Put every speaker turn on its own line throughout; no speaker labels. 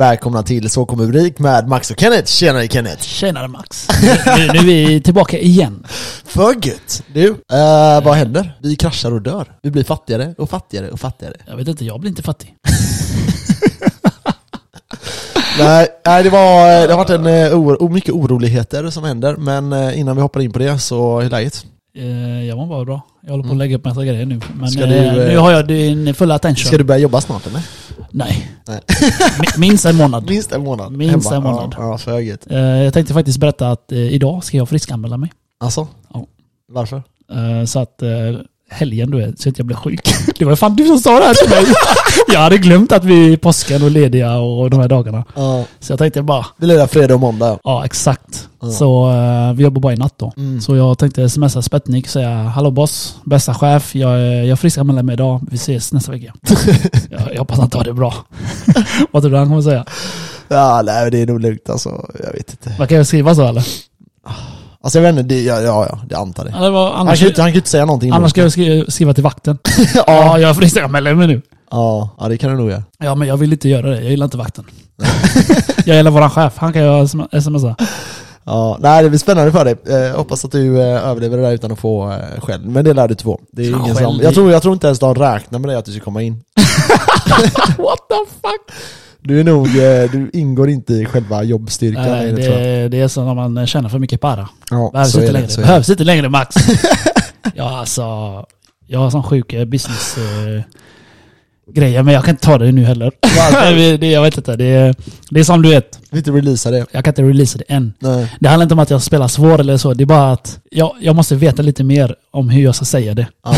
Välkomna till Så kommer Urik med Max och Kenneth. Tjenare Kenneth!
Tjenare Max! Nu, nu är vi tillbaka igen.
För gött! Du, eh, vad händer? Vi kraschar och dör. Vi blir fattigare och fattigare och fattigare.
Jag vet inte, jag blir inte fattig.
Nej, nej, det, var, det har varit en, eh, o, mycket oroligheter som händer, men eh, innan vi hoppar in på det så, hur är läget?
Eh, Jag mår bara bra. Jag håller på att lägga upp massa grejer nu. Men
Mm. Ska
eh,
du, eh,
nu har jag din fulla attention.
Ska du börja jobba snart eller?
Nej.
Nej.
Mi- Minst en månad.
Minst en månad.
Minst
hemma.
en månad.
Ja, ja för gött.
Eh, Jag tänkte faktiskt berätta att eh, idag ska jag friskanmäla mig.
Alltså?
Ja.
Varför?
Eh, Så att eh, helgen du är, så att jag blir sjuk. Det var fan du som sa det här till mig. Jag hade glömt att vi är påsken och lediga och de här dagarna.
Ja,
Så jag tänkte bara,
vi lirar fredag och måndag.
Ja, exakt.
Ja.
Så eh, vi jobbar bara i natt då. Så jag tänkte smsa Spetnik och säga Hallå boss, bästa chef, jag, är- jag friskanmäler mig idag, vi ses nästa vecka. jag, jag hoppas han tar det bra. Vad tror du han kommer säga?
Ja, nej det är nog lugnt alltså. Jag vet inte.
Man kan ju skriva så eller?
Alltså jag vet inte, det, ja, ja, ja, jag antar det.
Ja, det var,
Han
annars,
kan ju inte, han kan ju inte säga någonting.
annars ska jag skriva, skriva till vakten.
ja.
ja, jag friskanmäler mig nu.
Ja, ja, det kan du nog göra.
Ja, men jag vill inte göra det. Jag gillar inte vakten. jag gillar våran chef, han kan jag sm- smsa.
Ja, nej, det blir spännande för dig. Eh, hoppas att du eh, överlever det där utan att få eh, skäll. Men det lär du inte få. Det är ju ingen
Skäll,
som,
det-
jag, tror, jag tror inte ens de räknar med dig att du ska komma in.
What the fuck?
Du är nog, eh, du ingår inte i själva jobbstyrkan.
Nej,
längre, tror jag.
Eh, det, det är så när man tjänar för mycket para.
Ja,
Behövs
så är
inte
det,
längre.
så är det.
Behövs inte längre Max. ja alltså. Jag har sån sjuk eh, business eh, grejer men jag kan inte ta det nu heller.
Varför?
det, jag vet inte. Det, är- det är som du vet.
Vi inte releasa det.
Jag kan inte releasa det än.
Nej.
Det handlar inte om att jag spelar svår eller så. Det är bara att jag, jag måste veta lite mer om hur jag ska säga det.
Ja,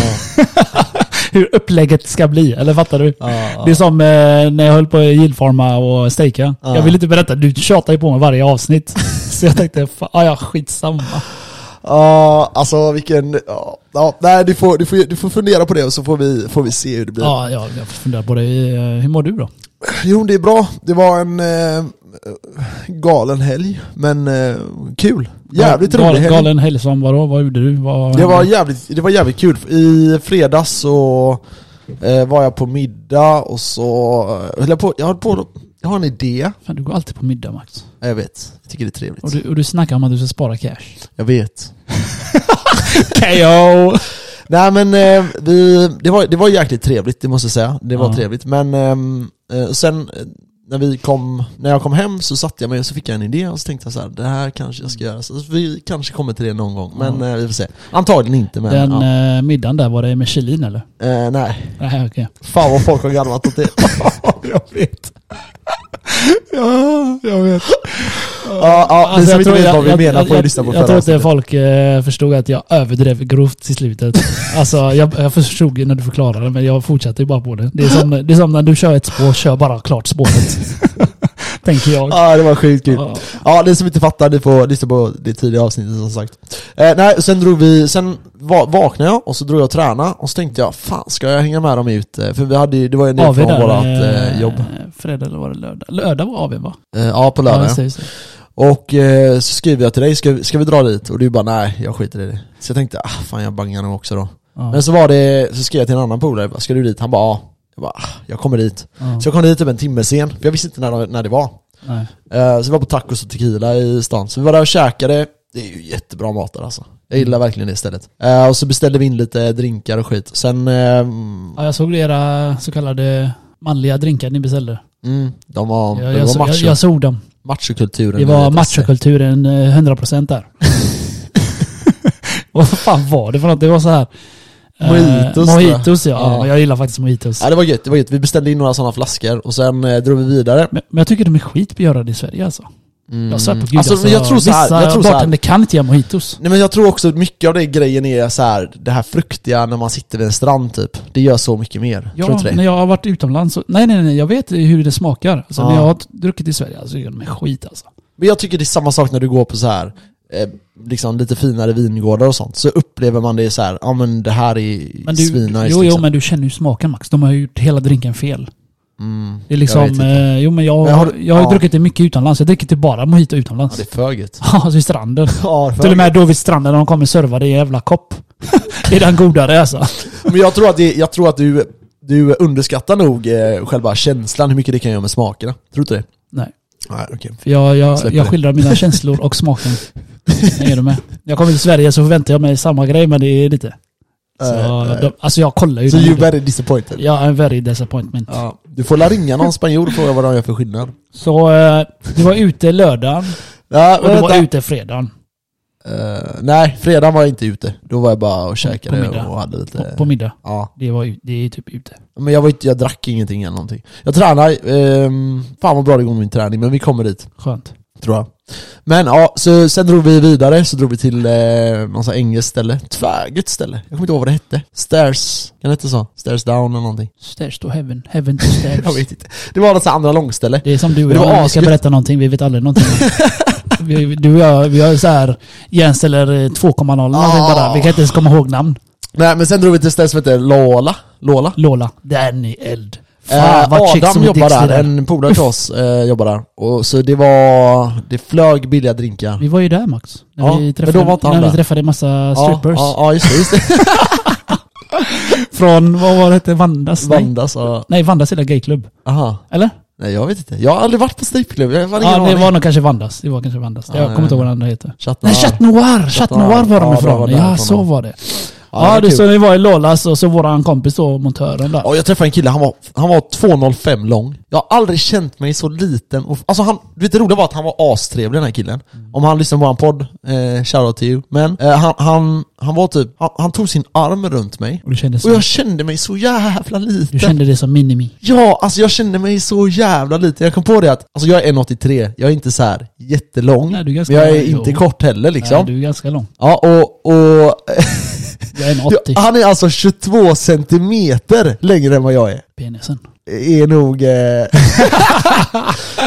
Hur upplägget ska bli. Eller fattar du?
ja,
Det är som eh, när jag höll på att gillfarma och stejka.
Ja.
Jag vill inte berätta. Du tjatar ju på mig varje avsnitt. så jag tänkte, fan, ah, ja skitsamma.
ja, alltså vilken, ja, ja, nej du får, du, får, du får fundera på det och så får vi, får vi se hur det blir.
Ja, ja, jag funderar på det. Eh, Hur mår du då?
Jo, det är bra. Det var en eh, galen helg, men eh, kul. Jävligt rolig
galen,
helg.
Galen helg som vadå? Vad gjorde du? Vad
Det var
hände?
jävligt, det var jävligt kul. I fredags så eh, var jag på middag och så eh, höll jag på, jag har på, jag har en idé.
Fan, du går alltid på middag Max.
Ja, jag vet, jag tycker det är trevligt.
Och du, och du snackar om att du ska spara cash.
Jag vet.
KO!
Nej men eh, vi, det, var, det var jäkligt trevligt, det måste jag säga. Det var
Ja.
trevligt. Men ehm, eh, sen eh, när, vi kom, när jag kom hem så satte jag mig och så fick jag en idé och så tänkte jag så här, det här kanske jag ska göra. Så vi kanske kommer till det någon gång, men eh, vi får se. Antagligen inte men...
Den
ja.
eh, middagen där, var det med Kjellin eller?
eh, nej.
Nej, okej.
Fan vad folk har garvat åt det.
jag vet. ja, jag vet.
Ja, ja ni som inte vet vad vi menar får ju
Alltså, jag,
lyssna på
Jag tror
förra
inte
avsnittet.
folk eh, förstod att jag överdrev grovt till slutet. alltså, jag, jag förstod ju när du förklarade, men jag fortsatte ju bara på det. Det är som, det är som när du kör ett spår, kör bara klart spåret. Tänker jag.
Ja, typ. det var sjukt kul.
Ja.
Ja, ni som inte fattar, ni får lyssna på det tidiga avsnittet som sagt. Eh, nej, sen drog vi, sen va- vaknade jag och så drog jag och tränade och så tänkte jag, fan ska jag hänga med dem ut? Eh, För vi hade ju, det var ju en del
AV
från
där,
vårat
eh,
eh, jobb.
Fredag eller var det lördag? Lördag var AV va?
Eh, ja, på lördag.
just det,
ja.
just det.
och eh, så skriver jag till dig, ska, ska vi dra dit? Och du bara, nej jag skiter i det. Så jag tänkte, ah, fan jag bangar nog också då.
Ja.
Men så var det, så skrev jag till en annan polare, bara, ska du dit? Han bara, ja. Jag bara, ah, jag kommer dit.
Ja.
Så jag kom dit typ en timme sen, för jag visste inte när, när det var.
Nej.
Eh, Så vi var på tacos och tequila i stan. Så vi var där och käkade. Det är ju jättebra mat där alltså. Jag gillar verkligen det stället. Eh, och så beställde vi in lite drinkar och skit. Sen, eh, mm,
Ja, jag såg era så kallade manliga drinkar ni beställde.
mm, de var,
Jag,
det
jag,
var
jag, jag,
macho,
såg dem.
machokulturen.
Det var
i ett esse.
machokulturen eh, 100% där. Vad fan var det för något? Det var så här. eh,
Mojitos, tror jag.
mojitos ja.
Ja.
ja. Jag gillar faktiskt mojitos.
Ja det var gött, det var gött. Vi beställde in några sådana flaskor och sen eh, drog vi vidare.
Men, men jag tycker de är skit på att göra det i Sverige alltså. Jag svär på gud
Alltså,
alltså.
jag tror så här,
vissa
jag tror så här.
bartender kan inte göra mojitos.
Nej men jag tror också att mycket av det grejen är så här, det här fruktiga när man sitter vid en strand typ. Det gör så mycket mer. tror du
Ja,
inte det?
när jag har varit utomlands så, nej, nej nej jag vet hur det smakar. Alltså,
Ja.
När jag har druckit i Sverige, alltså gör de är skit alltså.
Men jag tycker det är samma sak när du går på så här eh, liksom lite finare vingårdar och sånt. Så upplever man det så här, ja men det här är
Men du,
svinnice
jo, jo
liksom.
men du känner ju smaken Max. De har ju gjort hela drinken fel.
mm,
Det är
Jag vet
liksom,
inte.
eh, jo men jag,
Men har
har,
du-
jag har ju
ja.
druckit det mycket utomlands. Jag dricker typ bara mojito
ja,
utomlands.
det är för gött.
Ja, vid stranden.
Ja,
Till och med då vid stranden när de kommer serva det i en jävla kopp. det är den godare alltså.
Men jag tror att, det, jag tror att du, du underskattar nog eh, själva känslan, hur mycket det kan göra med smakerna. Tror du inte det?
Nej.
Nej, okej.
För jag, jag,
Släpper
jag
det.
skildrar mina känslor och smaken. Hänger du med? När jag kommer till Sverige så förväntar jag mig samma grej, men det är lite... Så,
Eh, eh.
de, alltså jag kollar ju.
So
den
you're
videon.
very disappointed?
Jag är very disappointment.
Ja. Du får la ringa någon spanjor och fråga vad de gör för skillnad.
Så eh, du var ute lördagen
Ja,
och du var
vänta.
ute fredagen.
Eh, nej, fredag var jag inte ute. Då var jag bara och käkade
middag.
och hade lite...
På, på middag.
ja.
Det, var, ut- det är typ ute.
Men jag, var inte, jag drack ingenting eller någonting. Jag tränar, um, fan vad bra det går med min träning, men vi kommer dit.
Skönt.
Tror jag. Men ja, så, sen drog vi vidare, så drog vi till eh, någon sån här engelskt ställe. Tvärgött ställe. Jag kommer inte ihåg vad det hette. Stairs, kan det heta så? Stairs down eller någonting.
Stairs to heaven, heaven to stairs.
Jag vet inte. Det var något sånt här andra långställe.
Det är som du och
Det var
jag, när vi ska
asgött.
berätta någonting, vi vet aldrig någonting. vi, du och jag, vi har så här hjärnceller eh, 2,0 någonting
Ah.
bara. Vi kan inte ens komma ihåg namn.
Nej men sen drog vi till ett ställe som heter Lola. Lola.
Lola. Den är eld.
Eh, Adam jobbar
Dixie
där, en polare till oss eh, jobbar där. Och, så det var, det flög billiga drinkar.
Vi var ju där Max. När
Ja,
vi
men
träffade,
då var inte han
när vi
där.
träffade en massa
Ja,
strippers.
Ja, ja just det, just det.
Från, vad var det hette, Vandas? Nej,
Vandas och,
Nej Vandas lilla gayklubb.
aha.
Eller?
Nej jag vet inte, jag har aldrig varit på strippklubb, jag har ingen
Ja, det
aning.
var nog kanske Vandas. Det var kanske Vandas.
Ja,
jag
nej,
kommer inte ihåg
nej.
vad den andra heter.
Chatt-
Nej, Chat Noir! Chat
Noir.
Noir var
Ja,
de
det var
ifrån.
därifrån
Ja, så
de.
var det.
Ja, det
Ja,
var
du
kul.
så ni var i Lolas och så våran kompis då, montören där.
Ja, jag träffade en kille, han var, han var 2,05 lång. Jag har aldrig känt mig så liten. Och, alltså han, du vet det roliga var att han var astrevlig den här killen.
Mm.
Om han lyssnar på våran podd, eh, shoutout till you. Men eh, han, han, han var typ, han, han tog sin arm runt mig.
Och du kände,
Och
så,
jag kände mig så jävla
du
liten.
kände det som minimi.
Ja, alltså jag kände mig så jävla liten. Jag kom på det att, alltså jag är 1,83, jag är inte så här jättelång.
Nej, du är ganska
men jag är
lång,
inte
jo.
kort heller
Nej,
liksom.
du är ganska lång.
Ja, och, och
Jag är en
du,
80.
han är alltså 22 centimeter längre än vad jag är.
Penisen.
Är nog... Eh...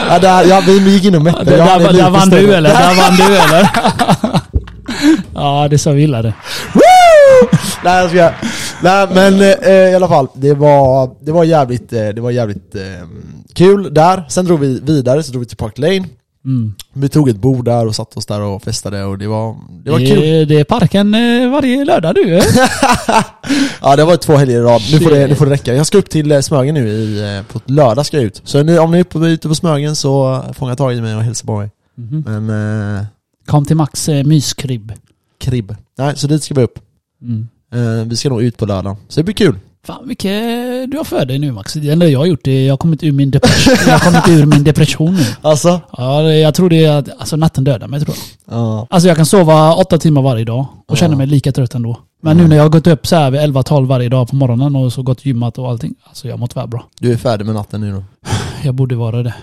ja, där, ja, vi gick in och mätte.
Där,
Ja, han är
där,
lite
där vann du
större.
eller? Där vann du eller? ja, det är så vi gillar det.
Woo! Nej jag skojar. Nej men eh, i alla fall, det var, det var jävligt, eh, det var jävligt eh, kul där. Sen drog vi vidare, så drog vi till Park Lane.
Mm.
Vi tog ett bord där och satte oss där och festade och det var, det var
det,
kul.
är- det är parken eh, varje lördag du. eh?
Ja det var två helger i rad, nu får, det,
Shit.
nu får det räcka. Jag ska upp till eh, Smögen nu i, eh, på lördag ska jag ut. Så nu, om ni är uppe, ute på Smögen så fånga tag i mig och hälsa på mig.
Mhm.
Men eh,
Kom till Max eh, myskrybb.
kribb. Nej, så dit ska vi upp.
Mm.
Eh, vi ska nog ut på lördag. Så det blir kul.
Fan mycket du har för dig nu Max. Det enda jag har gjort är jag har kommit ur min depression. jag har kommit ur min depression nu.
Alltså?
Ja, det- jag tror det är att alltså, natten dödar mig tror jag.
Ja.
Alltså jag kan sova åtta timmar varje dag och
Ja.
känna mig lika trött ändå. Men nu när jag har gått upp så här vid 11-12 varje dag på morgonen och så gått gymmat och allting. Alltså jag har mått tvärbra.
Du är färdig med natten nu då?
Jag borde vara det.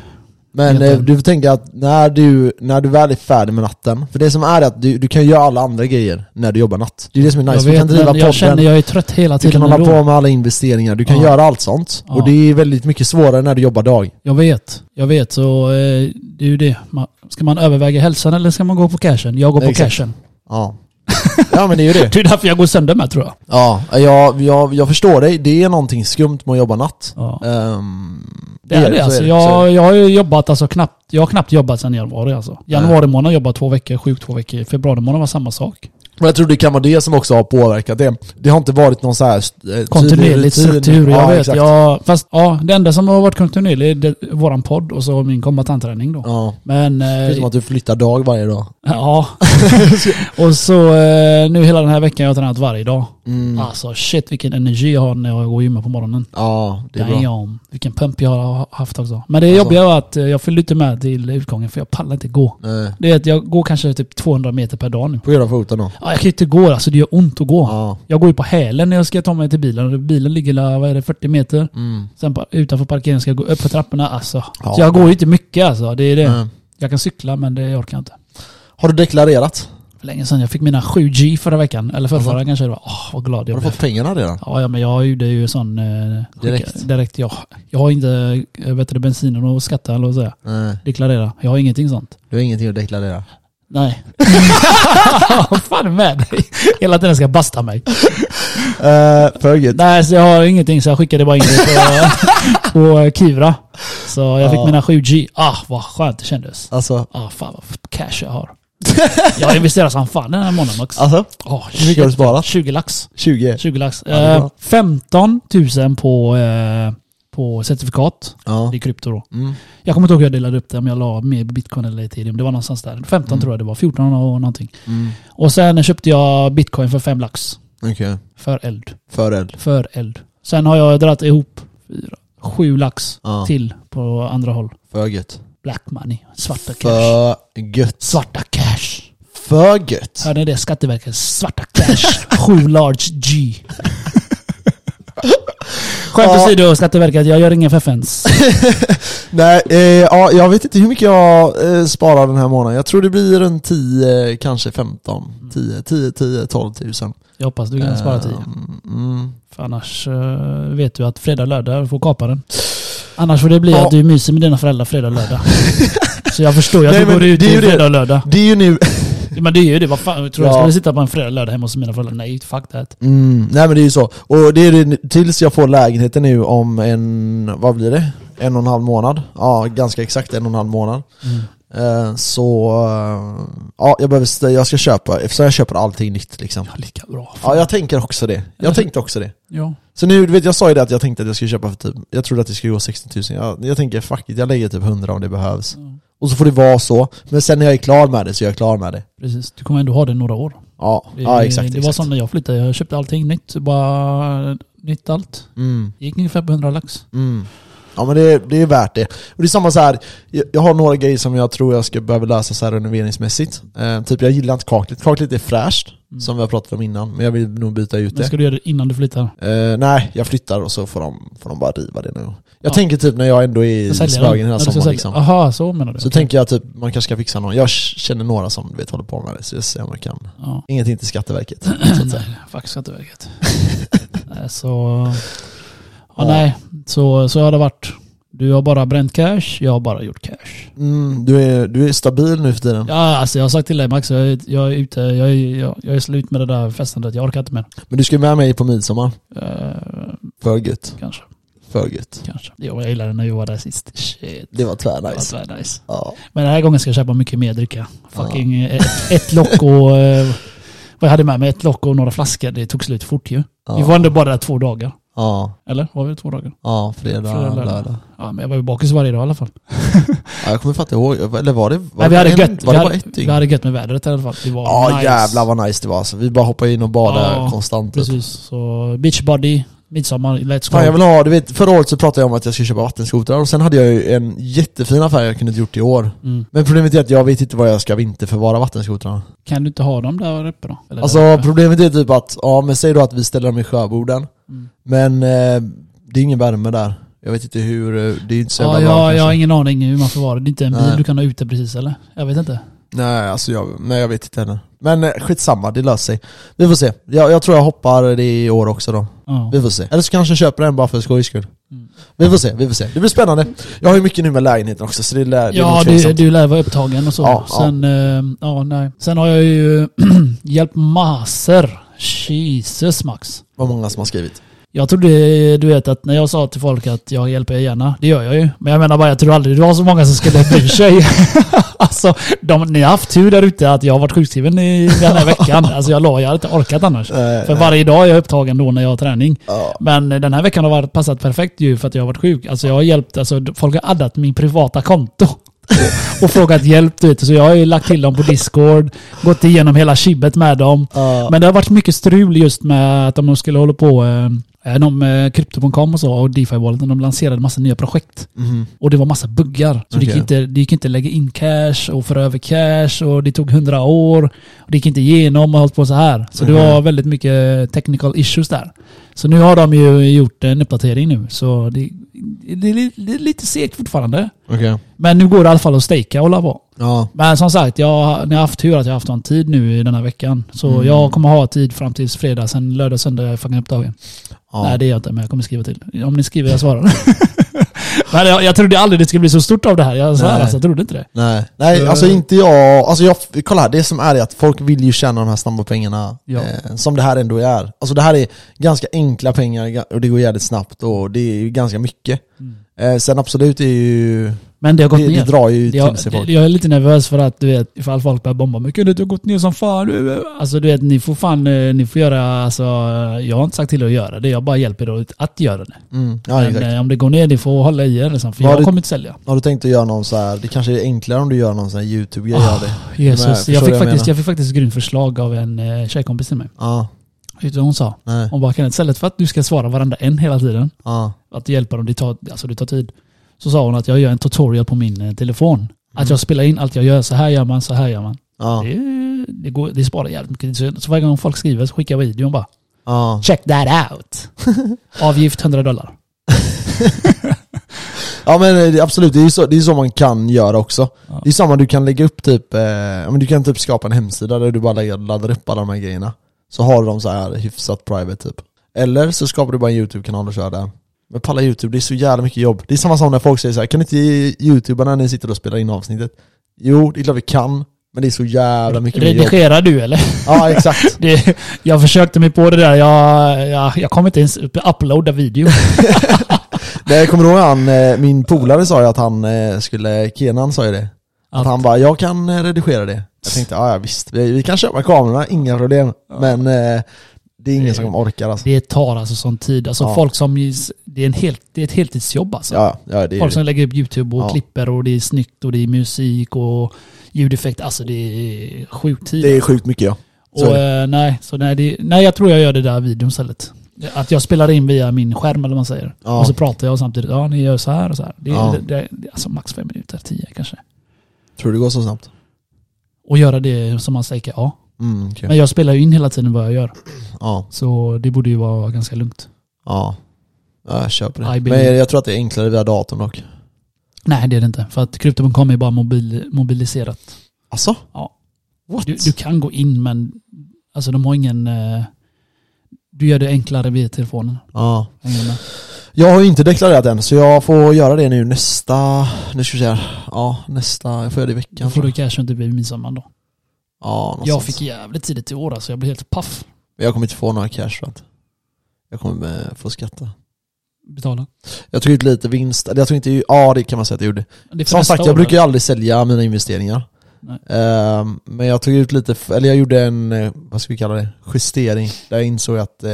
Men
Helt
eh,
enkelt.
du får tänka att när du, när du väl är färdig med natten, för det som är är att du, du kan göra alla andra grejer när du jobbar natt. Det är det som är nice,
jag
du kan driva
men
podden,
jag känner jag är trött hela
du
tiden
kan hålla
ändå.
på med alla investeringar, du kan
Ja.
göra allt sånt.
Ja.
Och det är väldigt mycket svårare när du jobbar dag.
Jag vet, jag vet. Så eh, det är ju det. Man, ska man överväga hälsan eller ska man gå på cashen? Jag går på
Exakt.
cashen.
Ja. ja men det är ju det.
Det är därför jag går sönder med tror jag.
Ja, jag, jag, jag förstår dig. Det är någonting skumt med att jobba natt.
Ja.
Ehm,
Det är
så
det alltså.
så
Jag, jag har ju jobbat alltså knappt, jag har knappt jobbat sedan januari alltså. Januari månad har jag jobbat två veckor, sjuk två veckor. Februari månad var samma sak.
Men jag tror det kan vara det som också har påverkat det. Det har inte varit någon så här... eh, tydlig
Kontinuerlig
rutin.
struktur, jag
Ja,
vet.
exakt.
Jag, fast ja, det enda som har varit kontinuerligt är det- våran podd och så min kombatanträning då.
Ja.
Men...
Förutom
Eh,
att du flyttar dag varje dag.
ja. och så eh, nu hela den här veckan har jag tränat varje dag.
Mm.
Alltså shit vilken energi jag har när jag går och gymmar på morgonen.
Ja, det är bra.
Damn, vilken pump jag har haft också. Men det
Alltså.
jobbiga var att eh, jag fyllde inte med till utgången för jag pallar inte gå.
Nej.
Det är att jag går kanske typ 200 meter per dag nu.
På grund av Eh, foten då?
Ja, jag kan ju inte gå alltså, det gör ont att gå.
Ja.
Jag går ju på hälen när jag ska ta mig till bilen. och Bilen ligger la, vad är det, 40 meter.
Mm.
Sen på, utanför parkeringen ska jag gå upp för trapporna. Alltså.
Ja.
Så jag går ju inte mycket alltså. Det är det.
Mm.
Jag kan cykla men det orkar jag inte.
Har du deklarerat?
För länge sedan. Jag fick mina 7G förra veckan. Eller förra,
Alltså.
förra kanske det var. Åh, vad glad jag
Har du
blev.
fått pengarna redan?
Ja, ja, men jag gjorde ju sån... Eh, skicka-
Direkt.
direkt ja. Jag har inte eh, vet du, bensinen och skatta eller vad säga.
Nej,
Deklarera. Jag har ingenting sånt.
Eh, du har ingenting att deklarera.
Nej. Vad fan är med dig? Hela tiden ska jag basta mig.
Uh, Föget.
Nej, så jag har ingenting så jag skickade bara in det på, på Kivra. Så jag fick
Ja.
mina 7G. Ah, vad skönt det kändes.
Alltså,
Ah, fan vad f- cash jag har. Jag har investerat som fan den här månaden Max.
alltså,
Ah,
hur mycket har du sparat?
20 lax.
20?
20 lax.
det är
Eh,
bra.
15 000 på eh, på certifikat.
Ja.
Det är krypto då.
Mm.
Jag kommer inte ihåg hur jag delade upp det, om jag la mer bitcoin eller ethereum. Det var någonstans där. 15 tror jag det var, 14 och någonting.
Mm.
Och sen köpte jag bitcoin för 5 lax.
Okej.
För eld.
Föreld.
För eld. Sen har jag dragit ihop 7 lax
Ja.
till på andra håll.
För gött.
Black money. Svarta cash.
För gött.
Svarta cash.
För gött.
Hörde ni det? Skatteverket. Svarta cash. 7 large G. Skämt
Ja.
åsido Skatteverket, jag gör ingen förfens.
Nej, eh, ja, jag vet inte hur mycket jag eh, sparar den här månaden. Jag tror det blir runt 10, kanske 15. 10, 10, 10, 12 tusen.
Jag hoppas Mm. du kan spara tid.
Ehm, mm.
För annars eh, vet du att fredag, lördag får kapa den. Annars får det bli
Ja.
att du myser med dina föräldrar fredag, lördag. Så jag förstår ju att
Nej,
du
men
går ut
det är
i
ju det.
fredag, lördag.
Det är ju nu...
Men det är ju det. Vad fan, tror du jag
Ja.
skulle sitta på en fredag, lördag hemma hos mina föräldrar? Nej, fuck that.
Mm, nej men det är ju så. Och det är det, tills jag får lägenheten nu om en, vad blir det? En och en halv månad? Ja, ganska exakt en och en halv månad. Eh, så, eh, ja jag behöver, st- jag ska köpa, eftersom jag köper allting nytt liksom.
Lika bra.
Ja jag tänker också det. Jag tänkte också det.
Ja.
Så nu, du vet jag sa ju det att jag tänkte att jag skulle köpa för typ, jag trodde att det skulle gå 60 000. Jag, jag tänker fuck it, jag lägger typ 100 om det behövs.
Mm.
Och så får det vara så. Men sen när jag är klar med det så är jag klar med det.
Precis. Du kommer ändå ha det några år.
Ja,
Det,
ja exakt.
Det var
exakt.
som när jag flyttade. Jag köpte allting nytt. Bara eh, nytt allt.
Mm.
Det gick ungefär på 100 lax.
Mm. Ja men det, det är värt det. Och det är samma så här. Jag, jag har några grejer som jag tror jag ska behöva lösa så här renoveringsmässigt. Eh, typ jag gillar inte kaklet. Kaklet är fräscht, som vi har pratat om innan, men jag vill nog byta ut
Mm. Men
det.
ska du göra det innan du flyttar?
Eh, nej, jag flyttar och så får de, får de bara riva det nu. Jag
Ja.
tänker typ när jag ändå är i
Jag säljer
Smögen
den.
hela
Ja, du ska
sommaren
sälja.
liksom.
Aha, så menar du?
Så tänker jag typ, man kanske ska fixa någon. Jag känner några som du vet håller på med det, så jag ser om jag kan.
Ja.
Ingenting till Skatteverket. Så att säga.
Fuck Skatteverket. nej, så... Ja, nej, så, så har det varit. Du har bara bränt cash, jag har bara gjort cash.
Mm, du, är, du är stabil nu för tiden.
Ja, alltså jag har sagt till dig Max, jag är, jag är ute, jag är, jag, jag är slut med det där festandet, jag orkar inte mer.
Men du ska ju med mig på midsommar.
Eh,
För gött.
kanske,
För gött.
kanske. Jo, jag gillade när vi var där sist. Shit.
Det var
Det var
tvärnice.
tvär nice.
Ja.
Men den här gången ska jag köpa mycket mer dricka. Fucking eh, ett, ett lock och... eh, vad jag hade med mig, ett lock och några flaskor. Det tog slut fort ju.
Ja.
Vi var ändå bara där två dagar.
Ja,
Eller? Var vi två dagar?
ja fredag,
Fredag, lördag.
lördag.
Ja, men jag var ju bakis varje dag i alla fall.
Ja, jag kommer fatta ihåg, eller var det, var
Nej, vi,
det
hade
en-
gött,
var det bara
vi, hade,
ett
vi
dygn?
hade gött med vädret i alla fall. Det var
Ja
nice.
jävlar vad nice det var alltså. Vi bara hoppade in och badade
Ja,
konstant. Typ.
Precis, så beachbody, midsommar, let's go.
Fan jag vill ha, du vet förra året så pratade jag om att jag skulle köpa vattenskotrar och sen hade jag ju en jättefin affär jag kunde ha gjort i år.
mm.
Men problemet är att jag vet inte vad jag ska vinterförvara vattenskotrarna.
Kan du inte ha dem där uppe då? Eller där
Alltså
uppe?
problemet är typ att, ja men säg då att vi ställer dem i sjöborden.
Mm.
Men eh, det är ingen värme där. Jag vet inte hur, eh, det är inte så jävla
ja, jag,
varmt
jag har
kanske.
ingen aning hur man förvarar det. Det är inte en bil
Nej.
du kan ha ute precis eller? Jag vet inte.
Nej, alltså jag, nej, jag vet inte heller. Men eh, skitsamma, det löser sig. Vi får se. Jag, jag tror jag hoppar det i år också då.
Ja.
Vi får se. Eller så kanske jag köper en bara för skojs skull.
Mm.
Vi får se, vi får se. Det blir spännande. Jag har ju mycket nu med lägenheten också, så det, lär, det
Ja,
nog
du,
tveksamt.
du lär vara upptagen och så.
Ja, ja.
Sen, eh, ja, nej. Sen har jag ju hjälpt massor. Jesus Max.
Vad många som har skrivit.
Jag trodde, du vet att när jag sa till folk att jag hjälper er gärna, det gör jag ju. Men jag menar bara, jag tror aldrig det var så många som skulle bry sig. alltså, de, ni har haft tur där ute att jag har varit sjukskriven i den här veckan. Alltså jag la, jag hade inte orkat annars.
Nej,
För
nej.
varje dag är jag upptagen då när jag har träning.
Eh, Ja.
Men den här veckan har varit, passat perfekt ju för att jag har varit sjuk. Alltså jag har hjälpt, alltså folk har addat min privata konto. och frågat hjälp, du vet. Så jag har ju lagt till dem på Discord, gått igenom hela kibbet med dem.
Ja.
Men det har varit mycket strul just med att de skulle hålla på, eh, de eh, Crypto.com och så och DeFi Walleten, de lanserade massa nya projekt.
Mhm.
Och det var massa buggar. Så det, gick
Okej.
inte, det gick inte lägga in cash och föra över cash och det tog hundra år. Och det gick inte igenom och har hållit på så här. Så det
Mhm.
var väldigt mycket eh, technical issues där. Så nu har de ju gjort en uppdatering nu. Så det, det, är li- det är lite segt fortfarande.
Okej.
Men nu går det i alla fall att stejka och hålla på.
Ja.
Men som sagt, jag, ni har haft tur att jag har haft en tid nu i den här veckan. Så
Mm.
jag kommer ha tid fram tills fredag, sen lördag, söndag är jag fucking upptagen.
ja.
Nej det är jag inte, men jag kommer skriva till. Om ni skriver, jag svarar. men jag, jag trodde aldrig det skulle bli så stort av det här. Jag, så här
Nej.
alltså, jag trodde inte det.
Nej,
Eh.
nej alltså inte jag. Alltså jag, kolla här, det som är är att folk vill ju tjäna de här snabba pengarna
Ja.
eh, som det här ändå
Mm.
är. Alltså det här är ganska enkla pengar ga- och det går jävligt snabbt och det är ju ganska mycket. Eh, sen absolut är ju...
Men det har gått
Det, det
ner.
drar ju
jag,
till sig folk.
jag är lite nervös för att du vet, ifall folk börjar bomba men kunde du har gått ner som fan? du?" Alltså du vet, ni får fan, eh, ni får göra, alltså jag har inte sagt till er att göra det, jag bara hjälper er att göra det.
Mm, ja,
men
exakt.
eh, om det går ner, ni får hålla i er liksom, för
Var
jag
det-
kommer inte sälja.
Har du tänkt att göra någon så här, det kanske är enklare om du gör någon sån här youtube-grej
Ah,
av det? Men,
Jesus,
förstår
jag,
du
fick
vad jag
faktiskt,
menar?
jag fick faktiskt ett grymt förslag av en eh, tjejkompis till mig.
Ja,
Vet du vad hon sa?
nej,
Hon bara, Kenneth, istället för att du ska svara varenda en hela tiden,
ja.
att hjälpa dem, det tar, alltså det tar tid. Så sa hon att jag gör en tutorial på min eh, telefon. Att jag spelar in allt jag gör, så här gör man, så här gör man.
Mm. Ja,
Det, det, går, det sparar jävligt mycket tid. Så, så varje gång folk skriver så skickar jag videon bara
ja.
“Check that out”. Avgift 100 dollar.
Ja men eh, det- absolut, det är ju så, det är så man kan göra också.
Ja.
Det är samma, du kan lägga upp typ, eh, ja, men du kan typ skapa en hemsida där du bara lägger, laddar upp alla de här grejerna. Så har du dem så här hyfsat private typ. Eller så skapar du bara en YouTube-kanal och kör där. Men palla YouTube, det är så jävla mycket jobb. Det är samma som när folk säger så här, kan inte ge youtubarna när ni sitter och spelar in avsnittet? Jo, det är klart vi kan, men det är så jävla mycket mer jobb.
Redigerar du eller?
Ja exakt.
Det, jag försökte mig på det där, jag, jag, jag kommer inte ens upp- uploada video.
Det kommer du ihåg han, eh, min polare sa ju att han eh, skulle, Kenan sa ju det. Att
Att-
han bara, jag kan eh, redigera det. Jag tänkte, ja ja, visst, vi, vi kan köpa kamerorna, inga problem. Men eh, det är ingen som orkar alltså.
Det tar alltså sån tid. Alltså
Ja.
folk som... Det är, en helt, det är ett heltidsjobb alltså.
Ja, ja det är
Folk
det.
som lägger upp YouTube och
Ja.
klipper och det är snyggt och det är musik och ljudeffekt. Alltså det är sjukt tid.
Det är sjukt mycket ja. så
och, eh, nej, så nej, det, nej, jag tror jag gör det där videon istället. Att jag spelar in via min skärm eller vad man säger.
Ja.
Och så pratar jag samtidigt. Ja, ni gör så här och så här. Det, är-
Ja.
det, det, det, är alltså max fem minuter, tio kanske.
Tror du det går så snabbt?
Och göra det som man säger, ja.
Mm, okej.
Men jag spelar ju in hela tiden vad jag gör.
Ja,
Så det borde ju vara ganska lugnt.
ja. Ja, jag köper det.
I
Men
believe.
jag tror att det är enklare via datorn dock.
Nej, det är det inte. För att krypto.com är bara mobil, mobiliserat.
Alltså?
Ja.
What?
Du, du kan gå in men alltså de har ingen... eh, Du gör det enklare via telefonen.
Ja.
Hänger du med?
Jag har ju inte deklarerat än, så jag får göra det nu nästa... Nu ska vi se här. Ja, nästa... Jag får göra det i
Då
veckan.
får
tror
du
jag.
kanske inte bli midsommar då.
Ja,
Jag
någonstans.
fick jävligt tidigt i år alltså. Jag blev helt paff.
Men jag kommer inte få några cash för att jag kommer eh, få skatta.
Betala.
Jag tog ut lite vinst, eller jag tog inte, ju- ja det kan man säga att jag gjorde.
Det är för
Som
nästa
sagt, jag
år,
brukar ju aldrig sälja mina investeringar.
Nej.
Ehm, men jag tog ut lite, f- eller jag gjorde en, eh, vad ska vi kalla det, justering. Där jag insåg att eh,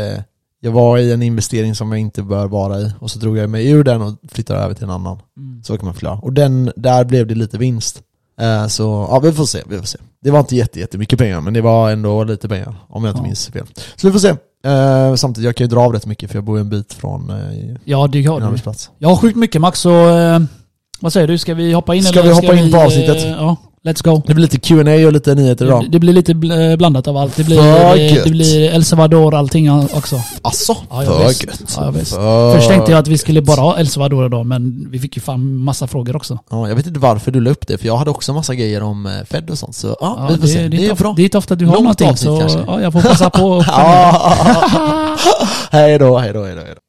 jag var i en investering som jag inte bör vara i. Och så drog jag mig ur den och flyttade över till en annan.
Mm.
Så kan man förklara. Och den, där blev det lite vinst. Eh, så ja, vi får se, vi får se. Det var inte jätte, jättemycket pengar, men det var ändå lite pengar. Om jag inte
Ja.
minns fel. Så vi får se. Eh, samtidigt, jag kan ju dra av rätt mycket för jag bor ju en bit från eh, min
Ja, det har du.
arbetsplats.
Jag har sjukt mycket Max så... eh, Vad säger du? Ska vi hoppa in
Ska
eller?
vi hoppa in på
eh,
avsnittet?
Ja, let's go.
Det blir lite Q&A och lite nyheter
Det,
idag.
det blir lite bl- eh, blandat av allt. Det blir, eh,
För
det,
gött.
det blir El Salvador allting också.
Alltså,
Ja, ja,
för
visst.
gött.
Ja, ja, visst.
För
Först tänkte jag att vi skulle bara
Eh.
ha El Salvador idag men vi fick ju fan massa frågor också.
Ja, jag vet inte varför du la upp det, för jag hade också massa grejer om eh, Fed och sånt. Så ja, vi får
det,
se.
det,
Det,
är
är
inte
bra.
ofta, det är inte ofta du har
Långt
någonting
avsnitt
så
kanske.
ja, jag får passa på att
Ja. hej då, hej då, hej då. hej då.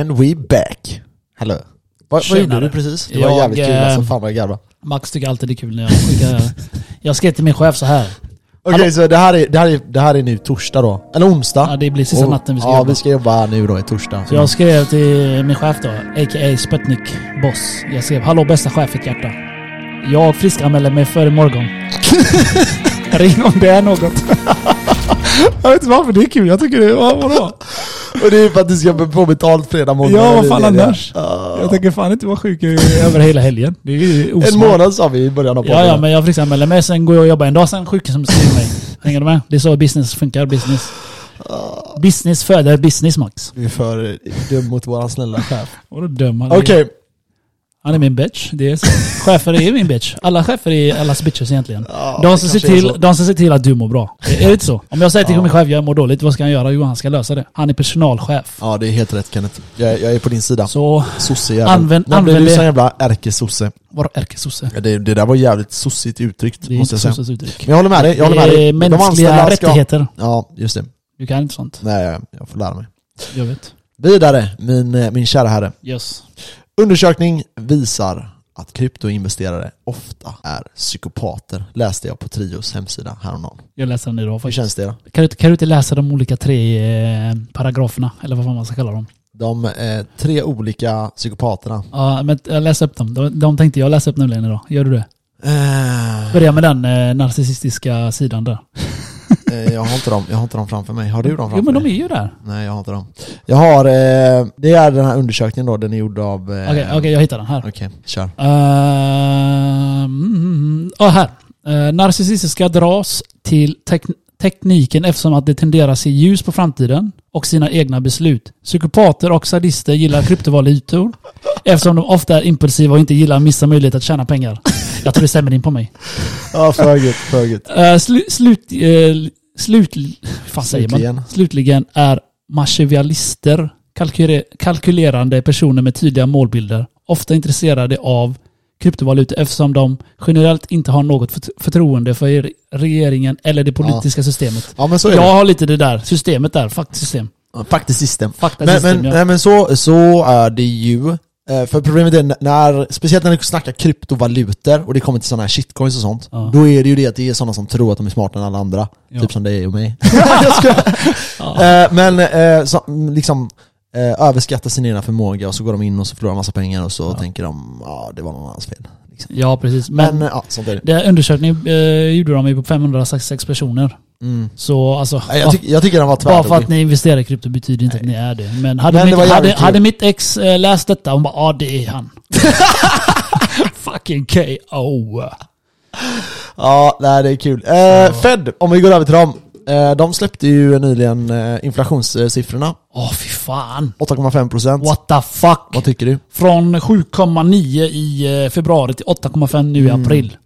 And we back. Hallå. Vad, vad gjorde
Tjenare.
du precis? Det var
Jag,
jävligt kul alltså,
eh,
fan vad jag garvade.
Max tycker alltid det är kul när jag skickar... jag skrev till min chef så här.
Okej, så det här, är, det, här är, det här är nu torsdag då? Eller onsdag?
Ja, det blir sista
Och-
natten vi ska
Oh. Ja,
jobba.
vi ska jobba nu då i torsdag.
Så jag skrev till min chef då, a.k.a. Sputnik Boss. Jag skrev “Hallå bästa chef, ett hjärta. Jag friskanmäler mig för imorgon. Ring om det är något.” Jag vet inte varför det är kul. Jag tycker det... vad- Vadå?
Och det är för att du ska få betalt fredag, måndag.
Ja, vad fan
Det är det.
annars?
Ja.
Jag tänker fan inte vara sjuk i- över hela helgen. Det är ju osmart.
En månad sa vi i början av
Ja, ja,
podden.
men jag friskanmäler mig, sen går jag och jobbar en dag, sen sjukhuset mig. Hänger du med? Det är så business funkar, business. Business föder business, Max.
Du är för dum mot våran snälla chef.
Och då dömer han.
Okej,
Han är min bitch. Det är så. Chefer är min bitch. Alla chefer är allas bitches egentligen.
Ja,
de,
det
som ser
kanske är
till,
så.
de som ser till att du mår bra. Är är det inte så? Om jag säger till min chef, jag mår dåligt, vad ska han göra? Jo, han ska lösa det. Han är personalchef.
ja det är helt rätt Kenneth. Jag, jag är på din sida.
Så,
Sossejävel.
Använd-
När blev
använd
du
det.
sån jävla ärkesosse?
vadå ärkesosse?
Ja, det, det där var jävligt sossigt uttryckt,
Det är
måste
inte
jag säga.
sosses uttryck.
Men jag håller med dig, jag håller med
Det
dig.
är mänskliga
anställda ska-
rättigheter.
Ja, just det.
Du kan inte sånt.
Nej, jag- jag får lära mig.
Jag vet.
Vidare, min, eh, min kära herre.
Yes.
Undersökning visar att kryptoinvesterare ofta är psykopater, läste jag på Trios hemsida häromdagen.
Jag läser den idag
Hur
faktiskt.
känns det då?
Kan du, kan du inte läsa de olika tre eh, paragraferna? Eller vad fan man ska kalla dem.
De eh, tre olika psykopaterna.
Ja, men jag läser upp dem. De, de tänkte jag läsa upp nämligen idag. Gör du det?
Eh,
Börja med den eh, narcissistiska sidan där.
eh, jag, har inte dem, jag har inte dem framför mig. Har du dem
Jo
framför
men de
dig?
är ju där.
Nej, jag har inte dem. Jag har... Eh, det är den här undersökningen då, den är gjord av... eh,
Okej, okej, jag hittar den här.
Okej, kör.
Uh, mm, ah, här. Eh, narcissistiska dras till tek- tekniken eftersom att det tenderar att se ljus på framtiden och sina egna beslut. Psykopater och sadister gillar kryptovalutor eftersom de ofta är impulsiva och inte gillar att missa möjlighet att tjäna pengar. Jag tror det stämmer in på mig.
Ja, för gött, för gött.
Eh, slu- slut, eh, slut, vad säger man?
Slutligen.
Slutligen är machiavellister kalkyre- kalkylerande personer med tydliga målbilder, ofta intresserade av kryptovalutor eftersom de generellt inte har något fört- förtroende för er- regeringen eller det politiska systemet.
Ja men så är
Jag har lite det där systemet där, faktasystem.
det. Faktiskt system. Men,
Faktasystem,
men, eh,
ja.
nej, men så, så är det ju. Eh, För problemet är när, speciellt när du snackar kryptovalutor och det kommer till sådana här shitcoins och sånt.
Ja.
Då är det ju det att det är sådana som tror att de är smartare än alla andra.
Ja.
Typ som dig och mig. Jag skojar. Eh, Men eh, så, mm, liksom eh, överskattar sin egna förmåga och så går de in och så förlorar massa pengar och så tänker de ja det var någon annans fel. Liksom.
Ja, precis. Men,
Men eh, ja, sånt är det.
det här undersökningen eh, gjorde de ju på 566 personer.
Mm.
Så alltså...
Nej, Jag, tyck, jag tycker den var
Bara för att
tvärrolig.
ni investerar i krypto betyder inte att ni är det. Men hade,
Men det
mitt,
var
hade,
jävligt kul.
hade mitt ex eh, läst detta, hon bara ja ah, det är han. Fucking KO.
Ja, nej, det är kul. Eh, Fed, om vi går över till dem. Eh, de släppte ju nyligen eh, inflationssiffrorna.
Åh fy fan.
8,5 procent.
What the fuck.
Vad tycker du?
Från 7,9 i eh, februari till 8,5 nu i april.
Mm.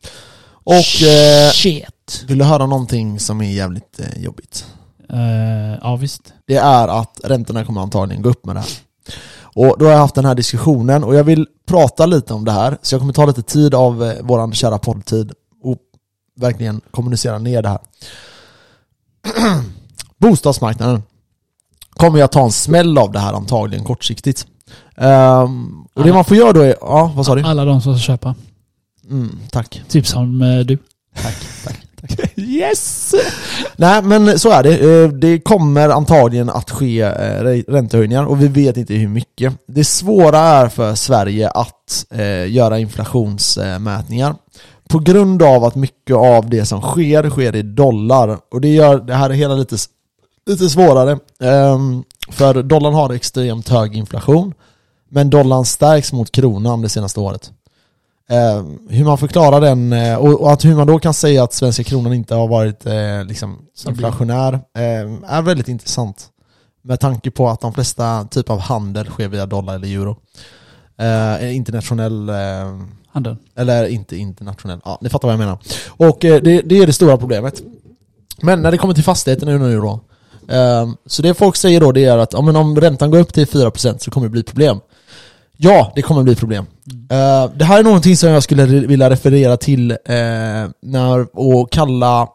Och eh,
Shit.
vill du höra någonting som är jävligt eh, jobbigt?
Eh, ja visst.
Det är att räntorna kommer antagligen gå upp med det här. Och då har jag haft den här diskussionen och jag vill prata lite om det här. Så jag kommer ta lite tid av eh, våran kära poddtid och verkligen kommunicera ner det här. Bostadsmarknaden kommer jag ta en smäll av det här antagligen kortsiktigt. Ehm, och det man får göra då är, ja vad sa du?
Alla de som ska köpa.
Mm, tack.
Typ som eh, du.
Yes! Nej men så är det. Eh, Det kommer antagligen att ske eh, re- räntehöjningar och vi vet inte hur mycket. Det svåra är för Sverige att eh, göra inflationsmätningar. På grund av att mycket av det som sker, sker i dollar. Och det gör det här hela lite, s- lite svårare. Ehm, För dollarn har extremt hög inflation. Men dollarn stärks mot kronan det senaste året. Eh, hur man förklarar den eh, och, och att hur man då kan säga att svenska kronan inte har varit eh, liksom
Stabil.
inflationär eh, är väldigt intressant. Med tanke på att de flesta typ av handel sker via dollar eller euro. Eh, internationell eh,
Handeln.
eller inte internationell. Ja, ni fattar vad jag menar. Och eh, det, det är det stora problemet. Men när det kommer till fastigheten nu, nu då. ehm, så det folk säger då det är att ja, men om räntan går upp till 4% så kommer det bli problem. Ja, det kommer bli problem. Eh, det här är någonting som jag skulle re- vilja referera till eh, när, och kalla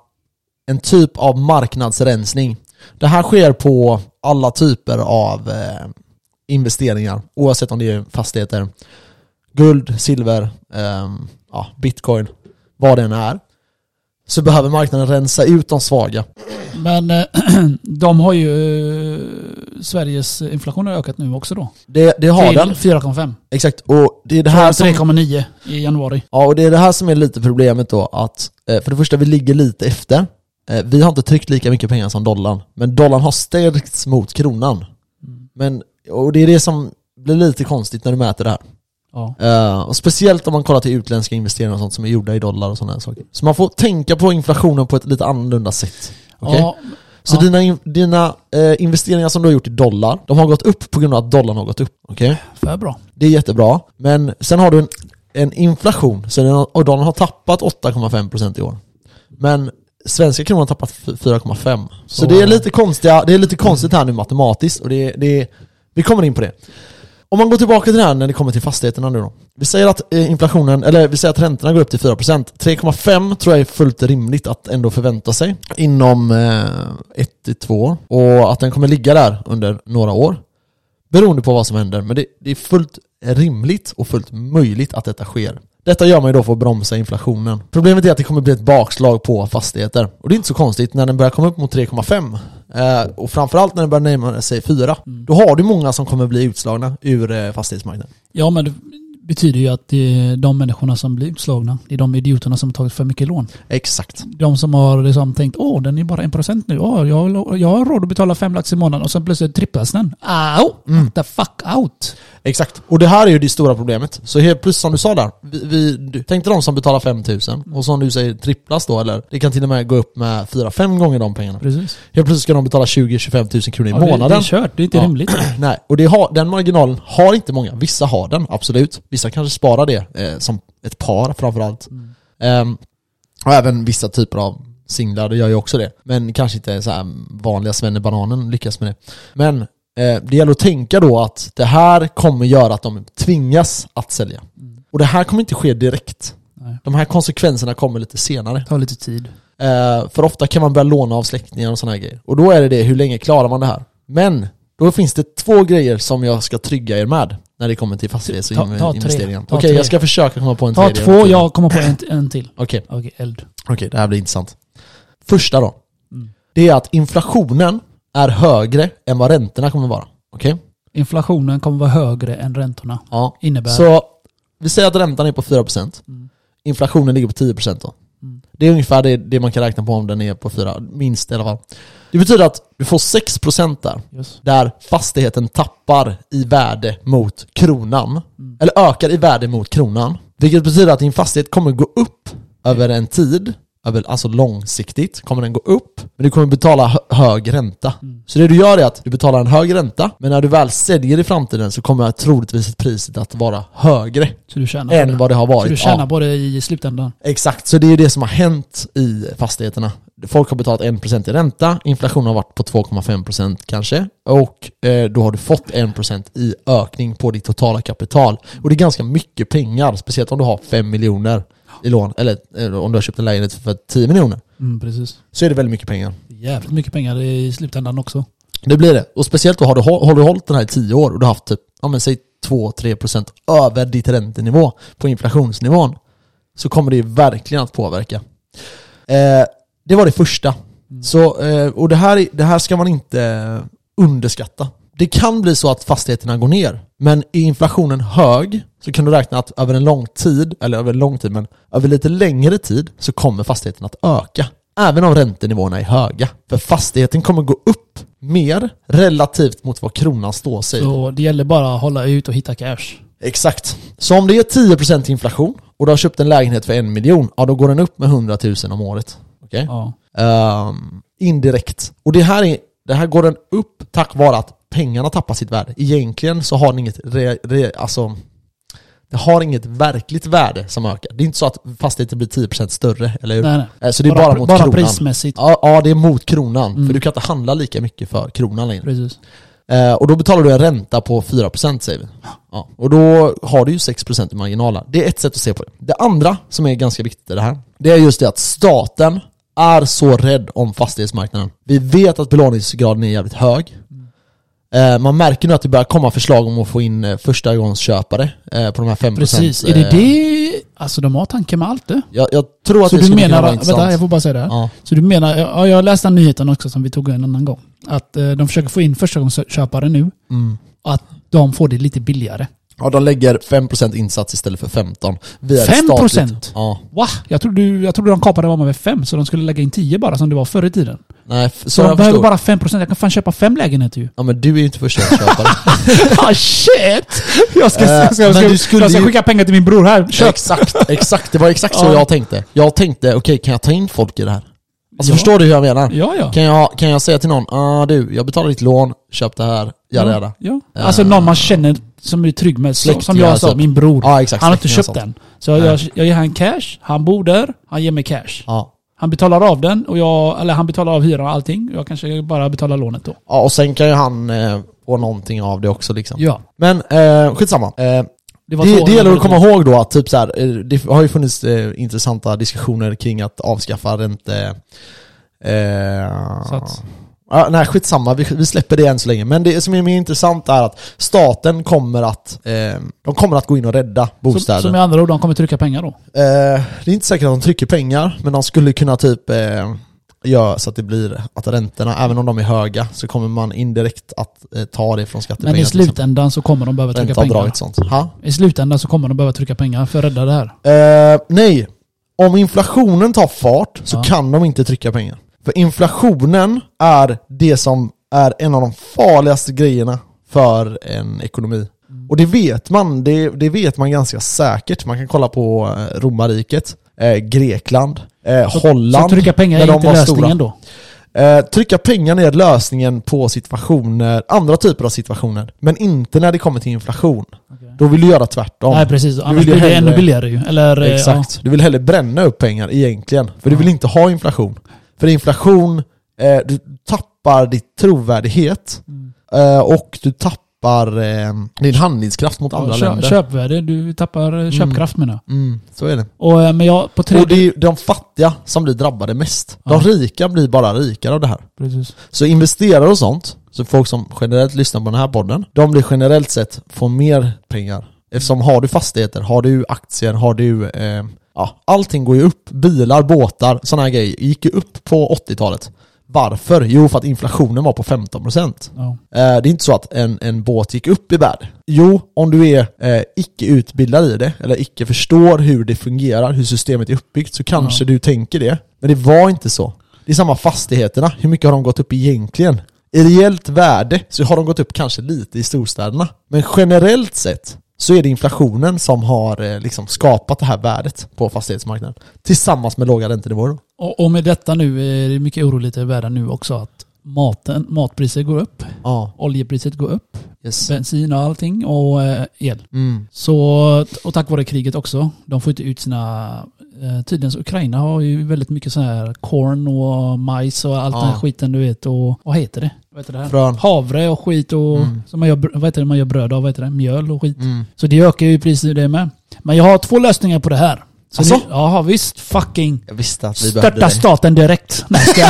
en typ av marknadsrensning. Det här sker på alla typer av eh, investeringar, oavsett om det är fastigheter, guld, silver, ehm, ja, bitcoin, vad det än är, så behöver marknaden rensa ut de svaga.
Men eh, de har ju... Eh, Sveriges inflation har ökat nu också då.
Det, det har
Till
den,
4,5.
exakt. Och det är det här som,
3,9 i januari.
ja, och det är det här som är lite problemet då, att eh, för det första, vi ligger lite efter. Eh, Vi har inte tryckt lika mycket pengar som dollarn, men dollarn har stärkts mot kronan. Men, och det är det som blir lite konstigt när du mäter det här.
Ja.
Eh, och speciellt om man kollar till utländska investeringar och sånt som är gjorda i dollar och sådana här saker. Så man får tänka på inflationen på ett lite annorlunda sätt. Okej?
Ja,
Så
Ja.
dina, in- dina eh, investeringar som du har gjort i dollar, de har gått upp på grund av att dollarn har gått upp. Okej?
för bra.
Det är jättebra. Men sen har du en, en inflation, så den, har- och dollarn har tappat 8,5% i år. Men svenska kronan har tappat f- 4,5%. Så
Så-
det är lite konstiga, det är lite konstigt här nu matematiskt och det, det, vi kommer in på det. Om man går tillbaka till det här när det kommer till fastigheterna nu då. Vi säger att eh, inflationen, eller vi säger att räntorna går upp till 4%. 3,5 tror jag är fullt rimligt att ändå förvänta sig inom eh, 1-2 år. Och att den kommer ligga där under några år. Beroende på vad som händer, men det, det är fullt rimligt och fullt möjligt att detta sker. Detta gör man ju då för att bromsa inflationen. Problemet är att det kommer bli ett bakslag på fastigheter. Och det är inte så konstigt när den börjar komma upp mot 3,5 eh, och framförallt när den börjar närma sig 4.
Mm.
Då har du många som kommer bli utslagna ur eh, fastighetsmarknaden.
Ja, men det betyder ju att det är de människorna som blir utslagna. Det är de idioterna som har tagit för mycket lån.
Exakt.
De som har liksom tänkt åh den är bara 1% nu, åh, jag, har- jag har råd att betala 5 lax i månaden och sen plötsligt tripplas den. Ow!
Mm.
What the fuck out!
Exakt. Och det här är ju det stora problemet. Så helt plus som du sa där, vi, vi, du- tänk dig de som betalar 5000
Mm.
och som du säger tripplas då eller det kan till och med gå upp med 4-5 gånger de pengarna.
Precis.
Helt plötsligt ska de betala 20-25 000 kronor i
Ja, det, det är
månaden.
kört, det är inte
Ja.
rimligt.
Nej, och det har, den marginalen har inte många. Vissa har den, absolut. Vissa kanske sparar det eh, som ett par framförallt. Ehm, och även vissa typer av singlar, det gör ju också det. Men kanske inte så här vanliga svennebananen lyckas med det. Men eh, det gäller att tänka då att det här kommer göra att de tvingas att sälja. Och det här kommer inte ske direkt.
Nej.
De här konsekvenserna kommer lite senare.
Det tar lite tid.
Eh, för ofta kan man börja låna av släktingar och sådana här grejer. Och då är det det, hur länge klarar man det här? Men, då finns det två grejer som jag ska trygga er med när det kommer till
Ta- ta tre.
fastighetsinvesteringen.
Ta
Okej,
tre.
jag ska försöka komma på en
Ta
tredje.
två, jag kommer på en, en till.
Okej,
Okej, eld.
okej, det här blir intressant. Första då.
Mm.
Det är att inflationen är högre än vad räntorna kommer vara. Okej?
Inflationen kommer vara högre än räntorna.
Ja.
Innebär.
Så vi säger att räntan är på 4%.
Mm.
Inflationen ligger på 10% då.
Mm.
Det är ungefär det, det man kan räkna på om den är på 4, minst i alla fall. Det betyder att du får 6% där,
Yes.
där fastigheten tappar i värde mot kronan. Eller ökar i värde mot kronan. Vilket betyder att din fastighet kommer gå upp över en tid, över, alltså långsiktigt kommer den gå upp, men du kommer betala hö- hög ränta.
Mm.
Så det du gör är att du betalar en hög ränta, men när du väl säljer i framtiden så kommer troligtvis priset att vara högre
Så du tjänar på
än
det.
vad det har
Så du
varit.
tjänar
Ja,
på det i slutändan.
exakt, så det är det som har hänt i fastigheterna. Folk har betalat 1% i ränta, inflationen har varit på 2,5% kanske och eh, då har du fått 1% i ökning på ditt totala kapital. Och det är ganska mycket pengar, speciellt om du har 5 miljoner i lån, eller eh, om du har köpt en lägenhet för 10 miljoner,
Mm, precis.
så är det väldigt mycket pengar.
Jävligt mycket pengar i slutändan också.
Det blir det. Och speciellt då har du, hå- har du hållit den här i 10 år och du har haft typ, ja men säg 2-3% över ditt räntenivå på inflationsnivån. Så kommer det ju verkligen att påverka. Eh, det var det första. Så, eh, och det här, är- det här ska man inte eh, underskatta. Det kan bli så att fastigheterna går ner, men är inflationen hög så kan du räkna att över en lång tid, eller över en lång tid, men över lite längre tid så kommer fastigheten att öka. Även om räntenivåerna är höga. För fastigheten kommer gå upp mer relativt mot vad kronan står sig.
Så det gäller bara att hålla ut och hitta cash.
Exakt. Så om det är 10% inflation och du har köpt en lägenhet för en miljon, ja då går den upp med 100 000 om året. Okej?
Ja.
Ehm, indirekt. Och det här, är, det här går den upp tack vare att pengarna tappar sitt värde. Egentligen så har den inget, re, re, alltså, det har inget verkligt värde som ökar. Det är inte så att fastigheten blir 10% större, eller hur?
Nej, nej.
Eh, Så det är bara,
pr-
mot
bara
kronan.
prismässigt. Mm.
Ja, ja, det är mot kronan. För du kan inte handla lika mycket för kronan längre.
Precis.
Eh, och då betalar du en ränta på 4% säger vi. Ja. Och då har du ju 6% i marginalen. Det är ett sätt att se på det. Det andra som är ganska viktigt i det här, det är just det att staten är så rädd om fastighetsmarknaden. Vi vet att belåningsgraden är jävligt hög. Eh, man märker nu att det börjar komma förslag om att få in eh, förstagångsköpare eh, på de här 5%
Precis. Är det
eh,
det... Alltså de har tanke med allt det.
Jag, jag tror att
Så
det
du
skulle kunna
menar...
vara intressant.
Vänta, jag får bara säga det här.
ja.
Så du menar... Ja, jag läste den nyheten också som vi tog en annan gång. Att eh, de försöker få in förstagångsköpare nu.
Mm.
Att de får det lite billigare.
ja, de lägger 5% insats istället för 15%. Via ett
5%?
statligt- Ja.
Va? Jag trodde, jag trodde de kapade mamma med fem, så de skulle lägga in tio bara som det var förr i tiden.
Nej, f- så,
Så
jag
de behöver
förstår.
bara fem procent. Jag kan fan köpa fem lägenheter ju.
Ja men du är ju inte förstagångsköpare.
ah shit! Jag ska,
Eh,
jag ska, jag
men
ska,
du skulle
jag ska
ju-
skicka pengar till min bror här. Köp!
exakt, exakt. Det var exakt så
Ja.
jag tänkte. Jag tänkte, okej kan jag ta in folk i det här? Alltså
Ja.
förstår du hur jag menar?
Ja, ja.
Kan, jag, kan jag säga till någon, ah du, jag betalar ditt lån, köp det här, jada jada.
Ja. Alltså någon man känner som är trygg med. Så, som
Släktingar
jag sa,
och sånt.
min bror.
Ja exakt.
han har inte
släktingar och
köpt
sånt.
den. Så jag, jag ger han cash, han bor där, han ger mig cash.
Ja.
Han betalar av den, och jag, eller han betalar av hyran och allting. Jag kanske bara betalar lånet då.
ja, och sen kan ju han eh, få någonting av det också liksom.
Ja.
Men eh, skitsamma. Eh,
var
det,
så-
det gäller att komma ihåg då att typ så här, eh, det har ju funnits eh, intressanta diskussioner kring att avskaffa ränte... Eh,
Sats.
Ja, nej, skitsamma. Vi, vi släpper det än så länge. Men det som är mer intressant är att staten kommer att, eh, de kommer att gå in och rädda bostäder.
Som, som i andra ord, de kommer trycka pengar då.
Eh, det är inte säkert att de trycker pengar, men de skulle kunna typ eh, göra så att det blir att räntorna, även om de är höga, så kommer man indirekt att eh, ta det från skattepengar.
Men i
till exempel.
slutändan så kommer de behöva trycka pengar.
Ränteavdraget och sånt. Ha?
I slutändan så kommer de behöva trycka pengar för att rädda det här.
Eh, nej, om inflationen tar fart så
Ja.
kan de inte trycka pengar. För inflationen är det som är en av de farligaste grejerna för en ekonomi.
Mm.
Och det vet man, det, det vet man ganska säkert. Man kan kolla på eh, romarriket, eh, Grekland, eh, Holland.
Så trycka pengar
när
är
de
inte
var
lösningen
stora.
då.
Eh, trycka pengar är lösningen på situationer, andra typer av situationer. Men inte när det kommer till inflation. Då vill du göra tvärtom.
Nej precis, annars
ju
blir det ännu
hellre-
billigare ju. Eller, eh,
Exakt. Du vill hellre bränna upp pengar egentligen. För du vill inte ha inflation. För inflation, eh, du tappar ditt trovärdighet
Mm.
eh, och du tappar eh, din handlingskraft mot
Ja,
andra
kö-
länder.
Köpvärde, du tappar eh, köpkraft menar jag.
Mm, så är det.
Och, eh, men jag, på tre...
Och det är ju de fattiga som blir drabbade mest. De rika blir bara rikare av det här.
Precis.
Så investerare och sånt, så folk som generellt lyssnar på den här podden, de blir generellt sett får mer pengar. Eftersom har du fastigheter, har du aktier, har du... Eh, ja, allting går ju upp. Bilar, båtar, sådana här grejer gick ju upp på 80-talet. Varför? Jo, för att inflationen var på 15%.
Ja.
Eh, det är inte så att en, en båt gick upp i värde. Jo, om du är eh, icke utbildad i det, eller icke förstår hur det fungerar, hur systemet är uppbyggt, så kanske du tänker det. Men det var inte så. Det är samma fastigheterna, hur mycket har de gått upp egentligen? I reellt värde så har de gått upp kanske lite i storstäderna. Men generellt sett så är det inflationen som har eh, liksom skapat det här värdet på fastighetsmarknaden. Tillsammans med låga räntenivåer. då.
Och, och med detta nu eh, är det mycket oroligt i världen nu också att maten, matpriser går upp.
Ja,
Oljepriset går upp.
yes.
Bensin och allting och eh, el.
Mm.
Så, och tack vare kriget också. De får inte ut sina... Eh, tydligen så Ukraina har ju väldigt mycket sån här korn och majs och allt
Ja.
den här skiten du vet. Och vad heter det? Vad heter det här?
Frön.
Havre och skit och
Mm.
som man gör, br- vad heter det man gör bröd av? Vad heter det? Mjöl och skit.
Mm.
Så det ökar ju priset det med. Men jag har två lösningar på det här. Så
Asså?
nu, ja visst, fucking
Jag visste att Alltså? vi behövde
störta
dig.
staten direkt. Nej, ska jag.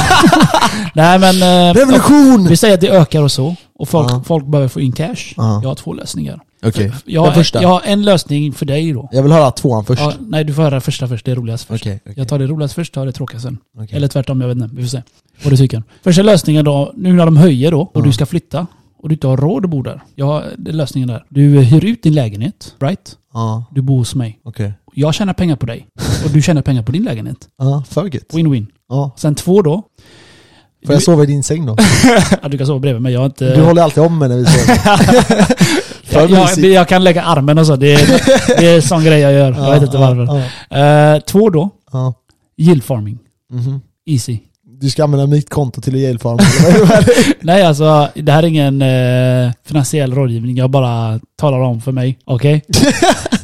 Nej men... eh,
Revolution!
vi säger att det ökar och så. Och folk,
Ja.
folk behöver få in cash.
Ja.
Jag har två lösningar.
Okej,
Jag
den
har,
första.
jag har en lösning för dig då.
Jag vill höra tvåan först.
Ja, nej, du får höra första först. Det är roligast först.
Okej, okej.
Jag tar det roligast först, tar det tråkiga sen.
Okej.
Eller tvärtom, jag vet inte. Vi får se. Vad du tycker. Första lösningen då, nu när de höjer då och
Ja.
du ska flytta och du inte har råd att bo där. Jag har det är lösningen där. Du hyr ut din lägenhet, right?
Ja,
Du bor hos mig.
okej.
Jag tjänar pengar på dig och du tjänar pengar på din lägenhet.
Ja, för gött.
Win-win.
Ja.
Sen två då.
Får jag sova i din säng
Eh.
då?
Ja, du kan sova bredvid mig. Jag har inte...
Du håller alltid om mig när vi sover. för
jag,
mysigt.
jag kan lägga armen och så. Det är, det är sån grej jag gör. Jag vet inte
Ja,
varför.
ja,
Eh, två då.
ja.
Yield farming.
Mhm.
Easy.
Du ska använda mitt konto till att hjälpa
Nej, alltså det här är ingen eh, finansiell rådgivning. Jag bara talar om för mig. Okej?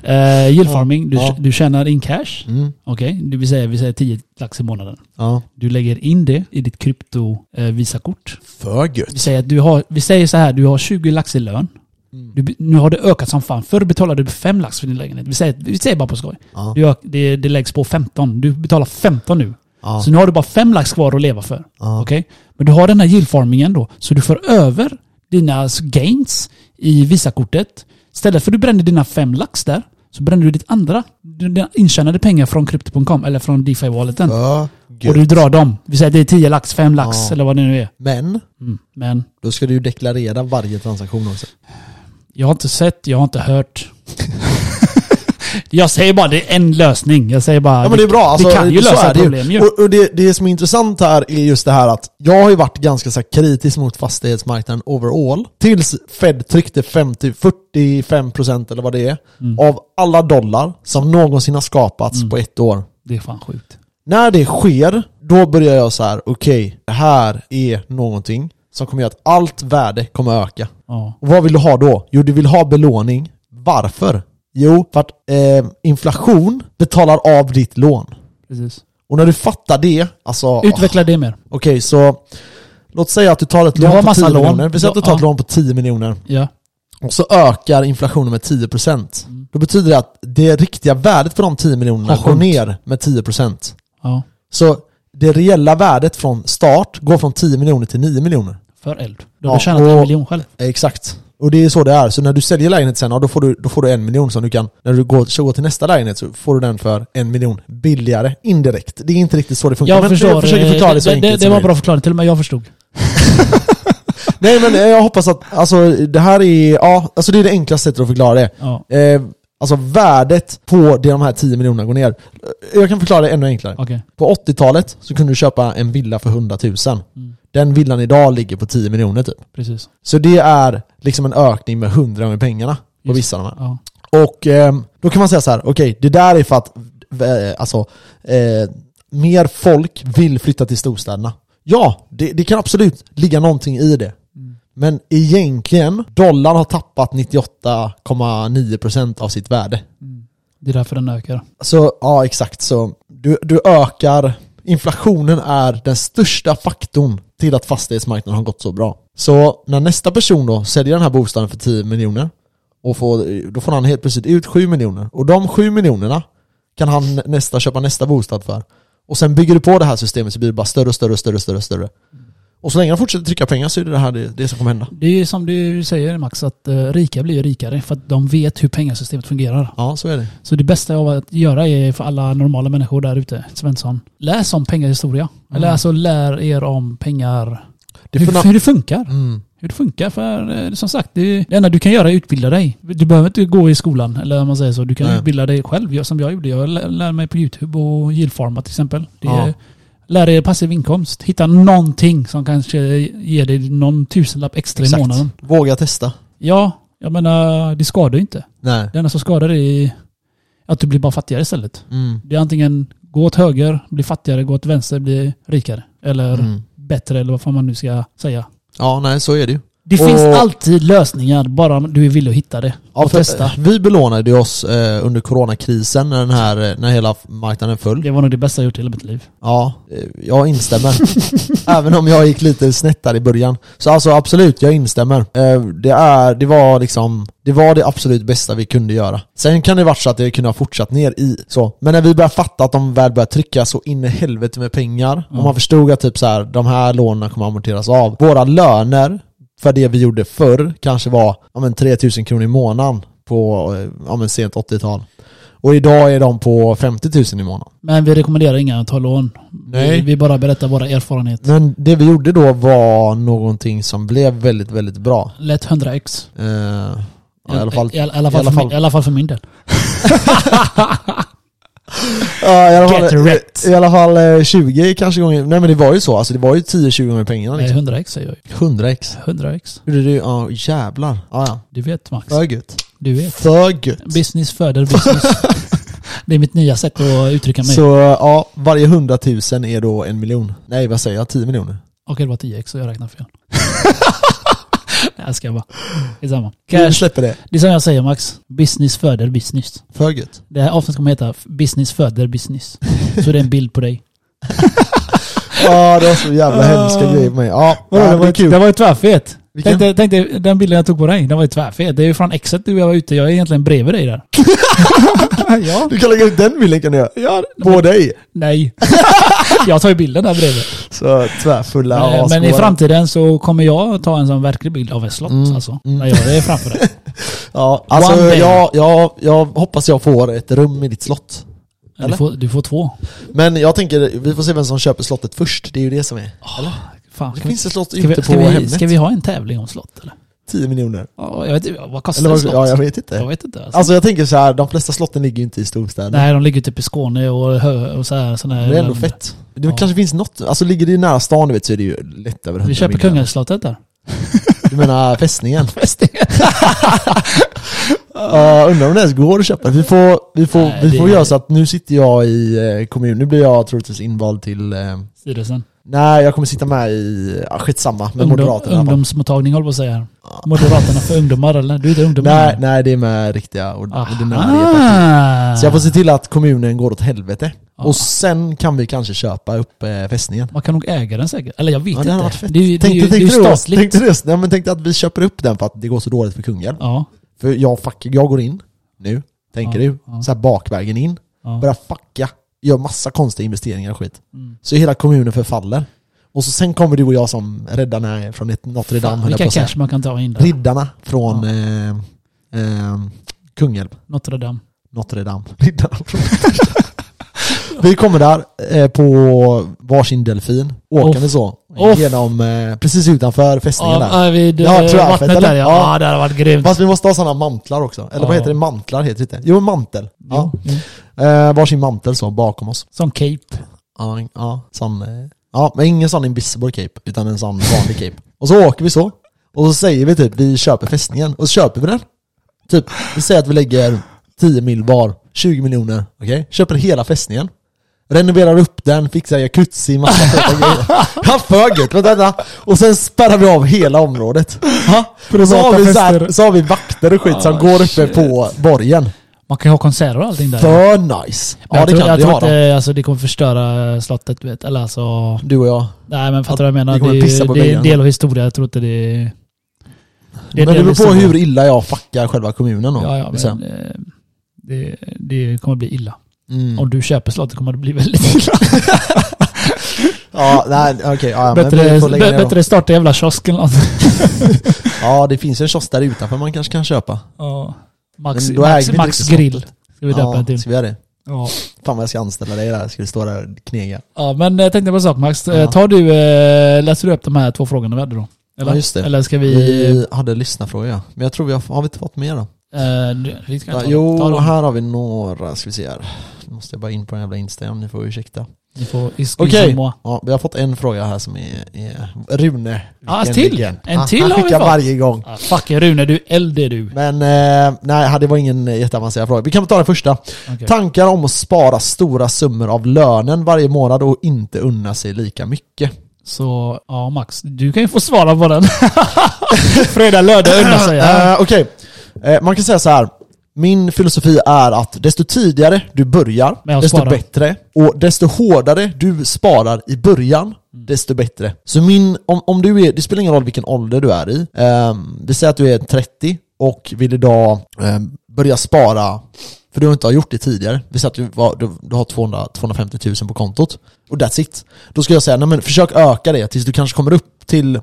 eh, yield farming. Du,
Ja.
du tjänar in cash.
mm.
Okej? Du vill säga, vi säger 10 lax i månaden.
Ja.
Du lägger in det i ditt krypto-visakort.
För gött.
Vi säger att du har, vi säger så här, du har 20 lax i lön.
Mm.
Du, nu har det ökat som fan. Förr betalade du 5 lax för din lägenhet. Vi säger, vi säger bara på skoj.
Ja.
Du, har- det, det läggs på 15. Du betalar 15 nu.
Ja.
Så nu har du bara 5 lax kvar att leva för.
Ja.
Okej? Men du har den här yieldfarmingen då. Så du får över dina gains i Visakortet. Istället för att du bränner dina 5 lax där, så bränner du ditt andra, dina intjänade pengar från Crypto.com eller från DeFi-walleten.
För
och du
gött.
drar dem. Vi säger att det är 10 lax, 5 lax
Ja.
eller vad det nu är.
Men,
Mm. Men
då ska du ju deklarera varje transaktion också.
jag har inte sett, jag har inte hört. jag säger bara det är en lösning. Jag säger bara...
Ja men det är bra, alltså,
vi kan ju
så
lösa
är det
problem ju.
Och, och det, det som är intressant här är just det här att jag har ju varit ganska så här, kritisk mot fastighetsmarknaden overall. Tills Fed tryckte 50, 45% eller vad det är,
Mm.
av alla dollar som någonsin har skapats på ett år.
Det är fan sjukt.
När det sker, då börjar jag så här: okej, det här är någonting som kommer göra att allt värde kommer öka.
Ja.
Och vad vill du ha då? Jo, du vill ha belåning. Varför? Jo, för att eh, inflation betalar av ditt lån.
Precis.
Och när du fattar det, alltså...
Utveckla det mer.
ah, Okej, så låt säga att du tar ett
Du har
lån på
massa
10
lån.
miljoner. Vi säger att du tar ett
Ja.
lån på 10 miljoner.
Ja.
Och så ökar inflationen med 10%. Då betyder det att det riktiga värdet för de 10 miljonerna
Mm. Har
går
sjunkit.
ner med 10%.
ja.
Så det reella värdet från start går från 10 miljoner till 9 miljoner.
För eld. Du har
Ja,
tjänat en
och-
miljon själv.
Eh, Exakt. Och det är så det är. Så när du säljer lägenhet sen, ja, då, får du, då får du en miljon som du kan... När du går, så går till nästa lägenhet så får du den för en miljon billigare indirekt. Det är inte riktigt så det funkar.
Jag
men
förstår. eh,
jag försöker förklara det så
det,
enkelt
det, det
som
var
möjligt.
bra förklaring. Till och med jag förstod.
Nej men eh, jag hoppas att, alltså det här är, ja, alltså det är det enklaste sättet att förklara det.
Ja,
Eh, alltså värdet på det de här 10 miljonerna går ner. Eh, Jag kan förklara det ännu enklare.
okej.
På 80-talet så kunde du köpa en villa för 100 000.
Mm,
Den villan idag ligger på 10 miljoner typ.
precis.
Så det är liksom en ökning med 100 gånger pengarna på
Just.
vissa av de här.
Ja.
Och ehm, då kan man säga så här, okej, det där är för att eh, alltså, eh, mer folk vill flytta till storstäderna. Ja, det, det kan absolut ligga någonting i det.
Mm.
Men egentligen, dollarn har tappat 98,9% av sitt värde.
Mm. Det är därför den ökar.
Så ja, exakt. Så du, du ökar, inflationen är den största faktorn till att fastighetsmarknaden har gått så bra. Så när nästa person då säljer den här bostaden för 10 miljoner, och får, då får han helt plötsligt ut 7 miljoner. Och de 7 miljonerna kan han nästa köpa nästa bostad för. Och sen bygger du på det här systemet så blir det bara större och större och större och större. Och, större. och så länge han fortsätter trycka pengar så är det det här det, det som kommer hända.
Det är ju som du säger Max, att eh, rika blir ju rikare för att de vet hur pengasystemet fungerar.
Ja, så är det.
Så det bästa av att göra är för alla normala människor där ute, Svensson, läs om pengahistoria. Eller
Mm.
alltså lär er om pengar,
det
hur,
funda-
hur det funkar.
mm.
Hur det funkar, för eh, som sagt, det, det enda du kan göra är utbilda dig. Du behöver inte gå i skolan, eller om man säger så. Du kan
Nej.
utbilda dig själv, jag- som jag gjorde. Jag lär, lär mig på YouTube och Yieldfarma till exempel. Det är,
Ja.
Lär er passiv inkomst. Hitta någonting som kanske ger dig någon tusenlapp extra i månaden.
Våga testa.
Ja, jag menar, det skadar ju inte.
Nej.
Det enda som skadar är att du blir bara fattigare istället.
Mm.
Det är antingen gå åt höger, bli fattigare, gå åt vänster, bli rikare. Eller
Mm.
bättre, eller vad fan man nu ska säga.
Ja, nej, så är det ju.
Det
Och-
finns alltid lösningar, bara om du är villig att hitta det.
Ja,
och
för,
testa.
eh, Vi belånade ju oss eh, under coronakrisen när, den här, eh, när hela marknaden föll.
Det var nog det bästa jag gjort i hela mitt liv.
Ja, eh, jag instämmer. Även om jag gick lite snett där i början. Så alltså absolut, jag instämmer. Eh, det, är, det, var liksom, det var det absolut bästa vi kunde göra. Sen kan det vara så att det kunde ha fortsatt ner i så. Men när vi började fatta att de väl började trycka så in i helvete med pengar.
Mm.
Och man förstod att typ så här, de här lånen kommer amorteras av. Våra löner för det vi gjorde förr kanske var ja, men 3000 kronor i månaden på eh, ja, men sent 80-tal. Och idag är de på 50 000 i månaden.
Men vi rekommenderar inga att ta lån.
Nej.
Vi, vi bara berättar våra erfarenheter.
Men det vi gjorde då var någonting som blev väldigt, väldigt bra.
Lätt 100x.
Eh, ja, I alla fall.
I, alla- alla fall
i alla
för min-
fall.
I alla fall för min del.
Ja, i alla
Get
fall,
wrecked.
i alla fall eh, 20 kanske gånger. Nej men det var ju så. Alltså det var ju 10-20 gånger pengarna
Nej,
liksom.
100x säger jag ju.
100x. 100x.
100x.
Gjorde du? Ja, jävlar. Ja, ja.
Du vet Max.
För gött.
Du vet.
För gött.
Business föder business. det är mitt nya sätt att uttrycka mig.
Så ja, varje 100 000 är då en miljon. Nej vad säger jag? 10 miljoner.
Okej, det var 10x så jag räknar fel. Nej, jag ska bara. Det är samma.
Vi
Cash.
släpper det.
Det är som jag säger Max. Business föder business.
För gött.
Det här avsnittet kommer heta Business föder business. Så det är en bild på dig.
Ja, det var så jävla hemska grejer på mig. Ja, ja, det var kul.
Den Ah. var ju tvärfet.
Vilken?
Tänk dig, tänk dig den bilden jag tog på dig. Den var ju tvärfet. Det är ju från exet du och jag var ute. Jag är egentligen bredvid dig där. ja.
Du kan lägga ut den bilden kan du göra.
ja.
På dig.
Nej. jag tar ju bilden där bredvid.
Så tvärfulla
Men, men i
asgårar.
framtiden så kommer jag ta en sån verklig bild av ett slott
Mm,
alltså.
mm.
När jag är framför dig.
Ja, alltså
One day.
jag, jag, jag hoppas jag får ett rum i ditt slott.
Du
Eller?
får, du får två.
Men jag tänker, vi får se vem som köper slottet först. Det är ju det som är.
Ah, Fan,
Det
ska, vi,
finns ett slott
ska,
ute
vi,
på
ska, vi,
Hemnet.
ska vi ha en tävling om slott eller?
10 miljoner.
Ja, jag vet inte, vad kostar
Eller
ett
vad,
slott?
ja, jag vet inte.
jag vet inte. Alltså.
Alltså jag tänker så här, de flesta slotten ligger ju inte i storstäder.
Nej, de ligger typ i Skåne och, hö- och så här, såna här
Det är ändå fett. Det
Ja.
kanske finns något, alltså ligger det nära stan du vet så är det ju lätt över 100
Vi köper
miljoner.
Kungälvsslottet där.
Du menar fästningen? Ja, undrar om det ens går att köpa. Vi får, vi får,
Nej,
vi
det-
får göra så att nu sitter jag i eh, kommun, nu blir jag troligtvis invald till eh,
Styrelsen.
Nej, jag kommer sitta med i... Ja, skitsamma, med
Ungdom,
Moderaterna. i alla fall.
ungdomsmottagning håller på att säga här. Moderaterna för ungdomar eller? Du är inte ungdom
Nej,
längre.
nej, det är med riktiga ord- ordinarie partier.
Aha.
Så jag får se till att kommunen går åt helvete.
Ja.
Och sen kan vi kanske köpa upp eh, fästningen.
Man kan nog äga den säkert. Eller jag vet
Ja, det hade varit
inte.
fett.
Det är ju- det är ju
Tänkte
det är ju
tänkte du oss-
statligt.
tänkte du oss- nej, men tänkte att vi köper upp den för att det går så dåligt för kungen.
Ja.
För jag, fuck, jag går in nu, tänker
Ja,
du.
ja.
Så här bakvägen in.
ja.
Börjar fucka. gör massa konstiga investeringar och skit.
Mm.
Så hela kommunen förfaller. Och så sen kommer du och jag som räddarna från ett Notre Dame, höll jag på
Vilka
att säga.
cash man kan ta in där.
Riddarna från eh, eh, Kungälv.
Notre Dame.
Notre Dame. Riddarna från Vi kommer där eh, på varsin delfin, åkande så.
Off.
Genom, eh, precis utanför fästningen där.
Ja, vid
Ja,
eh,
Trafford,
vattnet
eller?
där ja.
Ja.
ja. Det hade varit grymt.
Fast vi måste ha sådana mantlar också. Eller vad
Ja.
heter det? Mantlar heter det inte. Jo, mantel. Ja.
Jo, mm.
Eh, varsin mantel så, bakom oss.
Som cape.
Ja, en- ja, sån, eh, ja men ingen sån invisible cape, utan en sån vanlig cape. Och så åker vi så, och så säger vi typ vi köper fästningen, och så köper vi den. Typ, vi säger att vi lägger 10 mil var, 20 miljoner, okej? Köper hela fästningen. Renoverar upp den, fixar jacuzzi, massa feta grejer. Ja, för gött, vänta, vänta. Och sen spärrar vi av hela området. Ja, så, har vi så, här, så har vi vakter och skit som
Ah,
går uppe
shit.
på borgen.
Man kan ju ha konserter och allting där.
För nice!
Men
Ja
jag
det
tror,
kan
jag
vi
tror
ha då.
inte alltså, det kommer förstöra slottet du vet. Eller alltså...
Du och jag.
Nej men fattar du vad jag menar?
Det
Det,
kommer
är ju-
pissa på
det är
väggarna.
en del av historia. Jag tror inte det är...
Men det beror
delvis
på
så.
hur illa jag fuckar själva kommunen då.
Ja, ja,
Så här,
men, eh, det, det kommer bli illa.
liksom. mm.
Om du köper slottet kommer det bli väldigt illa.
ja nej, okej. ja, men vi
bättre
får lägga
bä,
ner dem.
bättre starta jävla kiosken. eller något.
Ja, det finns ju en kiosk där utanför man kanske kan köpa.
Ja. Max,
Men då äger vi
Max,
inte
Max
riktigt
grill. Ska vi döpa
Ja,
den till.
ska vi göra det?
Ja.
Fan vad jag ska anställa dig där. Ska du stå där och knega?
ja, men jag tänkte på en sak Max.
Ja.
Eh, Tar du, eh, läser du upp de här två frågorna vi hade då? Eller,
Ja, just det.
Eller ska vi...
Vi hade lyssnarfrågor ja. Men jag tror vi har, har vi inte fått mer då?
eh, du- vi ska ta, ta
jo,
dem.
här har vi några. Ska vi se här. Nu måste jag bara in på den jävla Instagram, ni får ursäkta.
Ni får
Okej.
Okej.
Ja, vi har fått en fråga här som är, är Rune.
Ja,
Vilken-
till.
vilken.
En
Han-
till
han
har vi
skickar
fått.
varje gång.
Ah, fuck Rune, du är äldre du.
Men eh, nej, det var ingen jätteavancerad fråga. Vi kan ta den första.
Okej.
Tankar om att spara stora summor av lönen varje månad och inte unna sig lika mycket.
Så ja Max, du kan ju få svara på den. Fredag, lördag, unna sig. Ja.
Eh, Okej, eh, man kan säga så här. Min filosofi är att desto tidigare du börjar,
Med att
desto
spara.
bättre. Och desto hårdare du sparar i början, desto bättre. Så min, om, om du är, det spelar ingen roll vilken ålder du är i. Eh, vi säger att du är 30 och vill idag eh, börja spara, för du har inte gjort det tidigare. Vi säger att du, var, du, du har 200, 250 000 på kontot. Och that's it. Då skulle jag säga, nej men försök öka det tills du kanske kommer upp till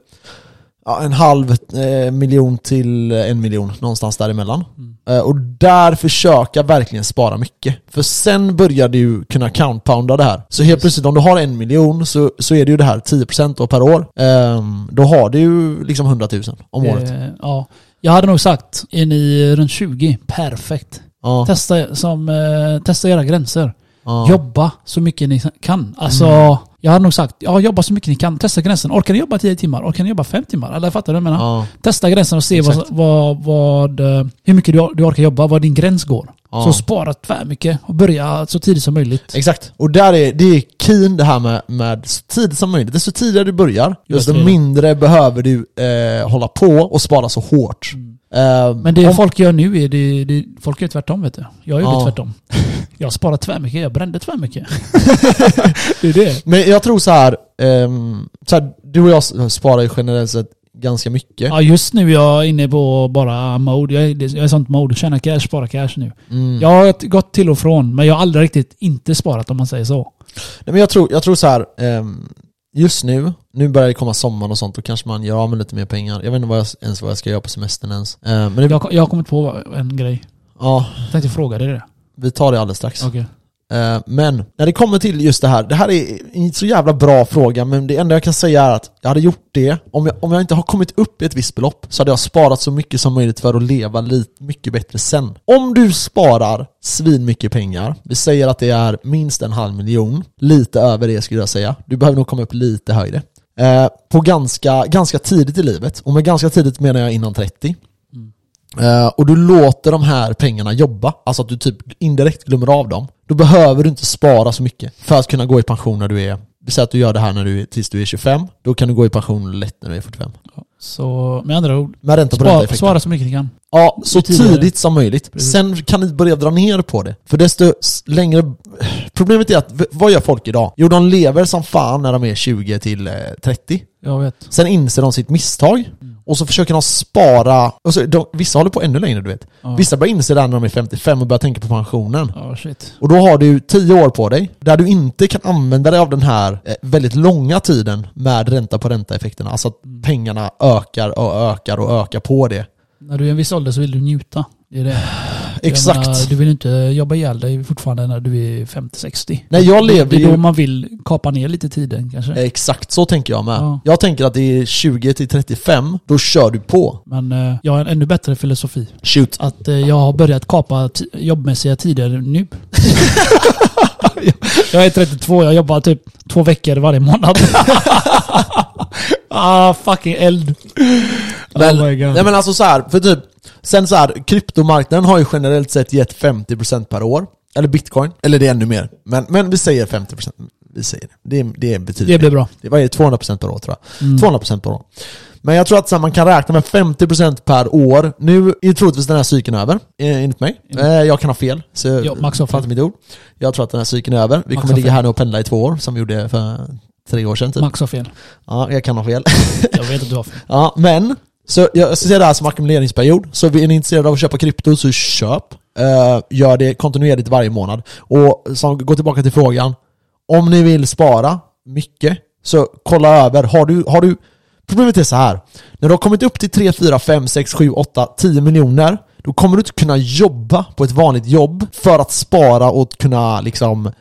ja, en halv eh, miljon till eh, en miljon, någonstans däremellan.
Mm.
Eh, och där försöka verkligen spara mycket. För sen börjar du kunna countpounda det här. Så helt plötsligt om du har en miljon så, så är det ju det här 10% då per år. Ehm, då har du ju liksom 100 000 om året.
Eh, ja. Jag hade nog sagt, är ni runt 20, perfekt.
Ja,
Testa, som, eh, testa era gränser.
ja. Mm.
Jobba så mycket ni kan. Alltså, Jag hade nog sagt, ja, jobba så mycket ni kan. Testa gränsen. Orkar ni jobba 10 timmar? Orkar ni jobba 5 timmar? Eller fattar du vad jag menar?
Ja,
Testa gränsen och se vad,
Exakt.
vad, vad, eh, hur mycket du, du orkar jobba, var din gräns går.
Ja.
Så spara tvärmycket och börja så tidigt som möjligt.
Exakt. Och där är, det är keen det här med, med så tidigt som möjligt. Desto tidigare du börjar, desto
tidigare.
mindre behöver du eh, hålla på och spara så hårt. Ehm,
Mm. Men det
om-
folk gör nu är, det, det, folk gör tvärtom vet du. Jag gjorde
Ja.
tvärtom. Jag sparade tvärmycket, jag brände tvärmycket. det är det.
Men jag tror så här, ehm, så här du och jag s- sparar ju generellt sett ganska mycket.
Ja, just nu är jag inne på bara mode. Jag är, det- jag är sånt mode. Tjäna cash, spara cash nu.
Mm.
Jag har t- gått till och från, men jag har aldrig riktigt inte sparat om man säger så.
Nej, men jag tror, jag tror så här, ehm, just nu, nu börjar det komma sommar och sånt, då kanske man gör av med lite mer pengar. Jag vet inte vad jag, ens vad jag ska göra på semestern ens. Eh, men det,
Jag, jag har kommit på en grej.
ja,
Jag tänkte fråga dig det.
vi tar det alldeles strax.
Okej.
Eh, men när det kommer till just det här, det här är inte så jävla bra fråga, men det enda jag kan säga är att jag hade gjort det, om jag, om jag inte har kommit upp i ett visst belopp, så hade jag sparat så mycket som möjligt för att leva lite mycket bättre sen. Om du sparar svin mycket pengar, vi säger att det är minst en halv miljon, lite över det skulle jag säga, du behöver nog komma upp lite högre. Eh, på ganska, ganska tidigt i livet, och med ganska tidigt menar jag innan 30, Eh, och du låter de här pengarna jobba, alltså att du typ indirekt glömmer av dem. Då behöver du inte spara så mycket för att kunna gå i pension när du är... Vi säger att du gör det här när du, är- tills du är 25, då kan du gå i pension lätt när du är 45.
Så med andra ord,
Med ränta på
spara,
ränta-effekten.
spara så mycket ni kan.
Ja, så
tidigare.
tidigt som möjligt.
Precis.
Sen kan ni börja dra ner på det. För desto s- längre... Problemet är att, v- vad gör folk idag? Jo, de lever som fan när de är 20 till eh, 30.
Jag vet.
Sen inser de sitt misstag. Och så försöker de spara, och så, de, vissa håller på ännu längre du vet.
Ja.
Vissa börjar inse det här när de är 55 och börjar tänka på pensionen.
Ja, shit.
Och då har du 10 år på dig, där du inte kan använda dig av den här eh, väldigt långa tiden med ränta på ränta-effekterna. Alltså att
Mm.
pengarna ökar och ökar och ökar på det.
När du är en viss ålder så vill du njuta. Det är det. Jag
Exakt.
Menar, du vill inte jobba ihjäl dig fortfarande när du är 50-60.
Nej, jag
Det
lever
är då
ju... Eh.
man vill kapa ner lite tiden kanske.
Exakt så tänker jag med.
Ja.
Jag tänker att det är 20 till 35, då kör du på.
Men eh, jag har en ännu bättre filosofi.
Shoot.
Att eh, jag har börjat kapa t- jobbmässiga tider nu. jag är 32, jag jobbar typ två veckor varje månad. ah, fucking eld.
Men,
oh my god.
nej men alltså så här, för typ, sen så här, kryptomarknaden har ju generellt sett gett 50% per år. Eller bitcoin, eller det är ännu mer. Men, men vi säger 50%. Vi säger det. Det, det betyder
det blir bra.
det. Vad är det? 200% per år tror jag.
Mm.
200% per år. Men jag tror att så här, man kan räkna med 50% per år. Nu är troligtvis den här cykeln över, eh, enligt mig. Eh, jag kan ha fel, så
Mm. Ja, Max har fel.
fattar mitt ord. Jag tror att den här cykeln är över. Vi
Max
kommer
har
ligga
fel.
här nu och pendla i två år, som vi gjorde för tre år sedan typ.
Max har fel.
Ja, jag kan ha fel.
Jag vet att du har fel.
Ja, men. Så jag ser det här som ackumuleringsperiod. Så är ni intresserade av att köpa krypto, så köp. Eh, gör det kontinuerligt varje månad. Och så gå tillbaka till frågan. Om ni vill spara mycket, så kolla över. Har du, har du... Problemet är så här. När du har kommit upp till 3, 4, 5, 6, 7, 8, 10 miljoner, då kommer du inte kunna jobba på ett vanligt jobb för att spara och kunna liksom... Eh,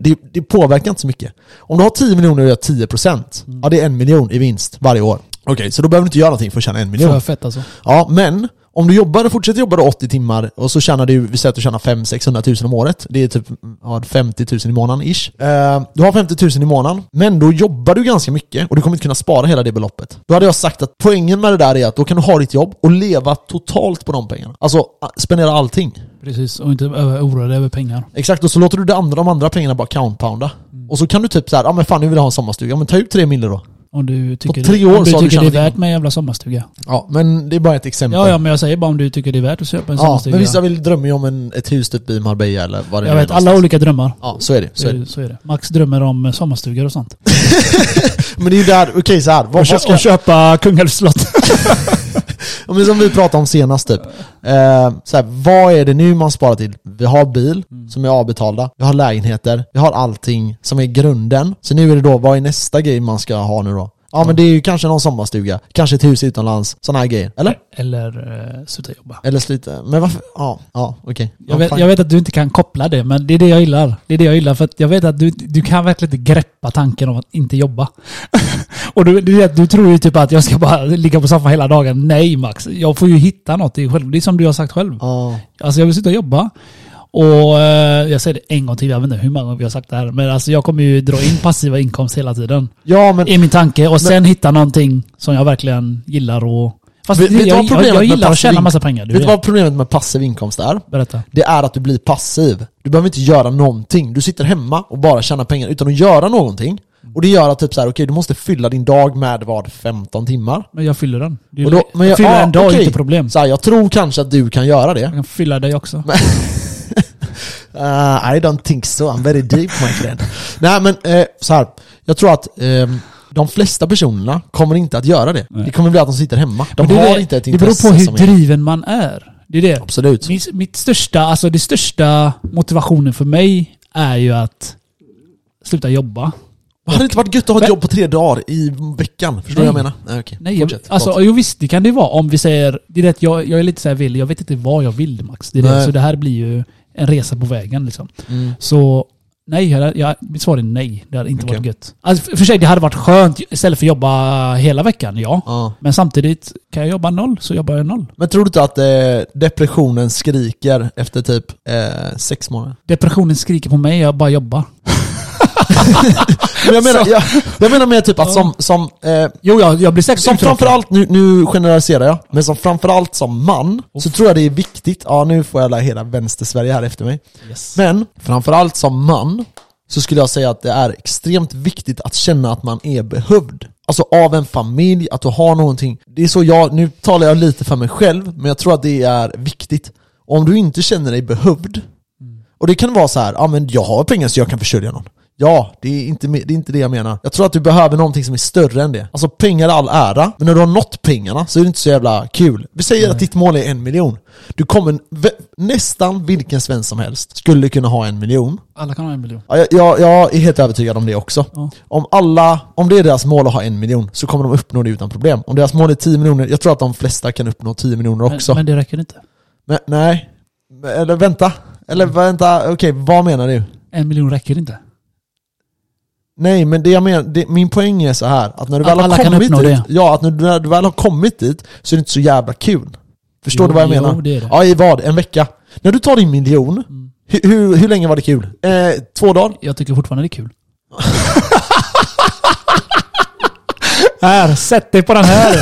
det, det påverkar inte så mycket. Om du har 10 miljoner och gör 10%, ja det är en miljon i vinst varje år. Okej, så då behöver du inte göra någonting för att tjäna en miljon.
För fett alltså.
Ja, men om du jobbar, fortsätter jobba då 80 timmar och så tjänar du, vi säger att du tjänar 500-600 000 om året. Det är typ ja, 50 000 i månaden ish. Eh, du har 50 000 i månaden, men då jobbar du ganska mycket och du kommer inte kunna spara hela det beloppet. Då hade jag sagt att poängen med det där är att då kan du ha ditt jobb och leva totalt på de pengarna. Alltså a- spendera allting.
Precis, och inte över- oroa dig över pengar.
Exakt, och så låter du de andra, de andra pengarna bara countpounda.
Mm.
Och så kan du typ såhär, ja ah, men fan nu vill jag ha en sommarstuga, ja men ta ut tre mille då.
Om du tycker,
tre år
om du
så har du
tycker det är
tjänat
värt
in.
med en jävla sommarstuga.
Ja, men det är bara ett exempel.
Ja, ja, men jag säger bara om du tycker det är värt att köpa en
Ja,
sommarstuga.
men vissa vill drömma ju om en, ett hus typ i Marbella eller vad det
jag
nu är
vet,
någonstans.
alla olika drömmar.
Ja, så är det. Så är det.
Så är det. Max drömmer om eh, sommarstugor och sånt.
Men det är ju där, okej så här. Vad, vad ska,
köpa Kungälvs slott.
ja, men som vi pratade om senast typ. Eh, så här, vad är det nu man sparar till? Vi har bil
Mm.
som är avbetalda, vi har lägenheter, vi har allting som är grunden. Så nu är det då, vad är nästa grej man ska ha nu då? Ja men det är ju kanske någon sommarstuga, kanske ett hus utomlands, sådana här grejer. Eller?
Eller eh, sluta jobba.
Eller sluta, men varför? Ja, ja okej. Ja,
Jag vet,
fine.
jag vet att du inte kan koppla det, men det är det jag gillar. Det är det jag gillar, för att jag vet att du, du kan verkligen inte greppa tanken om att inte jobba. och du, du, vet, du tror ju typ att jag ska bara ligga på soffan hela dagen. Nej Max, jag får ju hitta något i själv. Det är som du har sagt själv.
Ja.
Alltså jag vill sitta och jobba. Och eh, jag säger det en gång till, jag vet inte hur många gånger vi har sagt det här. Men alltså jag kommer ju dra in passiva inkomst hela tiden.
ja men
I min tanke. Och sen hitta någonting som jag verkligen gillar och... Fast
Vet- vet
jag,
du vad
jag, jag,
problemet med
gillar att
passiv
tjäna
in-
massa pengar. Du
vet du
vet.
vad problemet med passiv inkomst är?
Berätta.
Det är att du blir passiv. Du behöver inte göra någonting. Du sitter hemma och bara tjänar pengar utan att göra någonting. Och det gör att typ så här, okej du måste fylla din dag med vad? 15 timmar?
Men jag fyller den. Det är
Och
ju-
då- men
jag
jag-
fyller
ah,
en dag,
okej.
inte problem.
Så här, jag tror kanske att du kan göra det.
Jag kan fylla dig också.
Uh, I don't think so, I'm very deep my friend. Nej men eh, så här. jag tror att ehm, de flesta personerna kommer inte att göra det.
Nej.
Det kommer bli att de sitter hemma. De
Men det,
har
är-
inte ett
Det beror
intresse
på hur
som är...
driven man är. Det är det.
Absolut.
Mitt, mitt största, alltså det största motivationen för mig är ju att sluta jobba.
Hade det inte varit gött att ha
Men-
ett jobb på tre dagar i veckan? Förstår du vad jag menar? Nej okej,
Nej, jag,
fortsätt.
alltså jo visst det kan det ju vara. Om vi säger, det är det att jag, jag är lite så här vill, jag vet inte vad jag vill Max. Det är det.
Nej.
Så det här blir ju en resa på vägen liksom.
Mm.
Så nej, jag, jag, mitt svar är nej. Det hade inte
Okej.
varit gött. Alltså, för- för sig, det hade varit skönt istället för att jobba hela veckan, ja.
Ja.
Men samtidigt, kan jag jobba noll så jobbar jag noll.
Men tror du inte att eh, depressionen skriker efter typ eh, sex månader?
Depressionen skriker på mig, jag bara jobbar.
Men jag, menar, jag, jag menar mer typ att som, som, eh,
Jo, jag, jag blir säkert
som
uttråkad.
framförallt, nu, nu generaliserar jag, men som framförallt som man så tror jag det är viktigt, ja nu får jag alla- hela vänstersverige här efter mig.
Yes.
Men framförallt som man så skulle jag säga att det är extremt viktigt att känna att man är behövd. Alltså av en familj, att du har någonting. Det är så jag, nu talar jag lite för mig själv, men jag tror att det är viktigt. Om du inte känner dig behövd, och det kan vara så här, ja men jag har pengar så jag kan försörja någon. Ja, det är, inte, me- det är inte det jag menar. Jag tror att du behöver någonting som är större än det. Alltså pengar är all ära, men när du har nått pengarna så är det inte så jävla kul. Vi säger att ditt mål är en miljon. Du kommer, v- nästan vilken svensk som helst skulle kunna ha en miljon.
Alla kan ha en miljon.
Ja, jag, jag, jag är helt övertygad om det också.
Ja.
Om alla, om det är deras mål att ha en miljon så kommer de uppnå det utan problem. Om deras mål är 10 miljoner, jag tror att de flesta kan uppnå 10 miljoner
Men,
också.
men det räcker inte.
Men, nej. Eller vänta. Eller vänta, okej vad menar du?
En miljon räcker inte.
Nej, men det jag menar, det, min poäng är så här att när du
Att
väl
alla
har
kan
kommit
uppnå
dit,
det.
ja, att när du, när du väl har kommit dit så är det inte så jävla kul. Förstår
Jo,
du vad jag
jo,
menar?
det Mm. är det.
Ja, i vad? En vecka? När du tar din miljon, hur, hur, hur länge var det kul? Eh, två dagar?
Jag tycker fortfarande det är kul. här, sätt dig på den här!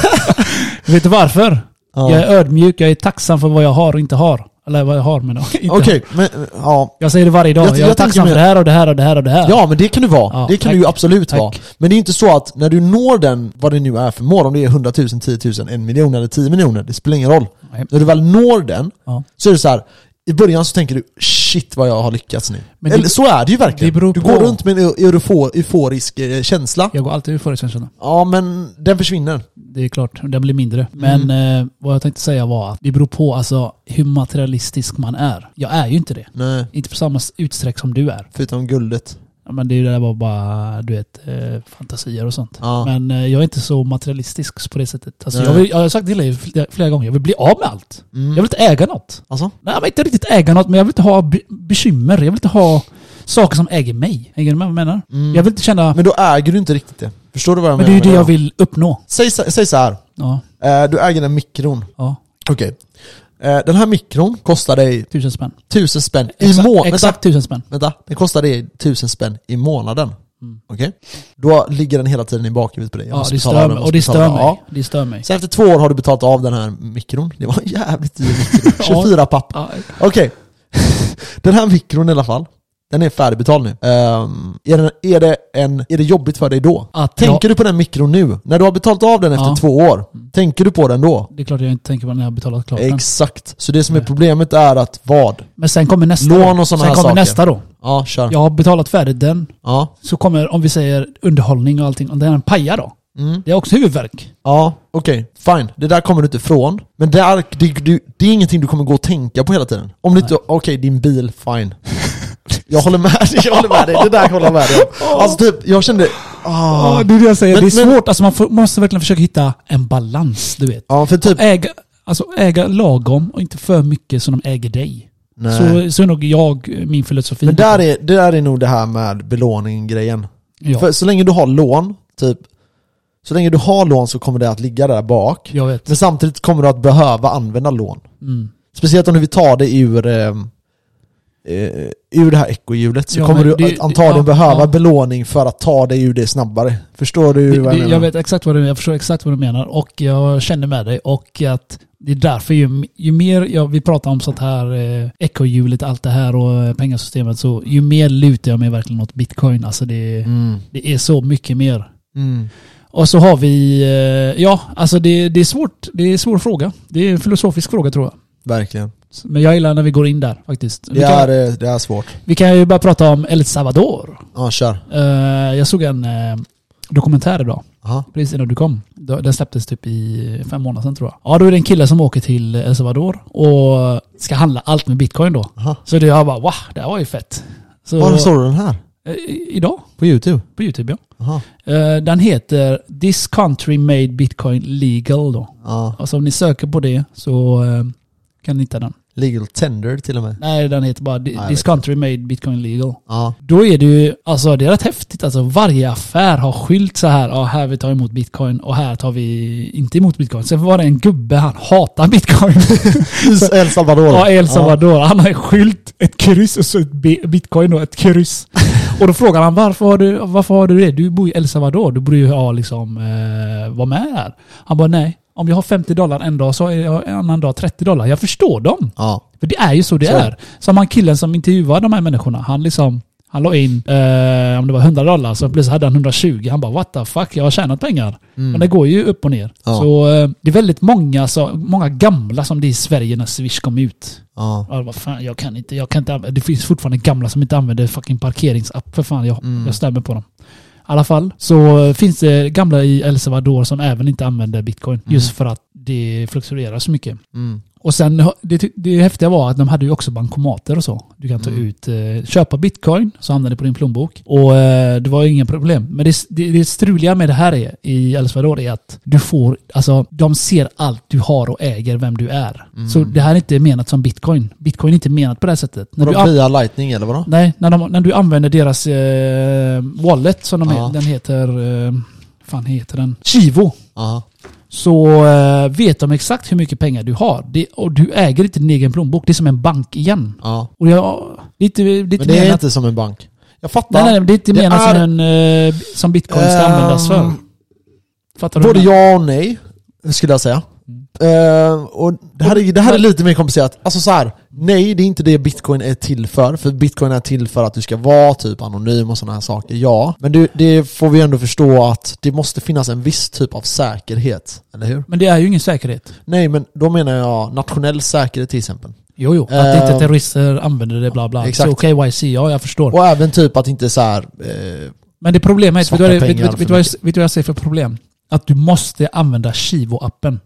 Vet du varför?
Ja.
Jag är ödmjuk, jag är tacksam för vad jag har och inte har. Eller vad jag har men inte har.
Okej, men ja.
Jag säger det varje dag.
Jag-
Jag,
jag
är tacksam
tänker
för det här och det här och det här och det här.
Ja men det kan du vara,
Ja,
det kan
tack.
du ju absolut
Tack.
vara. Men det är ju inte så att när du når den, vad det nu är för mål, om det är 100 000, 10 000, 1 miljon eller 10 miljoner, det spelar ingen roll.
Nej.
När du väl når den,
Ja.
så är det så här. i början så tänker du 'shit vad jag har lyckats nu'
Men det-
Eller så är det ju verkligen.
det beror
du
på.
går runt med en eu- eurofo- euforisk eh, känsla.
Jag går alltid ut för det känns det.
Ja men den försvinner.
Det är klart, den blir mindre. Men eh, vad jag tänkte säga var att det beror på alltså, hur materialistisk man är. Jag är ju inte det.
Nej,
Inte på samma utsträck som du är.
förutom guldet.
Ja, men det är ju det där var bara, du vet, eh, fantasier och sånt.
Ja.
Men eh, jag är inte så materialistisk på det sättet. Alltså,
Nej.
jag, vill, jag har sagt till dig flera, flera gånger, jag vill bli av med allt.
Mm.
Jag vill inte äga något.
Alltså?
Nej, men inte riktigt äga något, men jag vill inte ha be- bekymmer. Jag vill inte ha saker som äger mig. Hänger du med vad jag menar?
Mm.
Jag vill inte känna, men,
Men då äger du inte riktigt det. Förstår du vad jag
det är
menar?
ju det
med
jag
då?
vill uppnå.
Säg, så- säg så här.
Ja,
Eh, du äger en mikron.
ja.
Okej. Eh, den här mikron kostar dig
Tusen spänn.
tusen spänn i
Exakt,
månaden.
exakt tusen spänn.
Vänta, den kostar dig tusen spänn i månaden.
Mm.
Okej? Då ligger den hela tiden i bakhuvudet på dig. Jag
Ja,
måste
det
betala
stör
den,
mig.
jag
Och
måste
det
betala
stör
den.
mig.
Ja.
Det stör mig.
Sen efter två år har du betalat av den här mikron. Det var en jävligt dyr mikro. 24 papp.
Ja,
Okej. den här mikron i alla fall. Den är färdigbetald nu. Ehm, är, den, är, det en, är det jobbigt för dig då?
Att
Tänker
jag,
du på den mikron nu? När du har betalat av den efter
Ja. Mm.
två år, tänker du på den då?
det är klart jag inte tänker på när jag har betalat klart den.
Exakt. Så det som är
Nej.
problemet är att vad?
Men sen kommer nästa
Lån
då.
och sådana
Sen
här
kommer
saker.
nästa då.
Ja, kör.
Jag har betalat färdigt den.
Ja.
Så kommer, om vi säger underhållning och allting, om den pajar då.
Mm.
Det är också huvudvärk.
Ja, okej. Fine. Det där kommer du inte ifrån. Men där, det, du, det är ingenting du kommer gå och tänka på hela tiden. Om du inte... Okej, din bil, fine. Jag håller med dig, jag håller med dig. Det där håller jag med dig om. Alltså typ, jag kände... Ah.
det är det jag säger.
Men-
det är
men-
svårt. Alltså man får, måste verkligen försöka hitta en balans, du vet.
Ja, för typ...
Äga, alltså äga lagom och inte för mycket som de äger dig.
Nej.
Så, så är nog jag, min filosofi.
Men där är, det där är nog det här med belåning-grejen.
ja,
För så länge du har lån, typ... Så länge du har lån så kommer det att ligga där bak.
jag vet.
Men samtidigt kommer du att behöva använda lån.
Mm.
Speciellt om du vill ta dig ur, ehm, eh, ur det här ekohjulet så
Ja,
kommer
men
du
det-
att antagligen
ja,
behöva
ja.
belåning för att ta dig ur det snabbare. Förstår du
Det,
vad jag
det,
menar?
jag vet exakt vad du jag förstår exakt vad du menar och jag känner med dig och att det är därför ju, ju mer jag, vi pratar om sånt här eh, ekohjulet, allt det här och eh, pengasystemet så ju mer lutar jag mig verkligen åt bitcoin. Alltså det,
Mm.
det är så mycket mer.
Mm.
Och så har vi, eh, ja alltså det, det är svårt, det är en svår fråga. Det är en filosofisk fråga tror jag.
Verkligen.
Men jag gillar när vi går in där faktiskt. Vi
Det
kan,
är, eh, det är svårt.
vi kan ju bara prata om El Salvador.
Ja, kör.
Eh, jag såg en eh, dokumentär idag.
Aha.
Precis innan du kom. Då- Den släpptes typ i fem månader sedan tror jag. Ja, då är det en kille som åker till El Salvador och ska handla allt med bitcoin då.
Aha.
Så det jag bara, wow, det här var ju fett. Så,
Var såg du den här?
Eh, i- Idag,
På YouTube?
på YouTube ja.
Aha.
Eh, Den heter This Country Made Bitcoin Legal då.
Ja.
Alltså om ni söker på det så eh, kan ni hitta den.
Legal tender till och med.
Nej, den heter bara
jag
Thi-
vet
This Country Made Bitcoin Legal.
Ja.
Då är det ju, alltså det är rätt häftigt. Alltså varje affär har skylt så här, ja här vi tar emot bitcoin och här tar vi inte emot bitcoin. Sen var det en gubbe, han hatar bitcoin.
El Salvador.
ja, El Salvador. Han har en skylt, ett kryss och så ett bi- bitcoin och ett kryss. och då frågar han varför har, du, varför har du det? Du bor i El Salvador, du borde ju ha liksom, eh, vara med här. Han bara nej, om jag har 50 dollar en dag så är jag en annan dag 30 dollar. Jag förstår dem.
Ja.
För det är ju så det
Så är det.
är. Som han killen som intervjuar de här människorna, han liksom Han la in, eh, om det var 100 dollar, så plötsligt hade han 120. Han bara what the fuck, jag har tjänat pengar. Men det går ju upp och ner.
Mm. Ja.
Så eh, det är väldigt många, så, många gamla som det är i Sverige när Swish kom ut.
Ja.
Ja, vad fan, jag kan inte, jag kan inte använda. Det finns fortfarande gamla som inte använder fucking parkeringsapp. För fan, jag,
Mm.
jag stämmer på dem. I alla fall så eh, finns det gamla i El Salvador som även inte använder bitcoin. Just för att det fluktuerar så mycket.
Mm.
Och sen, det, ty- det häftiga var att de hade ju också bankomater och så. Du kan ta ut, eh, köpa bitcoin, så hamnar det på din plånbok. Och eh, det var ju inga problem. Men det, det, det struliga med det här är, i El Salvador är att du får, alltså de ser allt du har och äger, vem du är. Så det här är inte menat som bitcoin. Bitcoin är inte menat på det här sättet. När
Vadå,
du an-
via lightning eller vadå?
nej, när, de, när du använder deras eh, wallet, som de
Ja.
he- den heter, eh, fan heter den? Chivo
Ja.
så eh, vet de exakt hur mycket pengar du har. Det, och du äger inte din egen plånbok. Det är som en bank igen.
ja.
Och jag, det är inte, det är inte
Men det är
menat-
inte som en bank. Jag fattar.
nej, nej, nej, det är inte
Det
menat
är-
som, en, eh, som bitcoin ska
Ehm,
användas för. Fattar
Både
du?
ja och nej, skulle jag säga. Eh, och det här, är, det här är lite mer komplicerat. Alltså så här, nej det är inte det bitcoin är till för. För bitcoin är till för att du ska vara typ anonym och sådana här saker, ja. Men det, det får vi ändå förstå att det måste finnas en viss typ av säkerhet, eller hur?
Men det är ju ingen säkerhet.
Nej men då menar jag nationell säkerhet till exempel.
Jo, jo. Att inte
Ehm,
terrorister använder det, bla, bla.
exakt.
Så KYC, ja, jag förstår.
Och även typ att inte så här, eh,
Men det problemet, vet
Svarta
du, vad det- vet,
pengar
vet,
för
vet, du vad jag- vet du vad jag ser för problem? Att du måste använda Chivo-appen.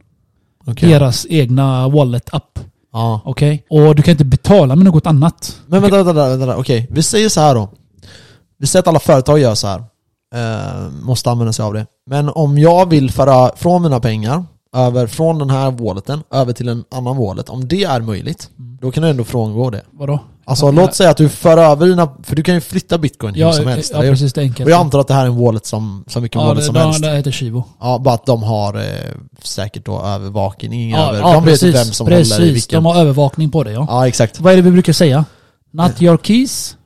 okej.
Deras egna wallet-app.
Ja.
Okej? Och du kan inte betala med något annat.
Men vänta, vänta, vänta, vänta. okej. Vi säger så här då. Vi säger att alla företag gör så här. Eh, måste använda sig av det. Men om jag vill föra från mina pengar, över från den här walleten, över till en annan wallet. Om det är möjligt, då kan du ändå frångå det.
Vadå?
Alltså
Mm. Ja,
låt säga att du för över dina, för du kan ju flytta bitcoin hur
Ja,
som helst.
ja
eller hur?
precis. Det är enkelt.
och jag antar att det här är en wallet som, som vilken
ja,
wallet
det,
som
det,
helst.
det heter Chivo.
Ja, bara att de har eh, säkert då övervakning
Ja,
över,
ja,
de vet ju
precis,
vem som
precis.
håller i vilken.
De har övervakning på det ja.
Ja, Eh. exakt.
Vad är det vi brukar säga? Not your keys.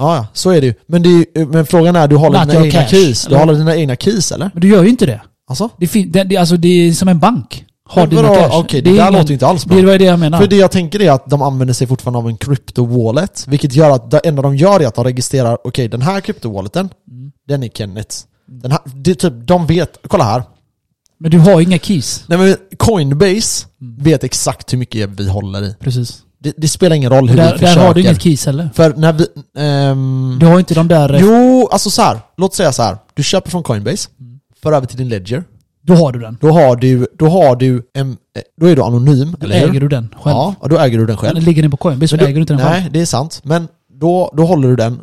Ja, ja, så är det ju. Men, det är ju, eh, men frågan är, du håller
Not
dina
your
egna
cash,
keys? Du
eller?
håller dina egna keys eller?
Men du gör ju inte det.
Alltså?
Det, fin- det, det, alltså, det är som en bank. Har
Men
dina
vadå?
cash.
Okej, det,
är
där
ingen-
låter ju inte alls bra.
Det var det jag menar.
För det jag tänker är att de använder sig fortfarande av en crypto-wallet, vilket gör att det enda de gör är att de registrerar, okej den här crypto-walleten,
Mm.
den är Kennets. Den här, det är typ, de vet, kolla här.
Men du har inga keys.
Nej men Coinbase
Mm.
vet exakt hur mycket vi håller i.
Precis.
Det, det spelar ingen roll hur vi
Där,
försöker.
där har du inget keys heller.
För när vi... ehm,
Du har inte de där...
jo, alltså så här. låt säga så här. du köper från Coinbase,
Mm.
för över till din ledger.
Då har du den.
Då har du, då har du en, eh, då är du anonym,
Då
eller hur?
äger du den själv.
Ja, och då äger du den själv.
Men Ligger den på Coinbase så äger du inte den själv.
Nej, det är sant. Men då, då håller du den eh,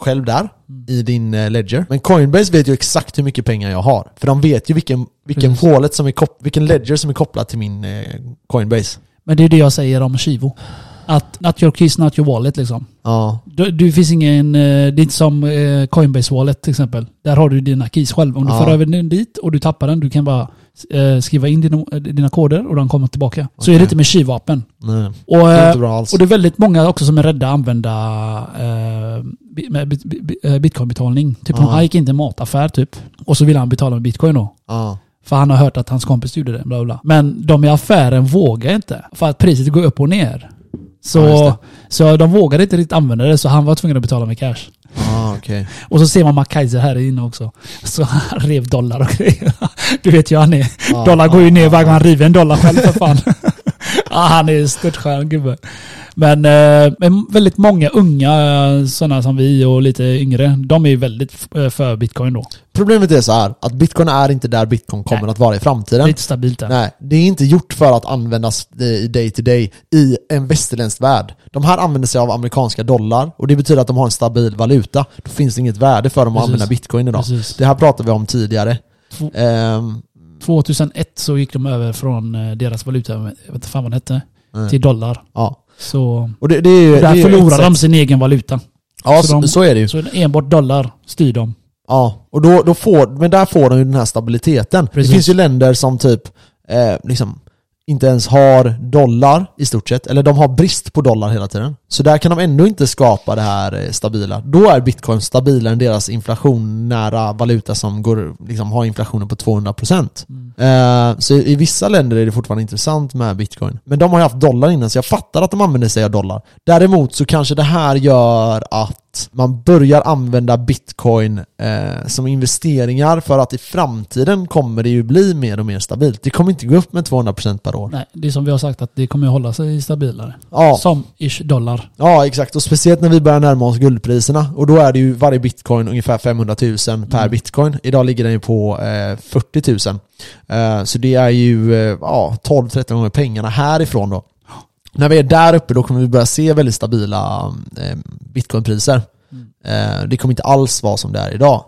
själv där,
Mm.
i din eh, ledger. Men Coinbase vet ju exakt hur mycket pengar jag har. För de vet ju vilken, vilken
Precis.
hålet som är kop- vilken ledger som är kopplad till min eh, Coinbase.
Men det är det jag säger om Chivo. Att not your keys, not your wallet liksom.
Ja.
Du, du finns ingen, eh, det är inte som eh, Coinbase Wallet till exempel. Där har du dina keys själv. Om du
Ja.
för över den dit och du tappar den, du kan bara eh, skriva in dina, eh, dina koder och den kommer tillbaka. Så är det inte med Chivapen.
Nej,
Och,
det är inte
eh,
bra alls.
och det är väldigt många också som är rädda att använda eh, bi- med bit- bi- bi- eh, bitcoinbetalning. Typ
Ja.
han gick in till en mataffär typ. Och så ville han betala med bitcoin då.
Ja.
För han har hört att hans kompis gjorde det. Bla bla. Men de i affären vågar inte. För att priset går upp och ner. Så,
Ja, just det.
så de vågade inte riktigt använda det. Så han var tvungen att betala med cash.
Ah, okej.
Och så ser man MacKaiser här inne också. Så han rev dollar och grejer. Du vet ju han är.
Ja,
Dollar går ju
ja,
ner varje
ja.
gång han river en dollar själv för fan. Ja, han är en störtskön gubbe. Men, eh, men väldigt många unga sådana som vi och lite yngre, de är ju väldigt f- eh, för bitcoin då.
Problemet är så här, att bitcoin är inte där bitcoin kommer
Nej.
att vara i
Det
framtiden.
är inte stabilt än.
Nej, det är inte gjort för att användas eh, i day to day i en västerländsk värld. De här använder sig av amerikanska dollar och det betyder att de har en stabil valuta. Då finns det inget värde för dem att
Precis.
använda bitcoin idag.
Precis.
Det här pratade vi om tidigare.
Två-
Ehm,
2001 så gick de över från eh, deras valuta, jag vet inte fan vad den hette,
Mm.
till dollar.
ja.
Så
Och det, det är ju, det är
där
ju ett
förlorar de
sätt-
sin egen valuta.
Ja,
så
så,
de-
så är det ju.
Så enbart dollar styr dem.
Ja, och då, då får, men där får de ju den här stabiliteten.
Precis.
Det finns ju länder som typ eh, liksom inte ens har dollar i stort sett, eller de har brist på dollar hela tiden. Så där kan de ändå inte skapa det här eh, stabila. Då är bitcoin stabilare än deras inflationnära valuta som går, liksom, har inflationen på 200%. Eh, så i vissa länder är det fortfarande intressant med bitcoin. Men de har ju haft dollar innan, så jag fattar att de använder sig av dollar. Däremot så kanske det här gör att att man börjar använda bitcoin eh, som investeringar för att i framtiden kommer det ju bli mer och mer stabilt. Det kommer inte gå upp med 200% per år.
Nej, det är som vi har sagt att det kommer ju hålla sig stabilare.
Ja,
Som ish dollar.
ja, exakt. Och speciellt när vi börjar närma oss guldpriserna. Och då är det ju varje bitcoin ungefär 500 000 per
Mm.
bitcoin. Idag ligger den ju på eh, 40 000. Eh, så det är ju eh, ja, 12-13 gånger pengarna härifrån då. När vi är där uppe då kommer vi börja se väldigt stabila eh, bitcoinpriser.
Mm.
Eh, det kommer inte alls vara som det är idag.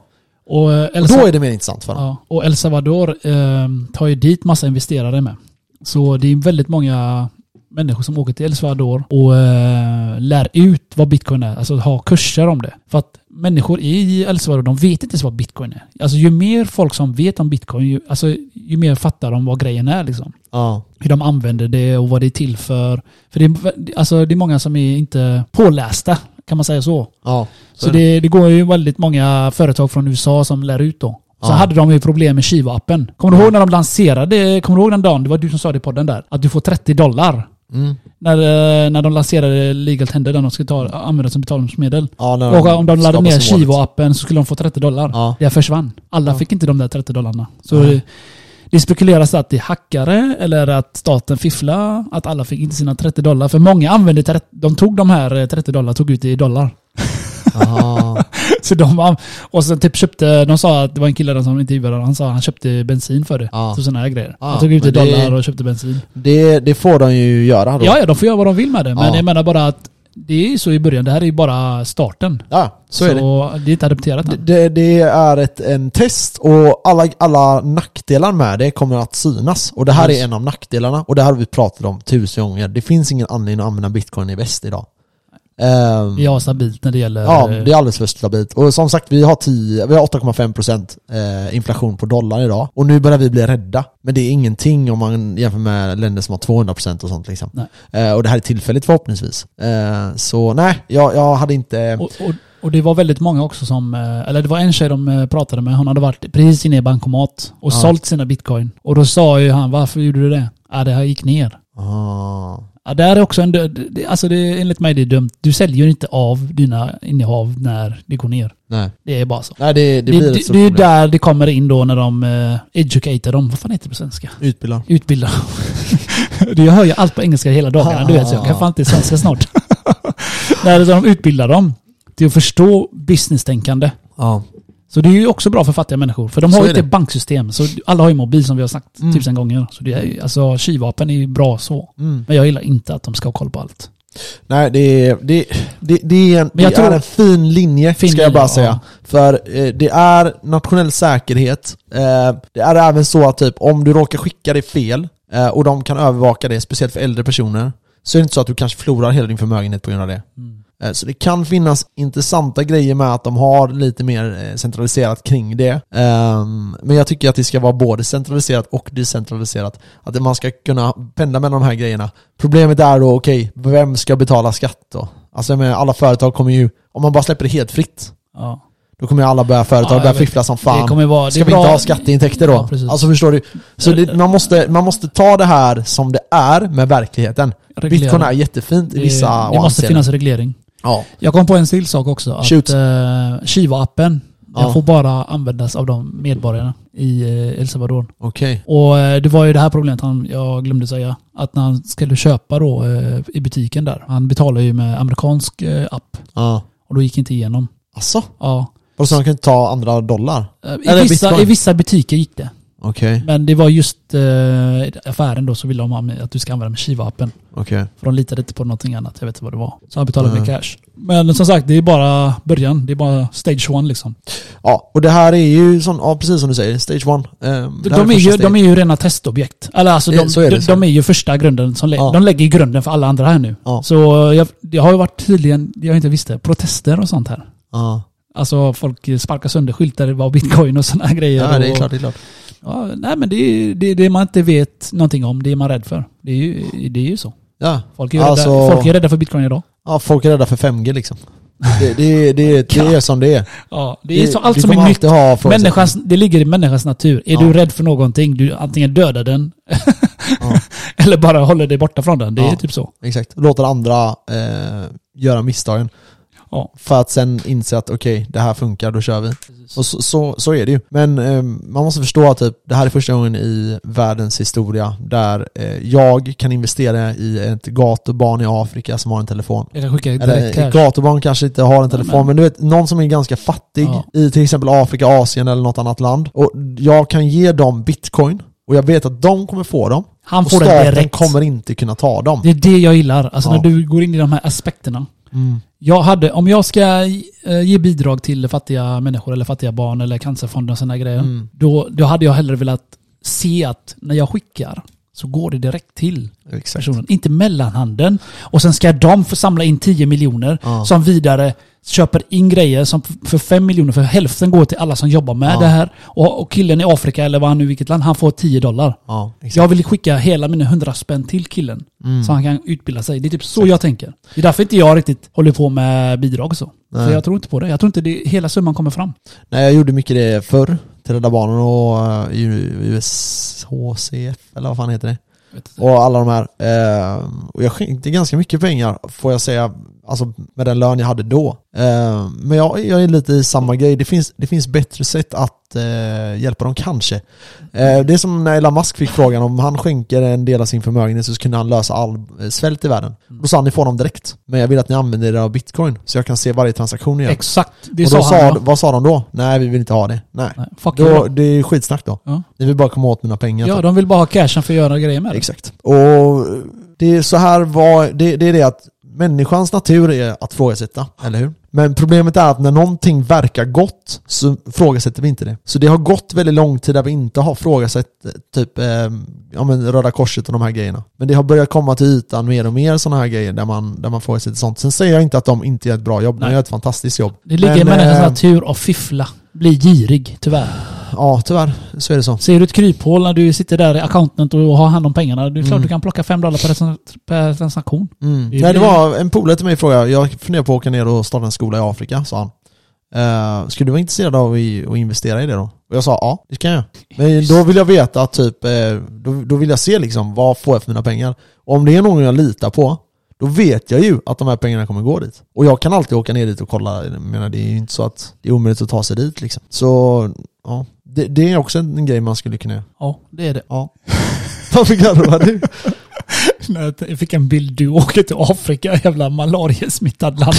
Och, eh, El
Och då
Sa-
är det mer intressant för dem.
ja, och El Salvador eh, tar ju dit massa investerare med. Så det är väldigt många människor som åker till El Salvador och eh, lär ut vad bitcoin är. Alltså ha kurser om det. För att människor i El Salvador, de vet inte ens vad bitcoin är. Alltså ju mer folk som vet om bitcoin, ju, alltså, ju mer fattar de vad grejen är liksom.
Ja.
hur de använder det och vad det är till för. För det är, alltså, det är många som är inte pålästa, kan man säga så.
Ja.
Så det, det går ju väldigt många företag från USA som lär ut då. Så
Ja.
hade de ju problem med Shiva-appen. Kommer du
Ja.
ihåg när de lanserade, kommer du ihåg den dagen, det var du som sa det i podden där, att du får 30 dollar.
Mm.
När, eh, när de lanserade legal tender, där de skulle ta, använda som betalningsmedel.
Ja, när
Och om de laddade
skapar
ner
sin wallet.
Chivo-appen så skulle de få 30 dollar.
Ja.
Det försvann. Alla
Ja.
fick inte de där 30 dollarna. Så
Nej.
det, det spekuleras att det är hackare eller att staten fifflar. Att alla fick inte sina 30 dollar. För många använde 30, de tog de här eh, 30 dollar tog ut i dollar.
liksom. Aha.
Så de, an- och sen typ köpte, de sa att det var en kille där som intervjuade, han sa att han köpte bensin för det.
Ja.
Så sådana här grejer.
Ja,
han tog ut i
men det-
dollar och köpte bensin.
Det, det får de ju göra då.
Ja, ja, de får göra vad de vill med det. Men
Ja.
jag menar bara att det är så i början. Det här är ju bara starten.
Ja, så är det.
det. är inte adopterat än.
Det, det är ett, en test och alla, alla nackdelar med det kommer att synas. Och det här
Yes.
är en av nackdelarna och det här har vi pratat om tusen gånger. Det finns ingen anledning att använda bitcoin i väst idag. Ehm,
Ja, stabilt när det gäller...
ja, det är alldeles för stabilt. Och som sagt, vi har, 10 vi har 8,5% eh, inflation på dollarn idag. Och nu börjar vi bli rädda. Men det är ingenting om man jämför med länder som har 200% och sånt liksom. Eh, och det här är tillfälligt förhoppningsvis. Eh, så nej, jag, jag hade inte...
Och, och, och det var väldigt många också som, eh, eller det var en tjej de eh, pratade med, hon hade varit precis inne i bankomat och
Ja.
sålt sina bitcoin. Och då sa ju han, varför gjorde du det? Ja, det här gick ner.
Ah.
Ja, där är också en död, det, alltså det, enligt mig det är dumt. Du säljer ju inte av dina innehav när det går ner.
Nej.
Det är bara så.
Nej, det, det,
Det,
blir
det,
ett
det,
stort
är ju
problem.
där det kommer in då när de eh, educatar dem. Vad fan heter det på svenska?
Utbildar.
Utbilda dem. jag hör ju allt på engelska hela dagarna, du vet. Så jag kan fan inte svenska snart. När de utbildar dem till att förstå business-tänkande.
Ja.
Så det är ju också bra för fattiga människor. För de har
Så
ju
är
inte
det.
banksystem. Så alla har ju mobil som vi har sagt
Mm.
tusen gånger. Så det är, ju- alltså kylvapen är ju bra så.
Mm.
Men jag gillar inte att de ska ha koll på allt.
Nej, det är, det, det, det är, en,
Men jag
det
tror-
är en fin linje,
Fin
ska jag bara
linje,
säga.
ja.
För eh, det är nationell säkerhet. Eh, det är även så att typ, om du råkar skicka det fel eh, och de kan övervaka det, speciellt för äldre personer, så är det inte så att du kanske förlorar hela din förmögenhet på grund av det. Eh, Så det kan finnas intressanta grejer med att de har lite mer eh, centraliserat kring det. Ehm, Men jag tycker att det ska vara både centraliserat och decentraliserat. Att man ska kunna pendla mellan de här grejerna. Problemet är då, okej, vem ska betala skatt då? Alltså jag menar, alla företag kommer ju, om man bara släpper det helt fritt,
Ja.
då kommer ju alla börja
Ja,
företag
jag
börja
vet.
fiffla som fan.
Det kommer vara... det
Ska
är
vi
bra-
inte ha skatteintäkter då?
Ja, precis.
alltså förstår du? Så det, man, måste, man måste ta det här som det är med verkligheten.
Reglering.
Bitcoin är jättefint i
Det-
vissa
Det måste
avseenden.
finnas reglering.
Ja.
Jag kom på en till sak också.
Shoot.
Att eh, Shiva-appen, den
Ja.
får bara användas av de medborgarna i eh, El Salvador.
Okej.
Och eh, det var ju det här problemet han, jag glömde säga. Att när han skulle köpa då eh, i butiken där. Han betalar ju med amerikansk eh, app.
Ja.
Och då gick det inte igenom.
Asså?
Ja.
Och så de kan inte ta andra dollar?
Eh, I
Eller
vissa,
bitcoin.
I vissa butiker gick det.
Okej,
Men det var just eh, i affären då så ville de ha med- att du ska använda med Shiva-appen.
okej.
För de litade inte på någonting annat. Jag vet inte vad det var. Så han betalade med
Mm.
cash. Men som sagt, det är bara början. Det är bara stage one liksom.
Ja, och det här är ju sån, ja, precis som du säger, stage one. Ehm,
De,
det här
är
första
ju,
steget.
de är ju rena testobjekt. Eller alltså de,
Eh, så är det,
de,
så är
de är ju första grunden. Som lä-
Ja.
De lägger ju grunden för alla andra här nu.
Ja.
Så jag, det har ju varit tydligen, jag inte visste, protester och sånt här.
Ja,
Alltså folk sparkar sönder skyltar vad bitcoin och sådana grejer.
ja det är
och,
klart, det är klart.
Ja, nej men det är det, är det man inte vet någonting om, det är man rädd för. Det är ju, det är ju så.
Ja.
Folk är, ju
Alltså-
rädda, folk är rädda för bitcoin idag.
ja, folk är rädda för 5G liksom. Det, det, det, det är som det är.
Ja, det är så, allt
vi
som
kommer
är nytt.
alltid ha frågetecken.
Människans, det ligger i människans natur. Är
Ja.
du rädd för någonting, du antingen dödar den
Ja.
eller bara håller dig borta från den. Det är
Ja.
typ så.
Exakt. Låter andra eh, göra misstagen.
Ja.
För att sen inse att okej, det här funkar, då kör vi. Och så, så, så är det ju. Men eh, man måste förstå att typ, det här är första gången i världens historia där eh, jag kan investera i ett gatubarn i Afrika som har en telefon.
Jag kan skicka direkt
Eller
cash.
ett gatubarn kanske inte har en telefon,
men-
men, du vet någon som är ganska fattig
Ja.
i till exempel Afrika, Asien eller något annat land. Och jag kan ge dem bitcoin och jag vet att de kommer få dem.
Han
Och
får den
staten
direkt.
kommer inte kunna ta dem.
Det är det jag gillar. Alltså
Ja.
när du går in i de här aspekterna.
Mm.
Jag hade, om jag ska eh, ge bidrag till fattiga människor eller fattiga barn eller cancerfonden och sådana grejer.
Mm.
Då, då hade jag hellre velat se att när jag skickar så går det direkt till
Exakt.
personen. Inte mellanhanden. Och sen ska de få samla in 10 miljoner
Ja.
som vidare köper in grejer som f- för 5 miljoner, för hälften går till alla som jobbar med
Ja.
det här. Och, och killen i Afrika eller vad han nu vilket land, han får 10 dollar.
Ja, exakt.
Jag vill skicka hela mina 100 spänn till killen.
Mm.
Så han kan utbilda sig. Det är typ så jag tänker. Det är därför inte jag riktigt håller på med bidrag och så.
Nej.
För jag tror inte på det. Jag tror inte det, hela summan kommer fram.
Nej, jag gjorde mycket det förr till Rädda Barnen och eh, U- USHCF eller vad fan heter det? Och alla de här. Eh, och jag skänkte ganska mycket pengar får jag säga, alltså med den lön jag hade då. Eh, men jag, jag är lite i samma grej. Det finns, det finns bättre sätt att eh, hjälpa dem kanske. Eh, det är som när Elon Musk fick frågan om han skänker en del av sin förmögenhet så kunde han lösa all eh, svält i världen. Då sa han ni får dem direkt. Men jag vill att ni använder er av bitcoin så jag kan se varje transaktion ni gör.
Exakt. Det
och då
sa han.
sa,
ja.
vad sa de då? Nej, vi vill inte ha det. Nej.
Nej, fuck you.
Då, det är skitsnack då.
Ja.
Ni vill bara komma åt mina pengar.
ja,
typ.
de vill bara ha cashen för att göra grejer med det.
Exakt. Och det är så här var, det, det är det att människans natur är att frågasätta, eller hur? Men problemet är att när någonting verkar gott så frågasätter vi inte det. Så det har gått väldigt lång tid där vi inte har frågasatt eh, typ eh, ja, men Röda Korset och de här grejerna. Men det har börjat komma till ytan mer och mer sådana här grejer där man, där man frågasätter sånt. Sen säger jag inte att de inte gör ett bra jobb,
Nej.
de gör ett fantastiskt jobb.
Det ligger i
Men,
människans
eh,
natur att fiffla. Bli girig, tyvärr.
Ja, tyvärr så är det så.
Ser du ett kryphål när du sitter där i accountant och har hand om pengarna, det är klart du kan plocka 5 dollar per, trans- per transaktion.
Mm.
Det
Nej, det
blir-
var en polare till mig frågade, jag funderar på att åka ner och starta en skola i Afrika, sa han. Eh, skulle du vara intresserad av i- att investera i det då? Och jag sa ja, det kan jag. Men då vill jag veta, typ, eh, då, då vill jag se liksom, vad får jag för mina pengar? Och om det är någon jag litar på, då vet jag ju att de här pengarna kommer gå dit. Och jag kan alltid åka ner dit och kolla, jag menar det är ju inte så att det är omöjligt att ta sig dit liksom. Så, ja. Det, det är också en grej man skulle kunna göra.
Ja, det är det.
Ja. Varför garvar du?
Nej, Jag fick en bild. Du åker till Afrika, jävla malariasmittad land.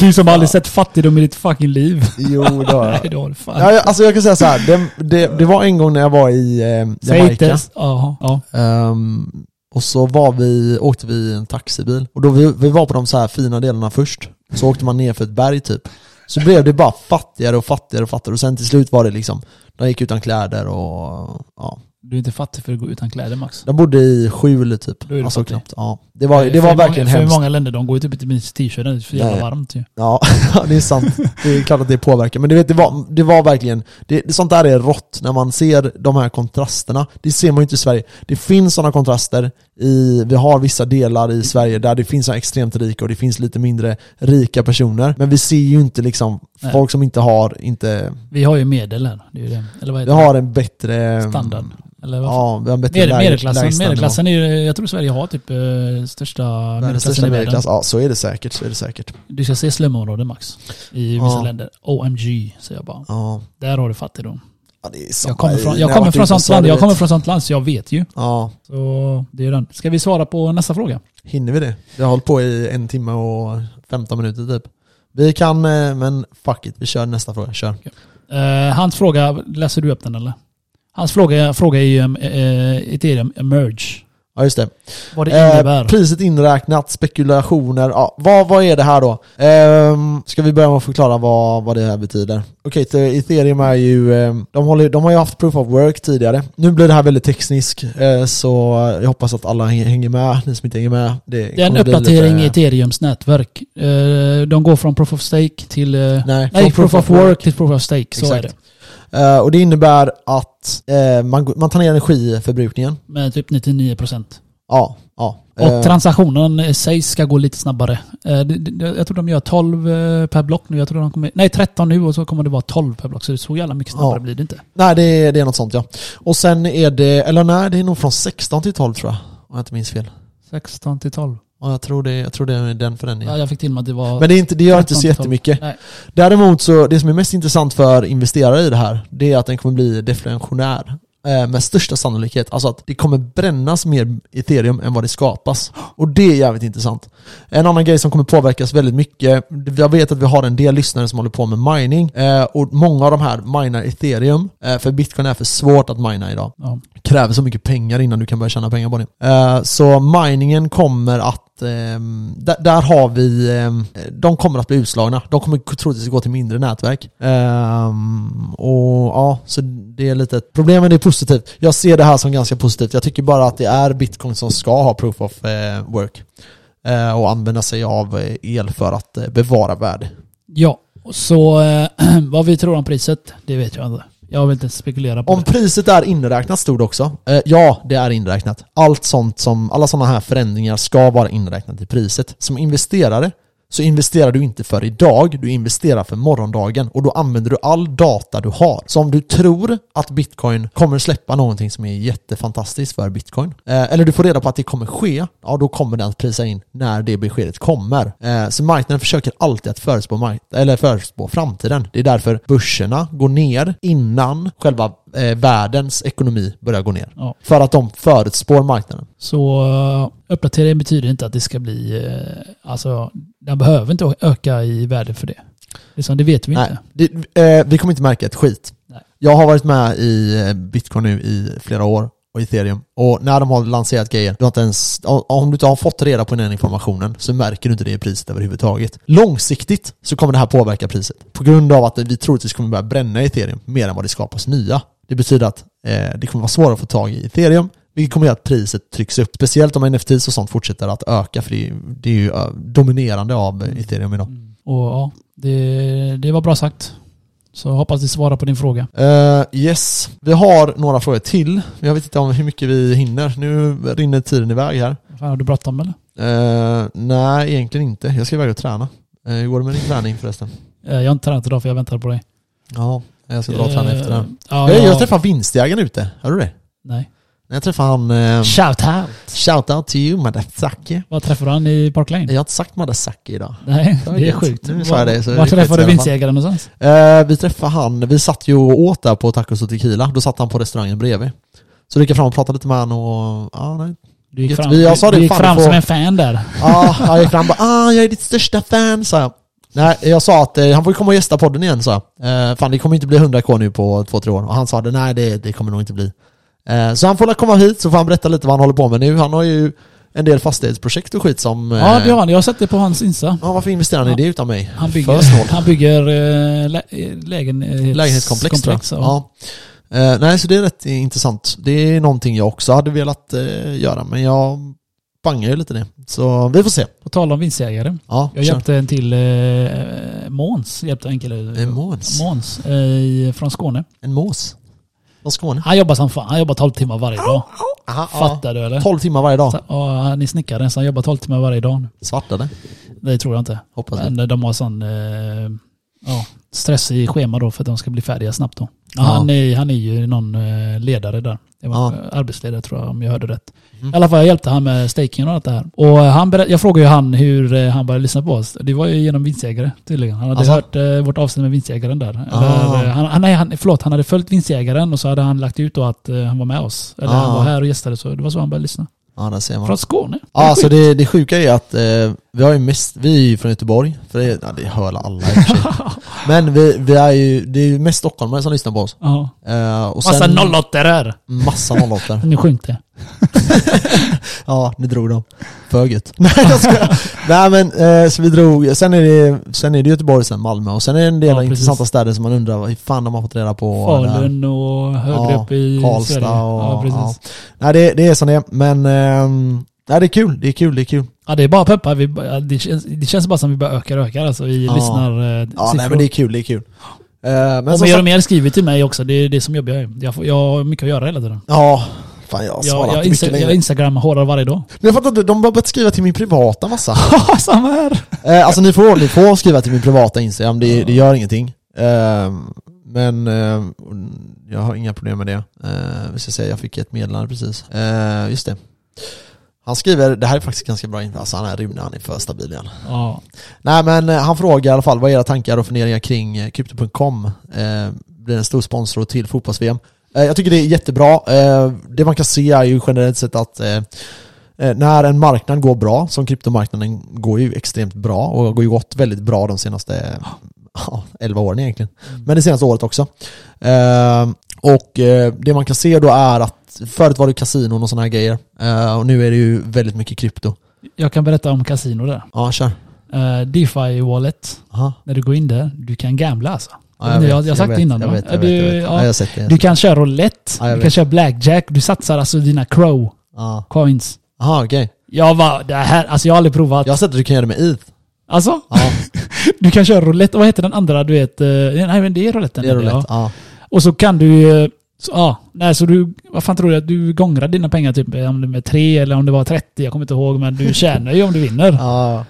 du som aldrig sett fattigdom i ditt fucking liv.
Jo, det har jag.
Nej, det har du fan.
Ja, jag- alltså jag kan säga så här. Det, det, det var en gång när jag var i eh,
Säg
Jamaica.
inte. Ja, ja.
Ehm, och så var vi, åkte vi i en taxibil. Och då vi, vi var på de så här fina delarna först. Så åkte man ner för ett berg typ. Så blev det bara fattigare och fattigare och fattigare. Och sen till slut var det liksom, de gick utan kläder och ja.
Du är inte fattig för att gå utan kläder Max.
De bodde i skjul typ.
Då är det
Alltså
fattig.
knappt. Ja. Det var, det
För
var
många-
verkligen
För
hemskt.
många länder, de går ju typ inte minst t-shirt, det är för jävla
Nej.
varmt ju.
Ja, det är sant. Det är klart att det påverkar. Men du vet, det var, det var verkligen, det, det- sånt där är rått när man ser de här kontrasterna. Det ser man ju inte i Sverige. Det finns sådana kontraster i, vi har vissa delar i Sverige där det finns så här extremt rika och det finns lite mindre rika personer. Men vi ser ju inte liksom
Nej.
folk som inte har, inte,
Vi har ju medel här. Det är ju det. Eller vad
vi
heter
har en bättre...
det? Standard. Eller vad
Ja, vi har en bättre
Med,
läge-
medelklassen,
lägstanivå.
medelklassen är ju, jag tror Sverige har typ eh, största
Världens
medelklassen
största
i världen.
medelklass. Ja, så är det säkert. Så är det säkert.
Du ska se slumområden Max. I vissa
Ja.
länder. OMG säger jag bara.
Ja.
Där har du fattigdom.
ja det är samma
Jag kommer
i-
från,
när
jag kommer
varit i
från sånt
USA,
land,
du
jag
vet.
kommer från sånt land så jag vet ju.
Ja,
Så det är den. Ska vi svara på nästa fråga?
Hinner vi det? Vi har hållit på i en timme och 15 minuter typ. Vi kan, eh, men fuck it, vi kör nästa fråga. Kör.
Eh, hans fråga, läser du upp den eller? Hans fråga, fråga är ju uh, ethereum emerge.
Ja just det.
Vad det
Eh,
innebär.
priset inräknat, spekulationer. Ja, vad, vad är det här då? Ehm, ska vi börja med att förklara vad, vad det här betyder? Okej, så ethereum är ju... ehm, de, håller, de har ju haft proof of work tidigare. Nu blir det här väldigt tekniskt, eh, så jag hoppas att alla häng- hänger med. Ni som inte hänger med. Det,
Det är en
kommer bli
uppdatering i
lite-
ethereums nätverk. Eh, de går från proof of stake till... eh,
Nej,
nej,
från
proof, of work, till proof of stake. Så är
Exakt.
det.
Eh, och det innebär att eh, man, går- man tar ner energiförbrukningen.
Med typ 99 procent.
Ja, ja.
Och
Eh,
transaktionen i sig ska gå lite snabbare. Eh, det- det- Jag tror de gör 12 eh, per block nu. Jag tror de kommer, nej, 13 nu och så kommer det vara 12 per block. Så det är så jävla mycket snabbare
Ja.
blir det inte.
nej, det är, det är något sånt ja. Och sen är det, eller nej, det är nog från 16 till 12 tror jag. Om jag inte minns fel.
16 till 12.
Ja, jag tror det, jag tror det är den förändringen.
Ja, jag fick till mig att det var...
Men det, är inte, det gör inte så
13-12.
jättemycket.
Nej.
Däremot så, det som är mest intressant för investerare i det här, det är att den kommer bli deflationär. Eh, Med största sannolikhet. Alltså att det kommer brännas mer ethereum än vad det skapas. Och det är jävligt intressant. En annan grej som kommer påverkas väldigt mycket, jag vet att vi har en del lyssnare som håller på med mining. eh, Och många av de här minar ethereum, eh, för bitcoin är för svårt att mina idag
Ja.
kräver så mycket pengar innan du kan börja tjäna pengar på det. Eh, så miningen kommer att, ehm, där, där har vi, ehm, de kommer att bli utslagna. De kommer troligtvis gå till mindre nätverk. Ehm, och ja, så det är lite ett problem men det är positivt. Jag ser det här som ganska positivt. Jag tycker bara att det är bitcoin som ska ha proof of eh, work. Eh, och använda sig av eh, el för att eh, bevara värde.
ja. Så eh, vad vi tror om priset, det vet jag inte. Jag vill inte spekulera på
Om
det.
priset är inräknat stod det också. Eh, ja, det är inräknat. Allt sånt som, alla sådana här förändringar ska vara inräknat i priset. Som investerare så investerar du inte för idag, du investerar för morgondagen och då använder du all data du har. Så om du tror att bitcoin kommer släppa någonting som är jättefantastiskt för bitcoin, eh, eller du får reda på att det kommer ske, ja då kommer den att prisa in när det beskedet kommer. Eh, så marknaden försöker alltid att förutspå, mark- eller förutspå framtiden. Det är därför börserna går ner innan själva eh, världens ekonomi börjar gå ner.
Ja.
För att de förutspår marknaden.
Så eh, uppdatering betyder inte att det ska bli... eh, Alltså, den behöver inte öka i värde för det. Liksom, det vet vi
Nej,
inte.
det, eh, vi kommer inte märka ett skit.
Nej.
Jag har varit med i eh, bitcoin nu i flera år och ethereum. Och när de har lanserat grejer, du har inte ens, om- om du inte har fått reda på den informationen så märker du inte det i priset överhuvudtaget. Långsiktigt så kommer det här påverka priset. På grund av att vi troligtvis kommer börja bränna ethereum mer än vad det skapas nya. Det betyder att eh, det kommer vara svårare att få tag i ethereum. Vilket kommer att göra att priset trycks upp. Speciellt om NFTs och sånt fortsätter att öka för det är, det är ju eh, dominerande av eh, ethereum idag.
Mm. Och ja, det, det var bra sagt. Så jag hoppas det svarar på din fråga.
Eh, yes, vi har några frågor till. Jag vet inte om hur mycket vi hinner. Nu rinner tiden iväg här.
Fan, har du bråttom eller?
Eh, nej, egentligen inte. Jag ska iväg och träna. Eh, hur går det med din träning förresten?
Eh, Jag har inte tränat idag för jag väntar på dig.
Ja, jag ska dra och träna
Eh,
efter det här.
Ja,
Jag,
ja.
jag träffade vinstjägaren ute. Hörde du det?
Nej.
Jag träffade han... Eh,
Shout out!
shout out to you, Madasaki.
Vad träffar du han i Park Lane?
Jag har inte sagt Madasaki idag.
Nej, det är
Gött.
sjukt.
Nu sa jag det, så
Var
det är skit i
träffade
alla
du
fall.
vinstjägaren någonstans?
Eh, vi träffade han, vi satt ju och åt där på tacos och tequila. Då satt han på restaurangen bredvid. Så då gick jag fram och pratade lite med han och... Ja, nej.
Du gick
Gött.
fram,
Vi- jag sa
du
det,
gick
fan,
fram
du får-
som en fan där.
Ja, jag gick fram och bara ah, jag är ditt största fan, sa jag. Nej, jag sa att eh, han får ju komma och gästa podden igen, sa jag. Eh, fan, det kommer inte bli 100k nu på två, tre år. Och han sa det, nej det, det kommer nog inte bli. Eh, så han får väl komma hit så får han berätta lite vad han håller på med nu. Han har ju en del fastighetsprojekt och skit som... eh,
Ja, det har han. Jag har sett det på hans Insta.
ja, varför investerar ni i det utan mig?
Han
För snål.
bygger, han bygger eh, lä, eh, lägenhetskomplex.
Lägenhetskomplex
komplex,
tror jag.
ja.
Ja. Eh, nej, så det är rätt intressant. Det är någonting jag också hade velat eh, göra, men jag bangar ju lite det. Så vi får se.
På tal om vinstjägare.
Ja,
Jag
kör.
hjälpte en till, eh, Måns hjälpte en kille.
En mås.
Måns eh, från Skåne.
En mås. Från Skåne.
Han jobbar som fan. Han jobbar 12 timmar varje dag.
Aha, ja.
Fattar du eller?
12 timmar varje dag.
Så- Ja, han är snickare så han jobbar 12 timmar varje dag. nu.
Svart eller?
Det tror jag inte.
Hoppas det.
Men de har sån eh, ja, stress i schema då för att de ska bli färdiga snabbt då.
Ja.
Han, är, han är ju någon eh, ledare där. Det var
Ja.
eh, Arbetsledare tror jag om jag hörde rätt.
Mm.
I alla fall jag hjälpte han med stakingen och allt det här. Och eh, han berä- jag frågade ju han hur eh, han började lyssna på oss. Det var ju genom Vinstjägare tydligen. Han hade
Alltså?
hört eh, vårt avsnitt med Vinstjägaren där.
Ah.
Eller, eh, han, han, nej, han, förlåt, han hade följt Vinstjägaren och så hade han lagt ut då att eh, han var med oss. Eller han
Ah.
var här och gästade så. Det var så han började lyssna.
Ja, där ser man.
Från Skåne.
Ja, alltså det, det sjuka är att eh, vi har ju mest, vi är ju från Göteborg, för det, ja, det hör alla i och för sig. Men vi, vi är ju, det är ju mest stockholmare som lyssnar på oss.
Ja.
Eh, och
Massa
sen,
08 där.
Massa nollåttor.
Nu sjönk det.
Ja, nu drog de. För gött. Nej, jag skojar. Nej men, eh, så vi drog, sen är, det, sen är det Göteborg, sen Malmö och sen är det en del
Ja, precis.
intressanta städer som man undrar vad fan de har fått reda på. där.
Falun och högre
Ja,
upp i
Karlstad
Sverige. Ja,
och-
precis. Ja.
Nej det, det är som det är, men ehm, nej, det är kul, det är kul, det är kul.
det är bara peppar. Vi, bara- det, känns, det känns bara som vi bara ökar och ökar. Alltså, vi
Ja.
lyssnar eh,
Ja, nej, men det är kul, det är kul. Eh, men
och
som
mer
sagt-
och mer skriver till mig också. Det är det som jobbar jag är. Jag, får, jag har mycket att göra hela tiden.
Ja, fan jag har
Jag,
svarat
jag,
mycket
insta,
längre.
jag instagram hårdare varje dag.
Men jag fattar inte, de har börjat skriva till min privata massa.
Samma här!
eh, alltså ni får, ni får skriva till min privata Instagram, det, det gör ingenting. Eh, men eh, jag har inga problem med det. Eh, vi ska säga, jag fick ett meddelande precis. Eh, just det. Han skriver, det här är faktiskt ganska bra info, alltså han är Rune, han är för stabil igen.
Ja.
Nej men eh, han frågar i alla fall, vad är era tankar och funderingar kring eh, Crypto.com? Eh, blir en stor sponsor till fotbolls-VM. Eh, jag tycker det är jättebra. Eh, det man kan se är ju generellt sett att eh, eh, när en marknad går bra, som kryptomarknaden går ju extremt bra och går ju gått väldigt bra de senaste eh, ja, 11 åren egentligen. Men det senaste året också. Eh, och eh, det man kan se då är att förut var det kasinon och sådana här grejer. Eh, och nu är det ju väldigt mycket krypto.
Jag kan berätta om kasino där.
Ja, kör.
Eh, DeFi Wallet,
Aha.
när du går in där, du kan gambla alltså.
Ja, jag,
jag,
vet,
har sagt
vet,
det innan
jag
va?
vet, jag
du,
vet, jag vet.
ja,
Ja, jag har sett det.
du kan köra roulette,
Ja, jag
du kan
vet.
köra blackjack, du satsar alltså dina crow
Ja.
coins.
Aha, okej.
Jag var, det här, alltså jag har aldrig provat.
Jag har sett att du kan göra det med ETH.
Alltså,
Ja,
du kan köra roulette, vad heter den andra du vet? eh, nej men det är rouletten.
det är
Ja.
roligt. Ja.
Och så kan du... eh, Så, ja, nej, så du, vad fan tror du? Att du gångrar dina pengar typ eh, om det med tre eller om det var 30, jag kommer inte ihåg. Men du tjänar ju om du vinner.
Ja.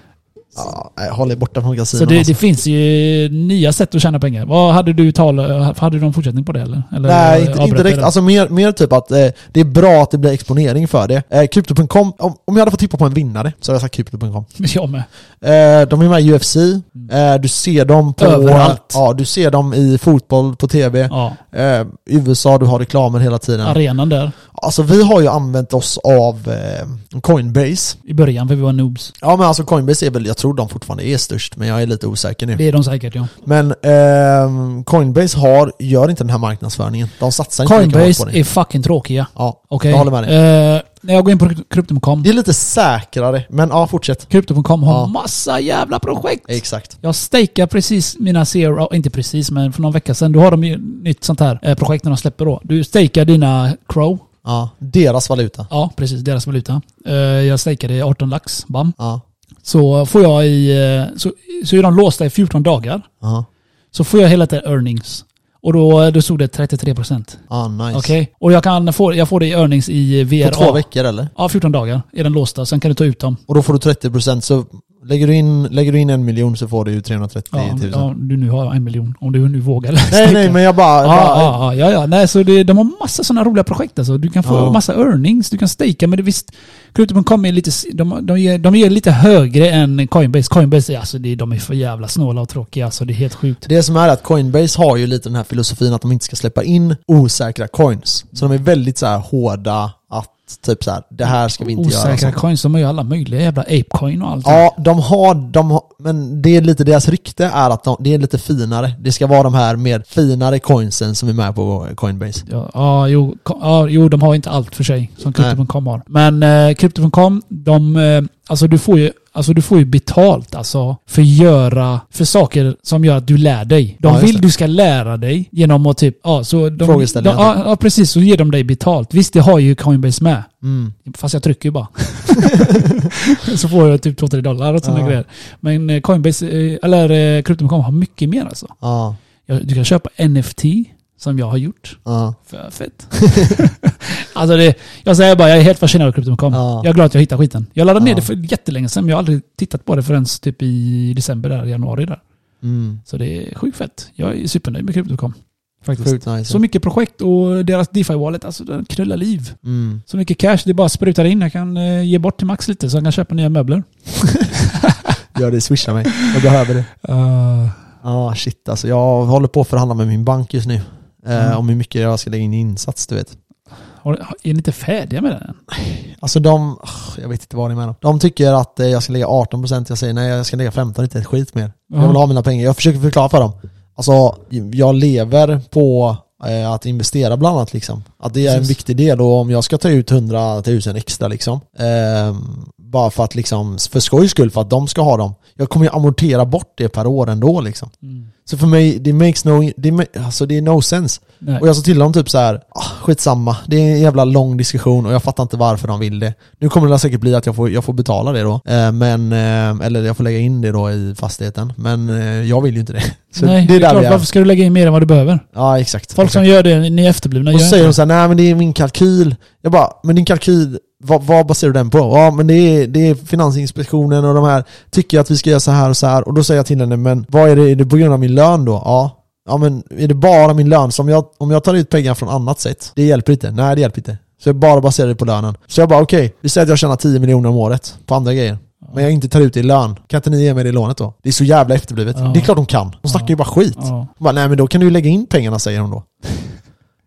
Ja, nej, håll er borta från
så
kasinon.
det,
alltså.
det finns ju nya sätt att tjäna pengar. Vad hade du tal, eh, hade du någon fortsättning på det eller? eller
Nej, inte,
avbröt
inte
jag
direkt.
det?
Alltså mer, mer typ att eh, det är bra att det blir exponering för det. Eh, Crypto.com, om, om jag hade fått tippa på en vinnare så hade jag sagt Crypto.com.
Jag med.
Eh, de är med i UFC, eh, du ser dem på...
Mm. Överallt.
Ja, du ser dem i fotboll, på TV.
Ja,
Eh, USA, du har reklamer hela tiden.
arenan där
Alltså vi har ju använt oss av eh, Coinbase.
i början för vi var noobs.
Ja men alltså Coinbase är väl, jag tror de fortfarande är störst men jag är lite osäker nu.
Det är de säkert ja.
Men ehm, Coinbase har, gör inte den här marknadsföringen. De satsar inte lika mycket på
Coinbase
det.
är fucking tråkiga.
Ja,
Okej.
jag håller med dig.
Eh, när jag går in på Crypto.com.
Det är lite säkrare, men ja fortsätt.
Crypto.com har
Ja.
massa jävla projekt.
Exakt.
Jag stakar precis mina zero, inte precis men för någon vecka sedan. Då har de ju ett nytt sånt här eh, projekt när de släpper då. Du stakar dina crow.
Ja, deras valuta.
Ja, precis. Deras valuta. Eh, Jag stakade i 18 lax, bam.
Ja.
Så får jag i... eh, Så, så är de låsta i 14 dagar.
Ja,
Så får jag hela tiden earnings. Och då, då stod det 33 procent.
ja nice.
Okej? Och jag kan få, jag får det i earnings i VRA.
På två veckor eller?
Ja, 14 dagar är den låsta. Sen kan du ta ut dem.
Och då får du 30% så lägger du in, lägger du in en miljon så får du ju 330
Ja,
000.
ja, du nu har en miljon. Om du nu vågar.
Nej nej men jag bara...
Ja,
bara
ja, ja, ja. Nej, så det, de har massa sådana roliga projekt alltså. Du kan få
Ja.
massa earnings, du kan stejka. Men det visst, Crypto.com är lite, de, de, ger, de ger lite högre än Coinbase. Coinbase, är, alltså det, de är för jävla snåla och tråkiga. Alltså det är helt sjukt.
Det som är att Coinbase har ju lite den här filosofin att de inte ska släppa in osäkra coins. Så de är väldigt så här hårda att typ så här, det här ska vi inte alltså. göra.
Osäkra
sånt.
coins, de har ju alla möjliga jävla apecoin och allt.
Ja, de har, de har, men det är lite deras rykte är att de, det är lite finare. Det ska vara de här mer finare coinsen som är med på Coinbase.
Ja, ja, jo, ko- ja, jo, de har inte allt för sig som Crypto.com har. Men eh, Crypto.com, de, eh, alltså, du får ju, alltså du får ju betalt alltså för göra, för saker som gör att du lär dig. De
Ja, just
vill
det.
du ska lära dig genom att typ, ja så de, de,
Frågeställningar, typ.
ja, ja precis, så ger de dig betalt. Visst, det har ju Coinbase med.
Mm.
Fast jag trycker ju bara. så får jag typ 2-3 dollar och sådana
Ja.
grejer. Men eh, Coinbase, eh, eller eh, Crypto.com har mycket mer alltså.
Ja,
Jag- Du kan köpa NFT som jag har gjort.
ja.
För fett. alltså det, jag säger bara, jag är helt fascinerad av Crypto.com.
Ja.
Jag är glad att jag hittade skiten. Jag laddade ner
Ja.
det för jättelänge sedan, men jag har aldrig tittat på det förrän typ i december, där, januari där.
Mm.
Så det är sjukt fett. Jag är supernöjd med Crypto.com. Faktiskt.
Sjukt nice.
Så mycket projekt och deras DeFi-wallet, alltså den knullar liv.
Mm.
Så mycket cash, det bara sprutar in. Jag kan eh, ge bort till Max lite så han kan köpa nya möbler.
Gör det, swisha mig. Jag behöver det. Uh. Ja, shit alltså. Jag håller på att förhandla med min bank just nu. Eh,
Mm.
Om hur mycket jag ska lägga in i insats, du vet.
har, är ni inte färdiga med den än?
Alltså de, ah, jag vet inte vad det är med dem. De tycker att eh, jag ska lägga 18%, jag säger nej jag ska lägga 15, inte ett skit mer. Jag vill
Ja.
ha mina pengar. Jag försöker förklara för dem. Alltså jag lever på eh, att investera bland annat liksom. Att det är en
Precis.
viktig del och om jag ska ta ut 100 000 extra liksom. ehm, bara för att liksom, för skojs skull, för att de ska ha dem. Jag kommer ju amortera bort det per år ändå liksom.
Mm.
Så för mig, det makes no, det, ma- alltså det är no sense.
Nej.
Och jag sa till dem typ så här, ah, skitsamma, det är en jävla lång diskussion och jag fattar inte varför de vill det. Nu kommer det säkert bli att jag får, jag får betala det då, eh, men, eh, eller jag får lägga in det då i fastigheten. Men eh, jag vill ju inte det. Så
Nej,
det är där
klart,
vi är.
varför ska du lägga in mer än vad du behöver?
Ja exakt.
Folk som
exakt.
gör det, ni är efterblivna.
Och så
gör
säger
inte
de så här, nej men det är min kalkyl. Jag bara, men din kalkyl, vad, vad baserar du den på? Ja men det är, det är Finansinspektionen och de här tycker att vi ska göra så här och så här. Och då säger jag till henne, men vad är det, är det på grund av min lön då? Ja. Ja men är det bara min lön? Så om jag, om jag tar ut pengar från annat sätt, det hjälper inte. Nej det hjälper inte. Så jag bara baserar det på lönen. Så jag bara okej, vi säger att jag tjänar 10 miljoner om året på andra grejer. Men jag inte tar ut det i lön. Kan inte ni ge mig det lånet då? Det är så jävla efterblivet.
Ja.
Det är klart de kan. De snackar ju bara skit.
Ja.
Hon bara, nej men då kan du ju lägga in pengarna säger hon då.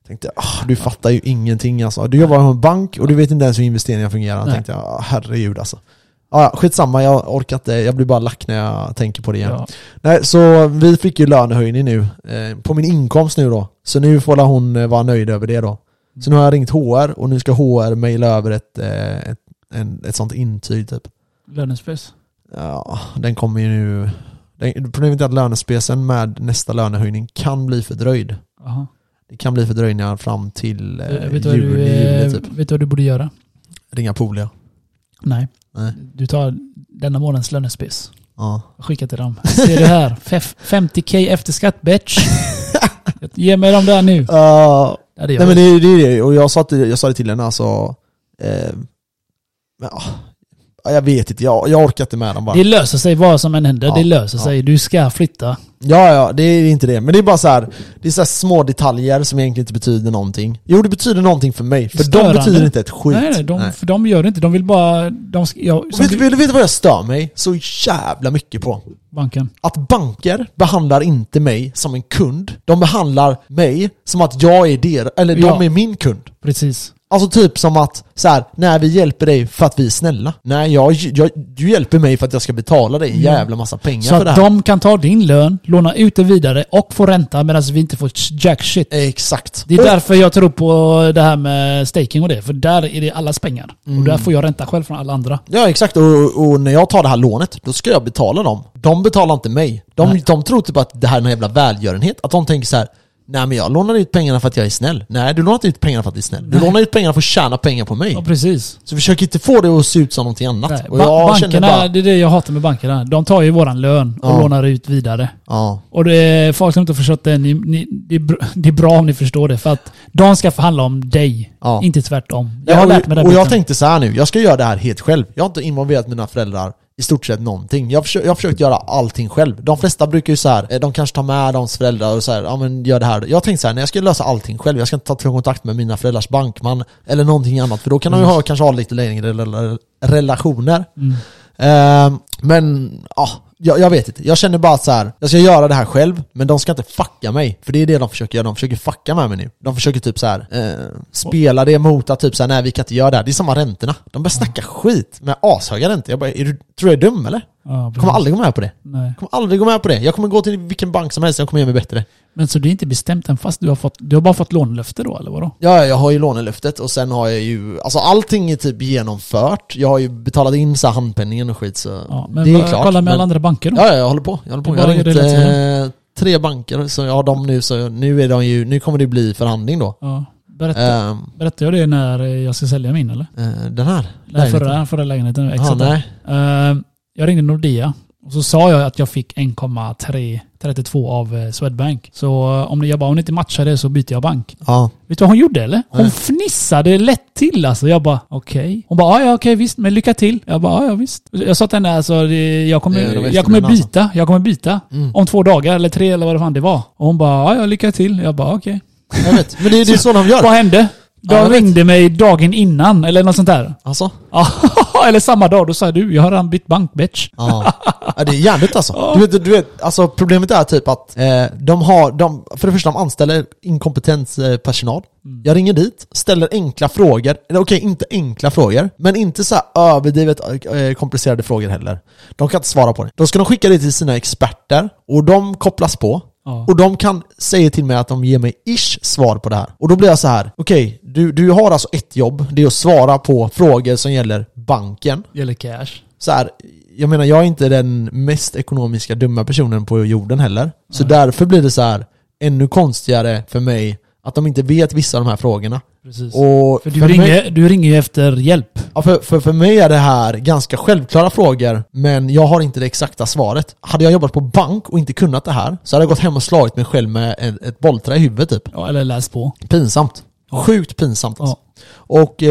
Tänkte jag, ah, du fattar ju ingenting alltså. Du jobbar på en bank och du vet inte ens hur investeringar fungerar.
Nej.
Tänkte jag, ah, herregud alltså. Ah, ja, skitsamma, jag orkar inte. Jag blir bara lack när jag tänker på det igen.
Ja.
Nej, så vi fick ju lönehöjning nu. Eh, på min inkomst nu då. Så nu får väl hon eh, vara nöjd över det då. Så nu har jag ringt HR och nu ska HR mejla över ett, eh, ett, en, ett sånt intyg typ.
Lönespec.
Ja, den kommer ju nu... den- Problemet är att lönespecen med nästa lönehöjning kan bli fördröjd.
Jaha.
Det kan bli fördröjningar fram till eh,
Eh,
juni,
vet, du vad du,
juli
eh,
typ.
vet du vad du borde göra?
Ringa Polia.
Nej.
Nej.
Du tar denna månadens lönespec.
Ja.
Skicka till dem. Ser du här? Fef- 50k efter skatt bitch. Ge mig dem där nu.
Ja,
Det hade jag
nej men
gjort.
det är ju det, är det. Och jag sa, till, jag sa det till henne alltså... Eh, men, ah, ja, jag vet inte, jag, jag orkar inte med dem bara.
Det löser sig vad som än händer.
Ja,
det löser
ja.
sig. Du ska flytta.
Ja, ja, det är inte det. Men det är bara så här, det är så här små detaljer som egentligen inte betyder någonting. Jo, det betyder någonting för mig. För de
Störande.
betyder inte ett skit.
Nej, nej, de, För de gör det inte. De vill bara... De ska, ja,
Och
som
Vet, du- vet, du- vet du vad jag stör mig så jävla mycket på?
banken.
Att banker behandlar inte mig som en kund. De behandlar mig som att jag är der, eller
Ja.
de är min kund.
Precis.
Alltså typ som att så här, nej vi hjälper dig för att vi är snälla. Nej, jag, jag, du hjälper mig för att jag ska betala dig en
Ja.
jävla massa pengar
Mm. Så
för det
att
här.
de kan ta din lön, låna ut det vidare och få ränta medan vi inte får jack shit.
Exakt.
Det är därför jag tror på det här med staking och det. För där är det allas pengar.
Mm.
Och där får jag ränta själv från alla andra.
Ja exakt, och, och när jag tar det här lånet, då ska jag betala dem. De betalar inte mig. De,
Nej.
de tror typ att det här är någon jävla välgörenhet. Att de tänker så här. Nej men jag lånar ut pengarna för att jag är snäll. Nej, du lånar inte ut pengarna för att du är snäll. Du lånar ut pengarna för att tjäna pengar på mig.
Ja, precis.
Så försök inte få det att se ut som någonting annat.
Nej,
och
ba-
jag känner
bankerna,
bara...
det är det jag hatar med bankerna. De tar ju våran lön och
Ja.
lånar ut vidare.
Ja.
Och det är folk som inte har förstått det, ni, ni, det, är br- det är bra om ni förstår det. För att de ska förhandla om dig,
Ja.
inte tvärtom. Jag
Jag
har lärt mig den
och jag
biten.
tänkte så här nu, jag ska göra det här helt själv. Jag har inte involverat mina föräldrar i stort sett någonting. Jag har, försökt, jag har försökt göra allting själv. De flesta brukar ju så här, eh, de kanske tar med deras föräldrar och så här, ja men gör det här. Jag tänkte så här, nej jag ska lösa allting själv. Jag ska inte ta kontakt med mina föräldrars bankman eller någonting annat. För då kan de
Mm.
ju ha, kanske ha lite längre rela- relationer. Ehm, men ja, jag, jag vet inte. Jag känner bara att så här, jag ska göra det här själv, men de ska inte fucka mig. För det är det de försöker göra, de försöker fucka med mig nu. De försöker typ så här, eh, spela det mot att typ så här, nej vi kan inte göra det här. Det är samma räntorna. De börjar snacka skit med ashöga räntor. Jag bara, är du, tror du jag är dum eller?
Ja,
Jag kommer
precis.
aldrig gå med på det.
Nej.
Jag kommer aldrig gå med på det. Jag kommer gå till vilken bank som helst, jag kommer göra mig bättre.
Men så det är inte bestämt än fast du har, fått, du har bara fått lånelöfte då, eller vadå?
Ja, jag har ju lånelöftet och sen har jag ju, alltså allting är typ genomfört. Jag har ju betalat in så här handpenningen och skit så
Ja, men
det är
vad-
klart.
kolla med
men-
alla andra banker då.
Ja, ja, jag håller på. Jag håller på.
Det
Jag har
bara
ringt
gör det hela
eh, tre banker, så jag har dem nu. Så nu, är de ju, nu kommer det bli förhandling då.
Ja. Berätta,
Ehm,
Berättade jag det när eh, jag ska sälja min eller?
eh, den här?
Den förra, förra lägenheten.
Ja,
Exakt.
nej.
Eh, jag ringde Nordea och så sa jag att jag fick 1,32 av eh, Swedbank. Så eh, om ni, jag bara, om ni inte matchar det så byter jag bank.
Ja.
Vet du vad hon gjorde eller? Hon
Nej.
fnissade lätt till alltså. Jag bara okej. Hon bara ja, ja okej visst, men lycka till. Jag bara ja, ja visst. Jag sa till henne alltså, det- jag
Det är de
kommer,
bästa
jag kommer
männen,
byta, jag kommer byta.
Mm.
Om två dagar eller tre eller vad det fan det var. Och hon bara ja, ja lycka till. Jag bara okej.
Jag vet. Men det, är- det är så de
Vad
gör.
hände? De
Ja, jag vet.
ringde mig dagen innan eller något sånt där.
Alltså?
Ja, eller samma dag. Då sa jag, du, jag har redan bytt bank bitch.
Ja. ja, det är jävligt alltså. Du vet, du vet, alltså problemet är typ att eh, de har, de, för det första de anställer inkompetent eh, personal. Jag ringer dit, ställer enkla frågor, eller okej inte enkla frågor, men inte så här överdrivet eh, komplicerade frågor heller. De kan inte svara på det. Då ska de skicka det till sina experter och de kopplas på.
Ja.
Och de kan säga till mig att de ger mig ish svar på det här. Och då blir jag så här, okej, du, du har alltså ett jobb, det är att svara på frågor som gäller banken
Gäller cash.
så här, jag menar jag är inte den mest ekonomiska dumma personen på jorden heller. Så därför blir det så här ännu konstigare för mig att de inte vet vissa av de här frågorna.
Precis.
Och
för du,
mig,
ringer, du ringer ju efter hjälp.
ja, för, för, för mig är det här ganska självklara frågor, men jag har inte det exakta svaret. Hade jag jobbat på bank och inte kunnat det här, så hade jag gått hem och slagit mig själv med ett, ett bollträ i huvudet typ.
Ja, eller läs på.
Pinsamt. Sjukt pinsamt alltså.
Ja.
Och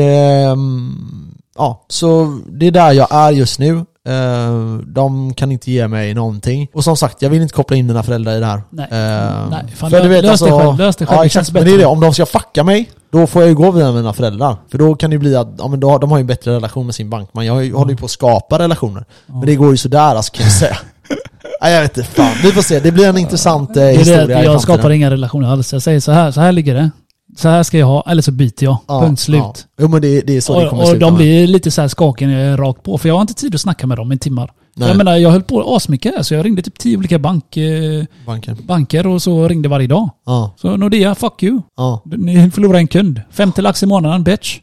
ehm, ja, så det är där jag är just nu. Eh, de kan inte ge mig någonting. Och som sagt, jag vill inte koppla in mina föräldrar i det här.
Nej.
Eh,
Nej, fan, lö- lös det själv, lös det själv,
alltså- Ja,
det
exakt,
känns
men det är
bättre.
det. Om de ska fucka mig, då får jag ju gå via mina föräldrar. För då kan det ju bli att, ja men då, har- de har ju en bättre relation med sin bankman. Jag har ju- håller ju på att skapa relationer. Men det går ju sådär alltså, kan jag säga. Nej, jag vet inte, fan. Vi får se. Det blir en intressant eh,
Det är det
historia
att
i
jag
framtiden.
skapar inga relationer alls. Jag säger så här, så här ligger det. Så här ska jag ha, eller så byter jag.
Ja,
Punkt slut.
ja. Jo men det, det är så det
Och,
kommer
och
sluta
de
med.
blir lite så här skakiga när jag är rakt på. För jag har inte tid att snacka med dem i timmar.
Nej.
Jag menar, jag höll på asmycket där. Så jag ringde typ tio olika bank, eh,
Banken.
banker och så ringde varje dag.
Ja,
Så Nordea, fuck you.
ja,
Ni förlorar en kund. 50 lax i månaden, bitch.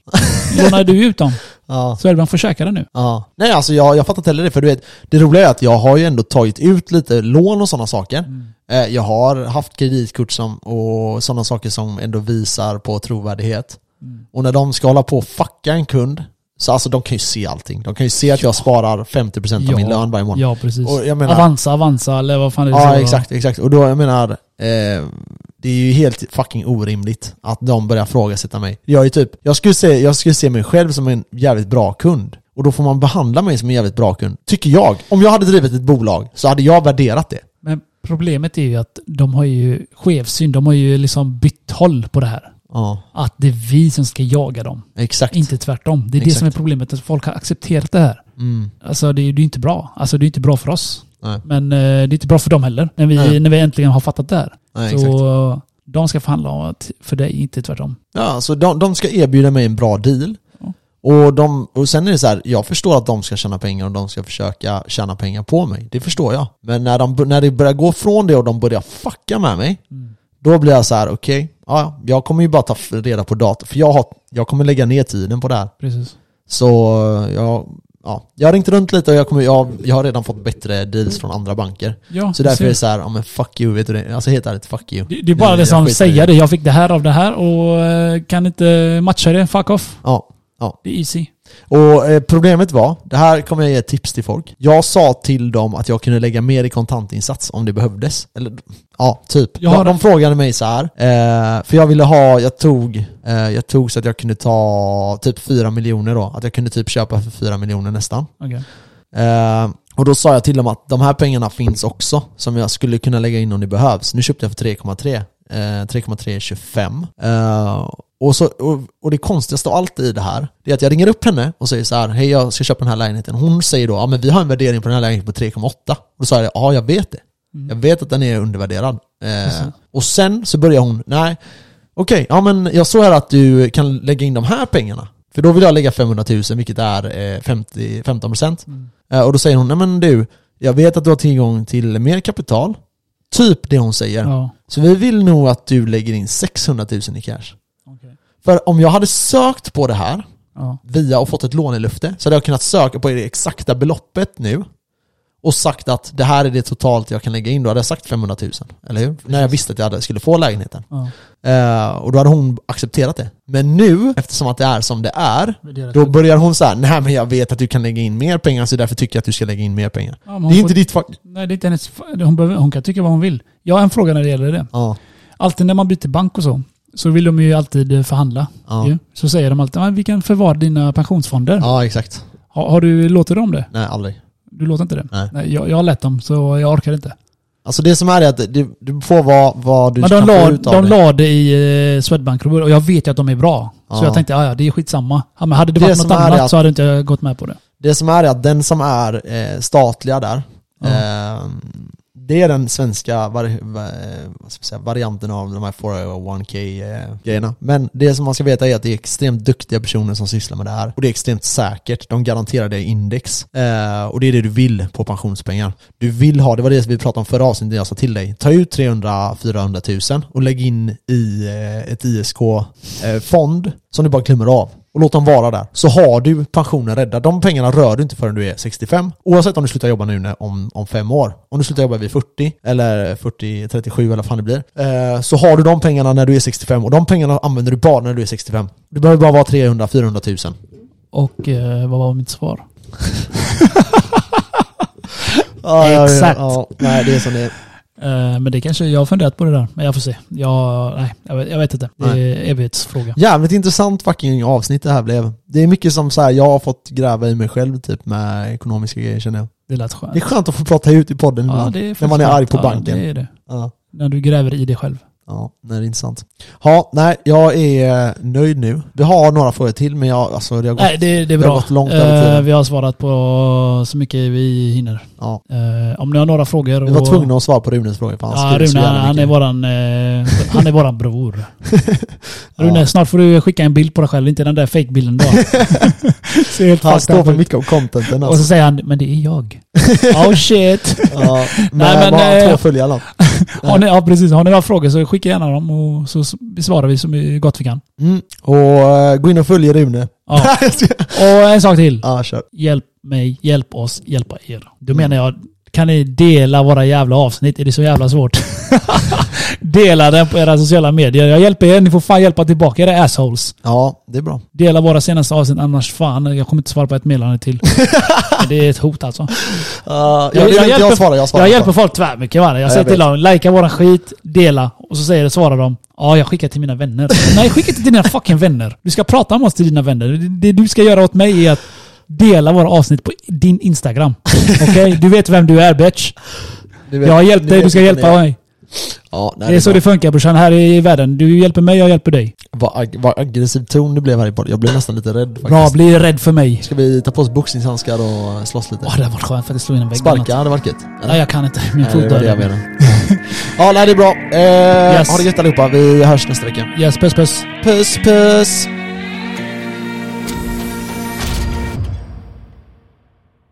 Lånar du ut dem.
ja.
Swedbank får käka det nu.
Ja. Nej alltså jag, jag fattar inte heller det, för du vet, det roliga är att jag har ju ändå tagit ut lite lån och sådana saker.
Mm.
Eh, Jag har haft kreditkort som, och sådana saker som ändå visar på trovärdighet.
Mm.
Och när de ska hålla på och fucka en kund, så alltså de kan ju se allting. De kan ju se att jag sparar 50% av min lön varje månad.
Ja, precis.
Och jag menar-
Avanza, Avanza eller vad fan är det
Ja,
så?
exakt, exakt. Liksom, Och då, jag menar, eh, det är ju helt fucking orimligt att de börjar frågasätta mig. Jag är typ, jag skulle, se, jag skulle se mig själv som en jävligt bra kund. Och då får man behandla mig som en jävligt bra kund, tycker jag. Om jag hade drivit ett bolag så hade jag värderat det.
Men problemet är ju att de har ju skevsyn. De har ju liksom bytt håll på det här.
Ja,
Att det är vi som ska jaga dem.
exakt.
Inte tvärtom. Det är det
Exakt.
som är problemet. Att folk har accepterat det här.
Mm,
Alltså det är ju inte bra. Alltså det är inte bra för oss.
nej,
Men eh, det är inte bra för dem heller. När vi,
Nej.
när vi äntligen har fattat det här.
nej,
så
exakt.
eh, de ska förhandla om att- för dig, inte tvärtom.
Ja, så de, de ska erbjuda mig en bra deal.
Ja.
Och, de, och sen är det så här, jag förstår att de ska tjäna pengar och de ska försöka tjäna pengar på mig. Det förstår jag. Men när, de, när det börjar gå från det och de börjar fucka med mig, då blir jag så här: okej, ja, ja, jag kommer ju bara ta reda på data. För jag, har, jag kommer lägga ner tiden på det här.
Precis.
Så jag, ja, jag har ringt runt lite och jag, kommer, jag, jag har redan fått bättre deals från andra banker.
Ja,
Så
det
därför
ser-
är det så här, ja men fuck you, vet du det? Alltså helt ärligt, fuck you.
det, det är bara det
jag
som
skiter i
säger
det.
det. Jag fick det här av det här och eh, kan inte matcha det. Fuck off.
Ja, ja.
Det är easy.
Och eh, problemet var, det här kommer jag ge tips till folk. Jag sa till dem att jag kunde lägga mer i kontantinsats om det behövdes. Eller ja, typ.
Jag har-
De, de frågade mig så här, eh, för jag ville ha, jag tog, eh, jag tog så att jag kunde ta typ 4 miljoner då. Att jag kunde typ köpa för 4 miljoner nästan.
Okej.
Eh, och då sa jag till dem att de här pengarna finns också, som jag skulle kunna lägga in om det behövs. Nu köpte jag för 3,3. Eh, 3,325. Eh, och, så, och, och det konstigaste av allt i det här, det är att jag ringer upp henne och säger så här, hej jag ska köpa den här lägenheten. Hon säger då, ja men vi har en värdering på den här lägenheten på 3,8. Och då sa jag, ja jag vet det. Jag vet att den är undervärderad. Eh, och sen så börjar hon, nej, okej, ja men jag såg här att du kan lägga in de här pengarna. För då vill jag lägga 500 000, vilket är eh, 50, 15%. Eh, Och då säger hon, nej men du, jag vet att du har tillgång till mer kapital. Typ det hon säger.
Ja.
Så vi vill nog att du lägger in 600 000 i cash.
Okej.
För om jag hade sökt på det här
Ja.
via och fått ett lånelufte så hade jag kunnat söka på det exakta beloppet nu och sagt att det här är det totalt jag kan lägga in. Då hade jag sagt 500 000, eller hur? När jag visste att jag hade, skulle få lägenheten.
Ja.
Eh, och då hade hon accepterat det. Men nu, eftersom att det är som det är,
Värderat
då
upp.
börjar hon så här, nej men jag vet att du kan lägga in mer pengar så därför tycker jag att du ska lägga in mer pengar.
Ja, men
det
hon
är
får-
inte ditt fuck...
Nej, det är inte hennes... Hon, behöver, hon kan tycka vad hon vill. Jag har en fråga när det gäller det.
Ja,
Alltid när man byter bank och så, så vill de ju alltid eh, förhandla.
Ja.
Ju. Så säger de alltid, "Ja, vi kan förvara dina pensionsfonder.
ja exakt.
Har, har du låtit dem det?
Nej, aldrig.
Du låter inte det?
Nej.
jag, jag har lett dem, så jag orkar inte.
Alltså det som är är att du, du får vad, vad du
Men
kan
de
få
la,
ut av
de
det.
la det i eh, swedbank och jag vet ju att de är bra.
Ja.
Så jag tänkte, "Ja, ja det är skitsamma. Ja, men hade det
Det
varit
som
något
är
annat
det att-
så hade inte jag gått med på det.
Det som är är att den som är eh, statliga där,
Ja.
eh, det är den svenska vari, va, eh, vad ska jag säga, varianten av de här 401k-grejerna. eh, Men det som man ska veta är att det är extremt duktiga personer som sysslar med det här. Och det är extremt säkert. De garanterar dig index. Eh, och det är det du vill på pensionspengar. Du vill ha, det var det vi pratade om förra avsnittet när jag sa till dig, ta ut 300-400 000 och lägg in i eh, ett ISK-fond eh, som du bara glömmer av och låt dem vara där. Så har du pensionen räddad. De pengarna rör du inte förrän du är 65. Oavsett om du slutar jobba nu när, om, om fem år. Om du slutar jobba vid 40 eller 40, 37 eller vad fan det blir. Eh, så har du de pengarna när du är 65 och de pengarna använder du bara när du är 65. Du behöver bara vara 300-400 tusen.
Och eh, vad var mitt svar?
Ja,
Exakt.
nej, det är som det är.
Eh, Men det kanske, jag har funderat på det där. Men jag får se. Jag, nej, jag, vet, jag vet inte. Det är evighetsfråga.
Jävligt intressant fucking avsnitt det här blev. Det är mycket som så här, jag har fått gräva i mig själv typ med ekonomiska grejer känner jag.
Det lät skönt.
Det är skönt att få prata ut i podden ibland.
det är
när man är
faktiskt
arg på
skönt.
banken.
Ja, det är det.
Ja,
När du gräver i dig själv.
ja nej, det är intressant. Ja, nej, jag är eh, nöjd nu. Vi har några frågor till men jag, alltså det har gått...
Nej, det, det
Vi
är bra.
har gått långt
Eh,
över tiden.
vi har svarat på så mycket vi hinner.
Ja.
Eh, om ni har några frågor.
Vi var tvungna att svara på Runes frågor för han
Ja,
skrev så
Rune,
jävla
han är
mycket.
våran, eh, han är våran bror. Rune,
Ja.
snart får du skicka en bild på dig själv, inte den där fake-bilden du har. Ser helt
Han
fucked
står
up
för
ut.
mycket av contenten
Och så
alltså.
säger han, men det är jag. oh shit.
ja, men,
Nej, men,
bara
eh,
två följare. eller något.
Har ni, ja, precis. Har ni några frågor så skicka gärna dem och så s- besvarar vi så gott vi kan.
Mm. Och eh, gå in och följ Rune.
Ja. Och en sak till.
ja, kör.
Hjälp mig, hjälp oss, hjälpa er. Då menar jag, kan ni dela våra jävla avsnitt? Är det så jävla svårt? dela den på era sociala medier. Jag hjälper er, ni får fan hjälpa tillbaka era assholes.
Ja, det är bra.
Dela våra senaste avsnitt, annars fan, jag kommer inte svara på ett meddelande till. Men det är ett hot alltså.
Uh, jag, jag, jag, jag svarar, jag svarar.
jag hjälper folk tvärmycket va? Jag
jag
säger till
vet.
dem, likea våran skit, dela. Och så säger, svarar de, ja jag skickar till mina vänner. Nej skicka inte till dina fucking vänner. Du ska prata om oss till dina vänner. Det- Det du ska göra åt mig är att dela våra avsnitt på din Instagram. Okej? Du vet vem du är bitch.
Du vet-
Jag har hjälpt
ni
dig,
vet
du ska
vilka
hjälpa
ni är.
mig.
Ja, nej,
Det är så det funkar brorsan här i världen. Du hjälper mig, jag hjälper dig.
Vad, ag- vad aggressiv ton det blev här i podden. Jag blev nästan lite rädd faktiskt.
Bra, bli rädd för mig.
Ska vi ta på oss boxningshandskar och slåss lite?
Åh, det hade varit skönt för att slå in en vägg.
Sparka hade varit gött.
Nej, Ah, jag kan inte. Min
Nej,
fot
det var det jag
dör.
menade. ja, nej det är bra. Eh,
Yes.
Ha det gött allihopa. Vi hörs nästa vecka.
Yes, puss puss.
Puss puss!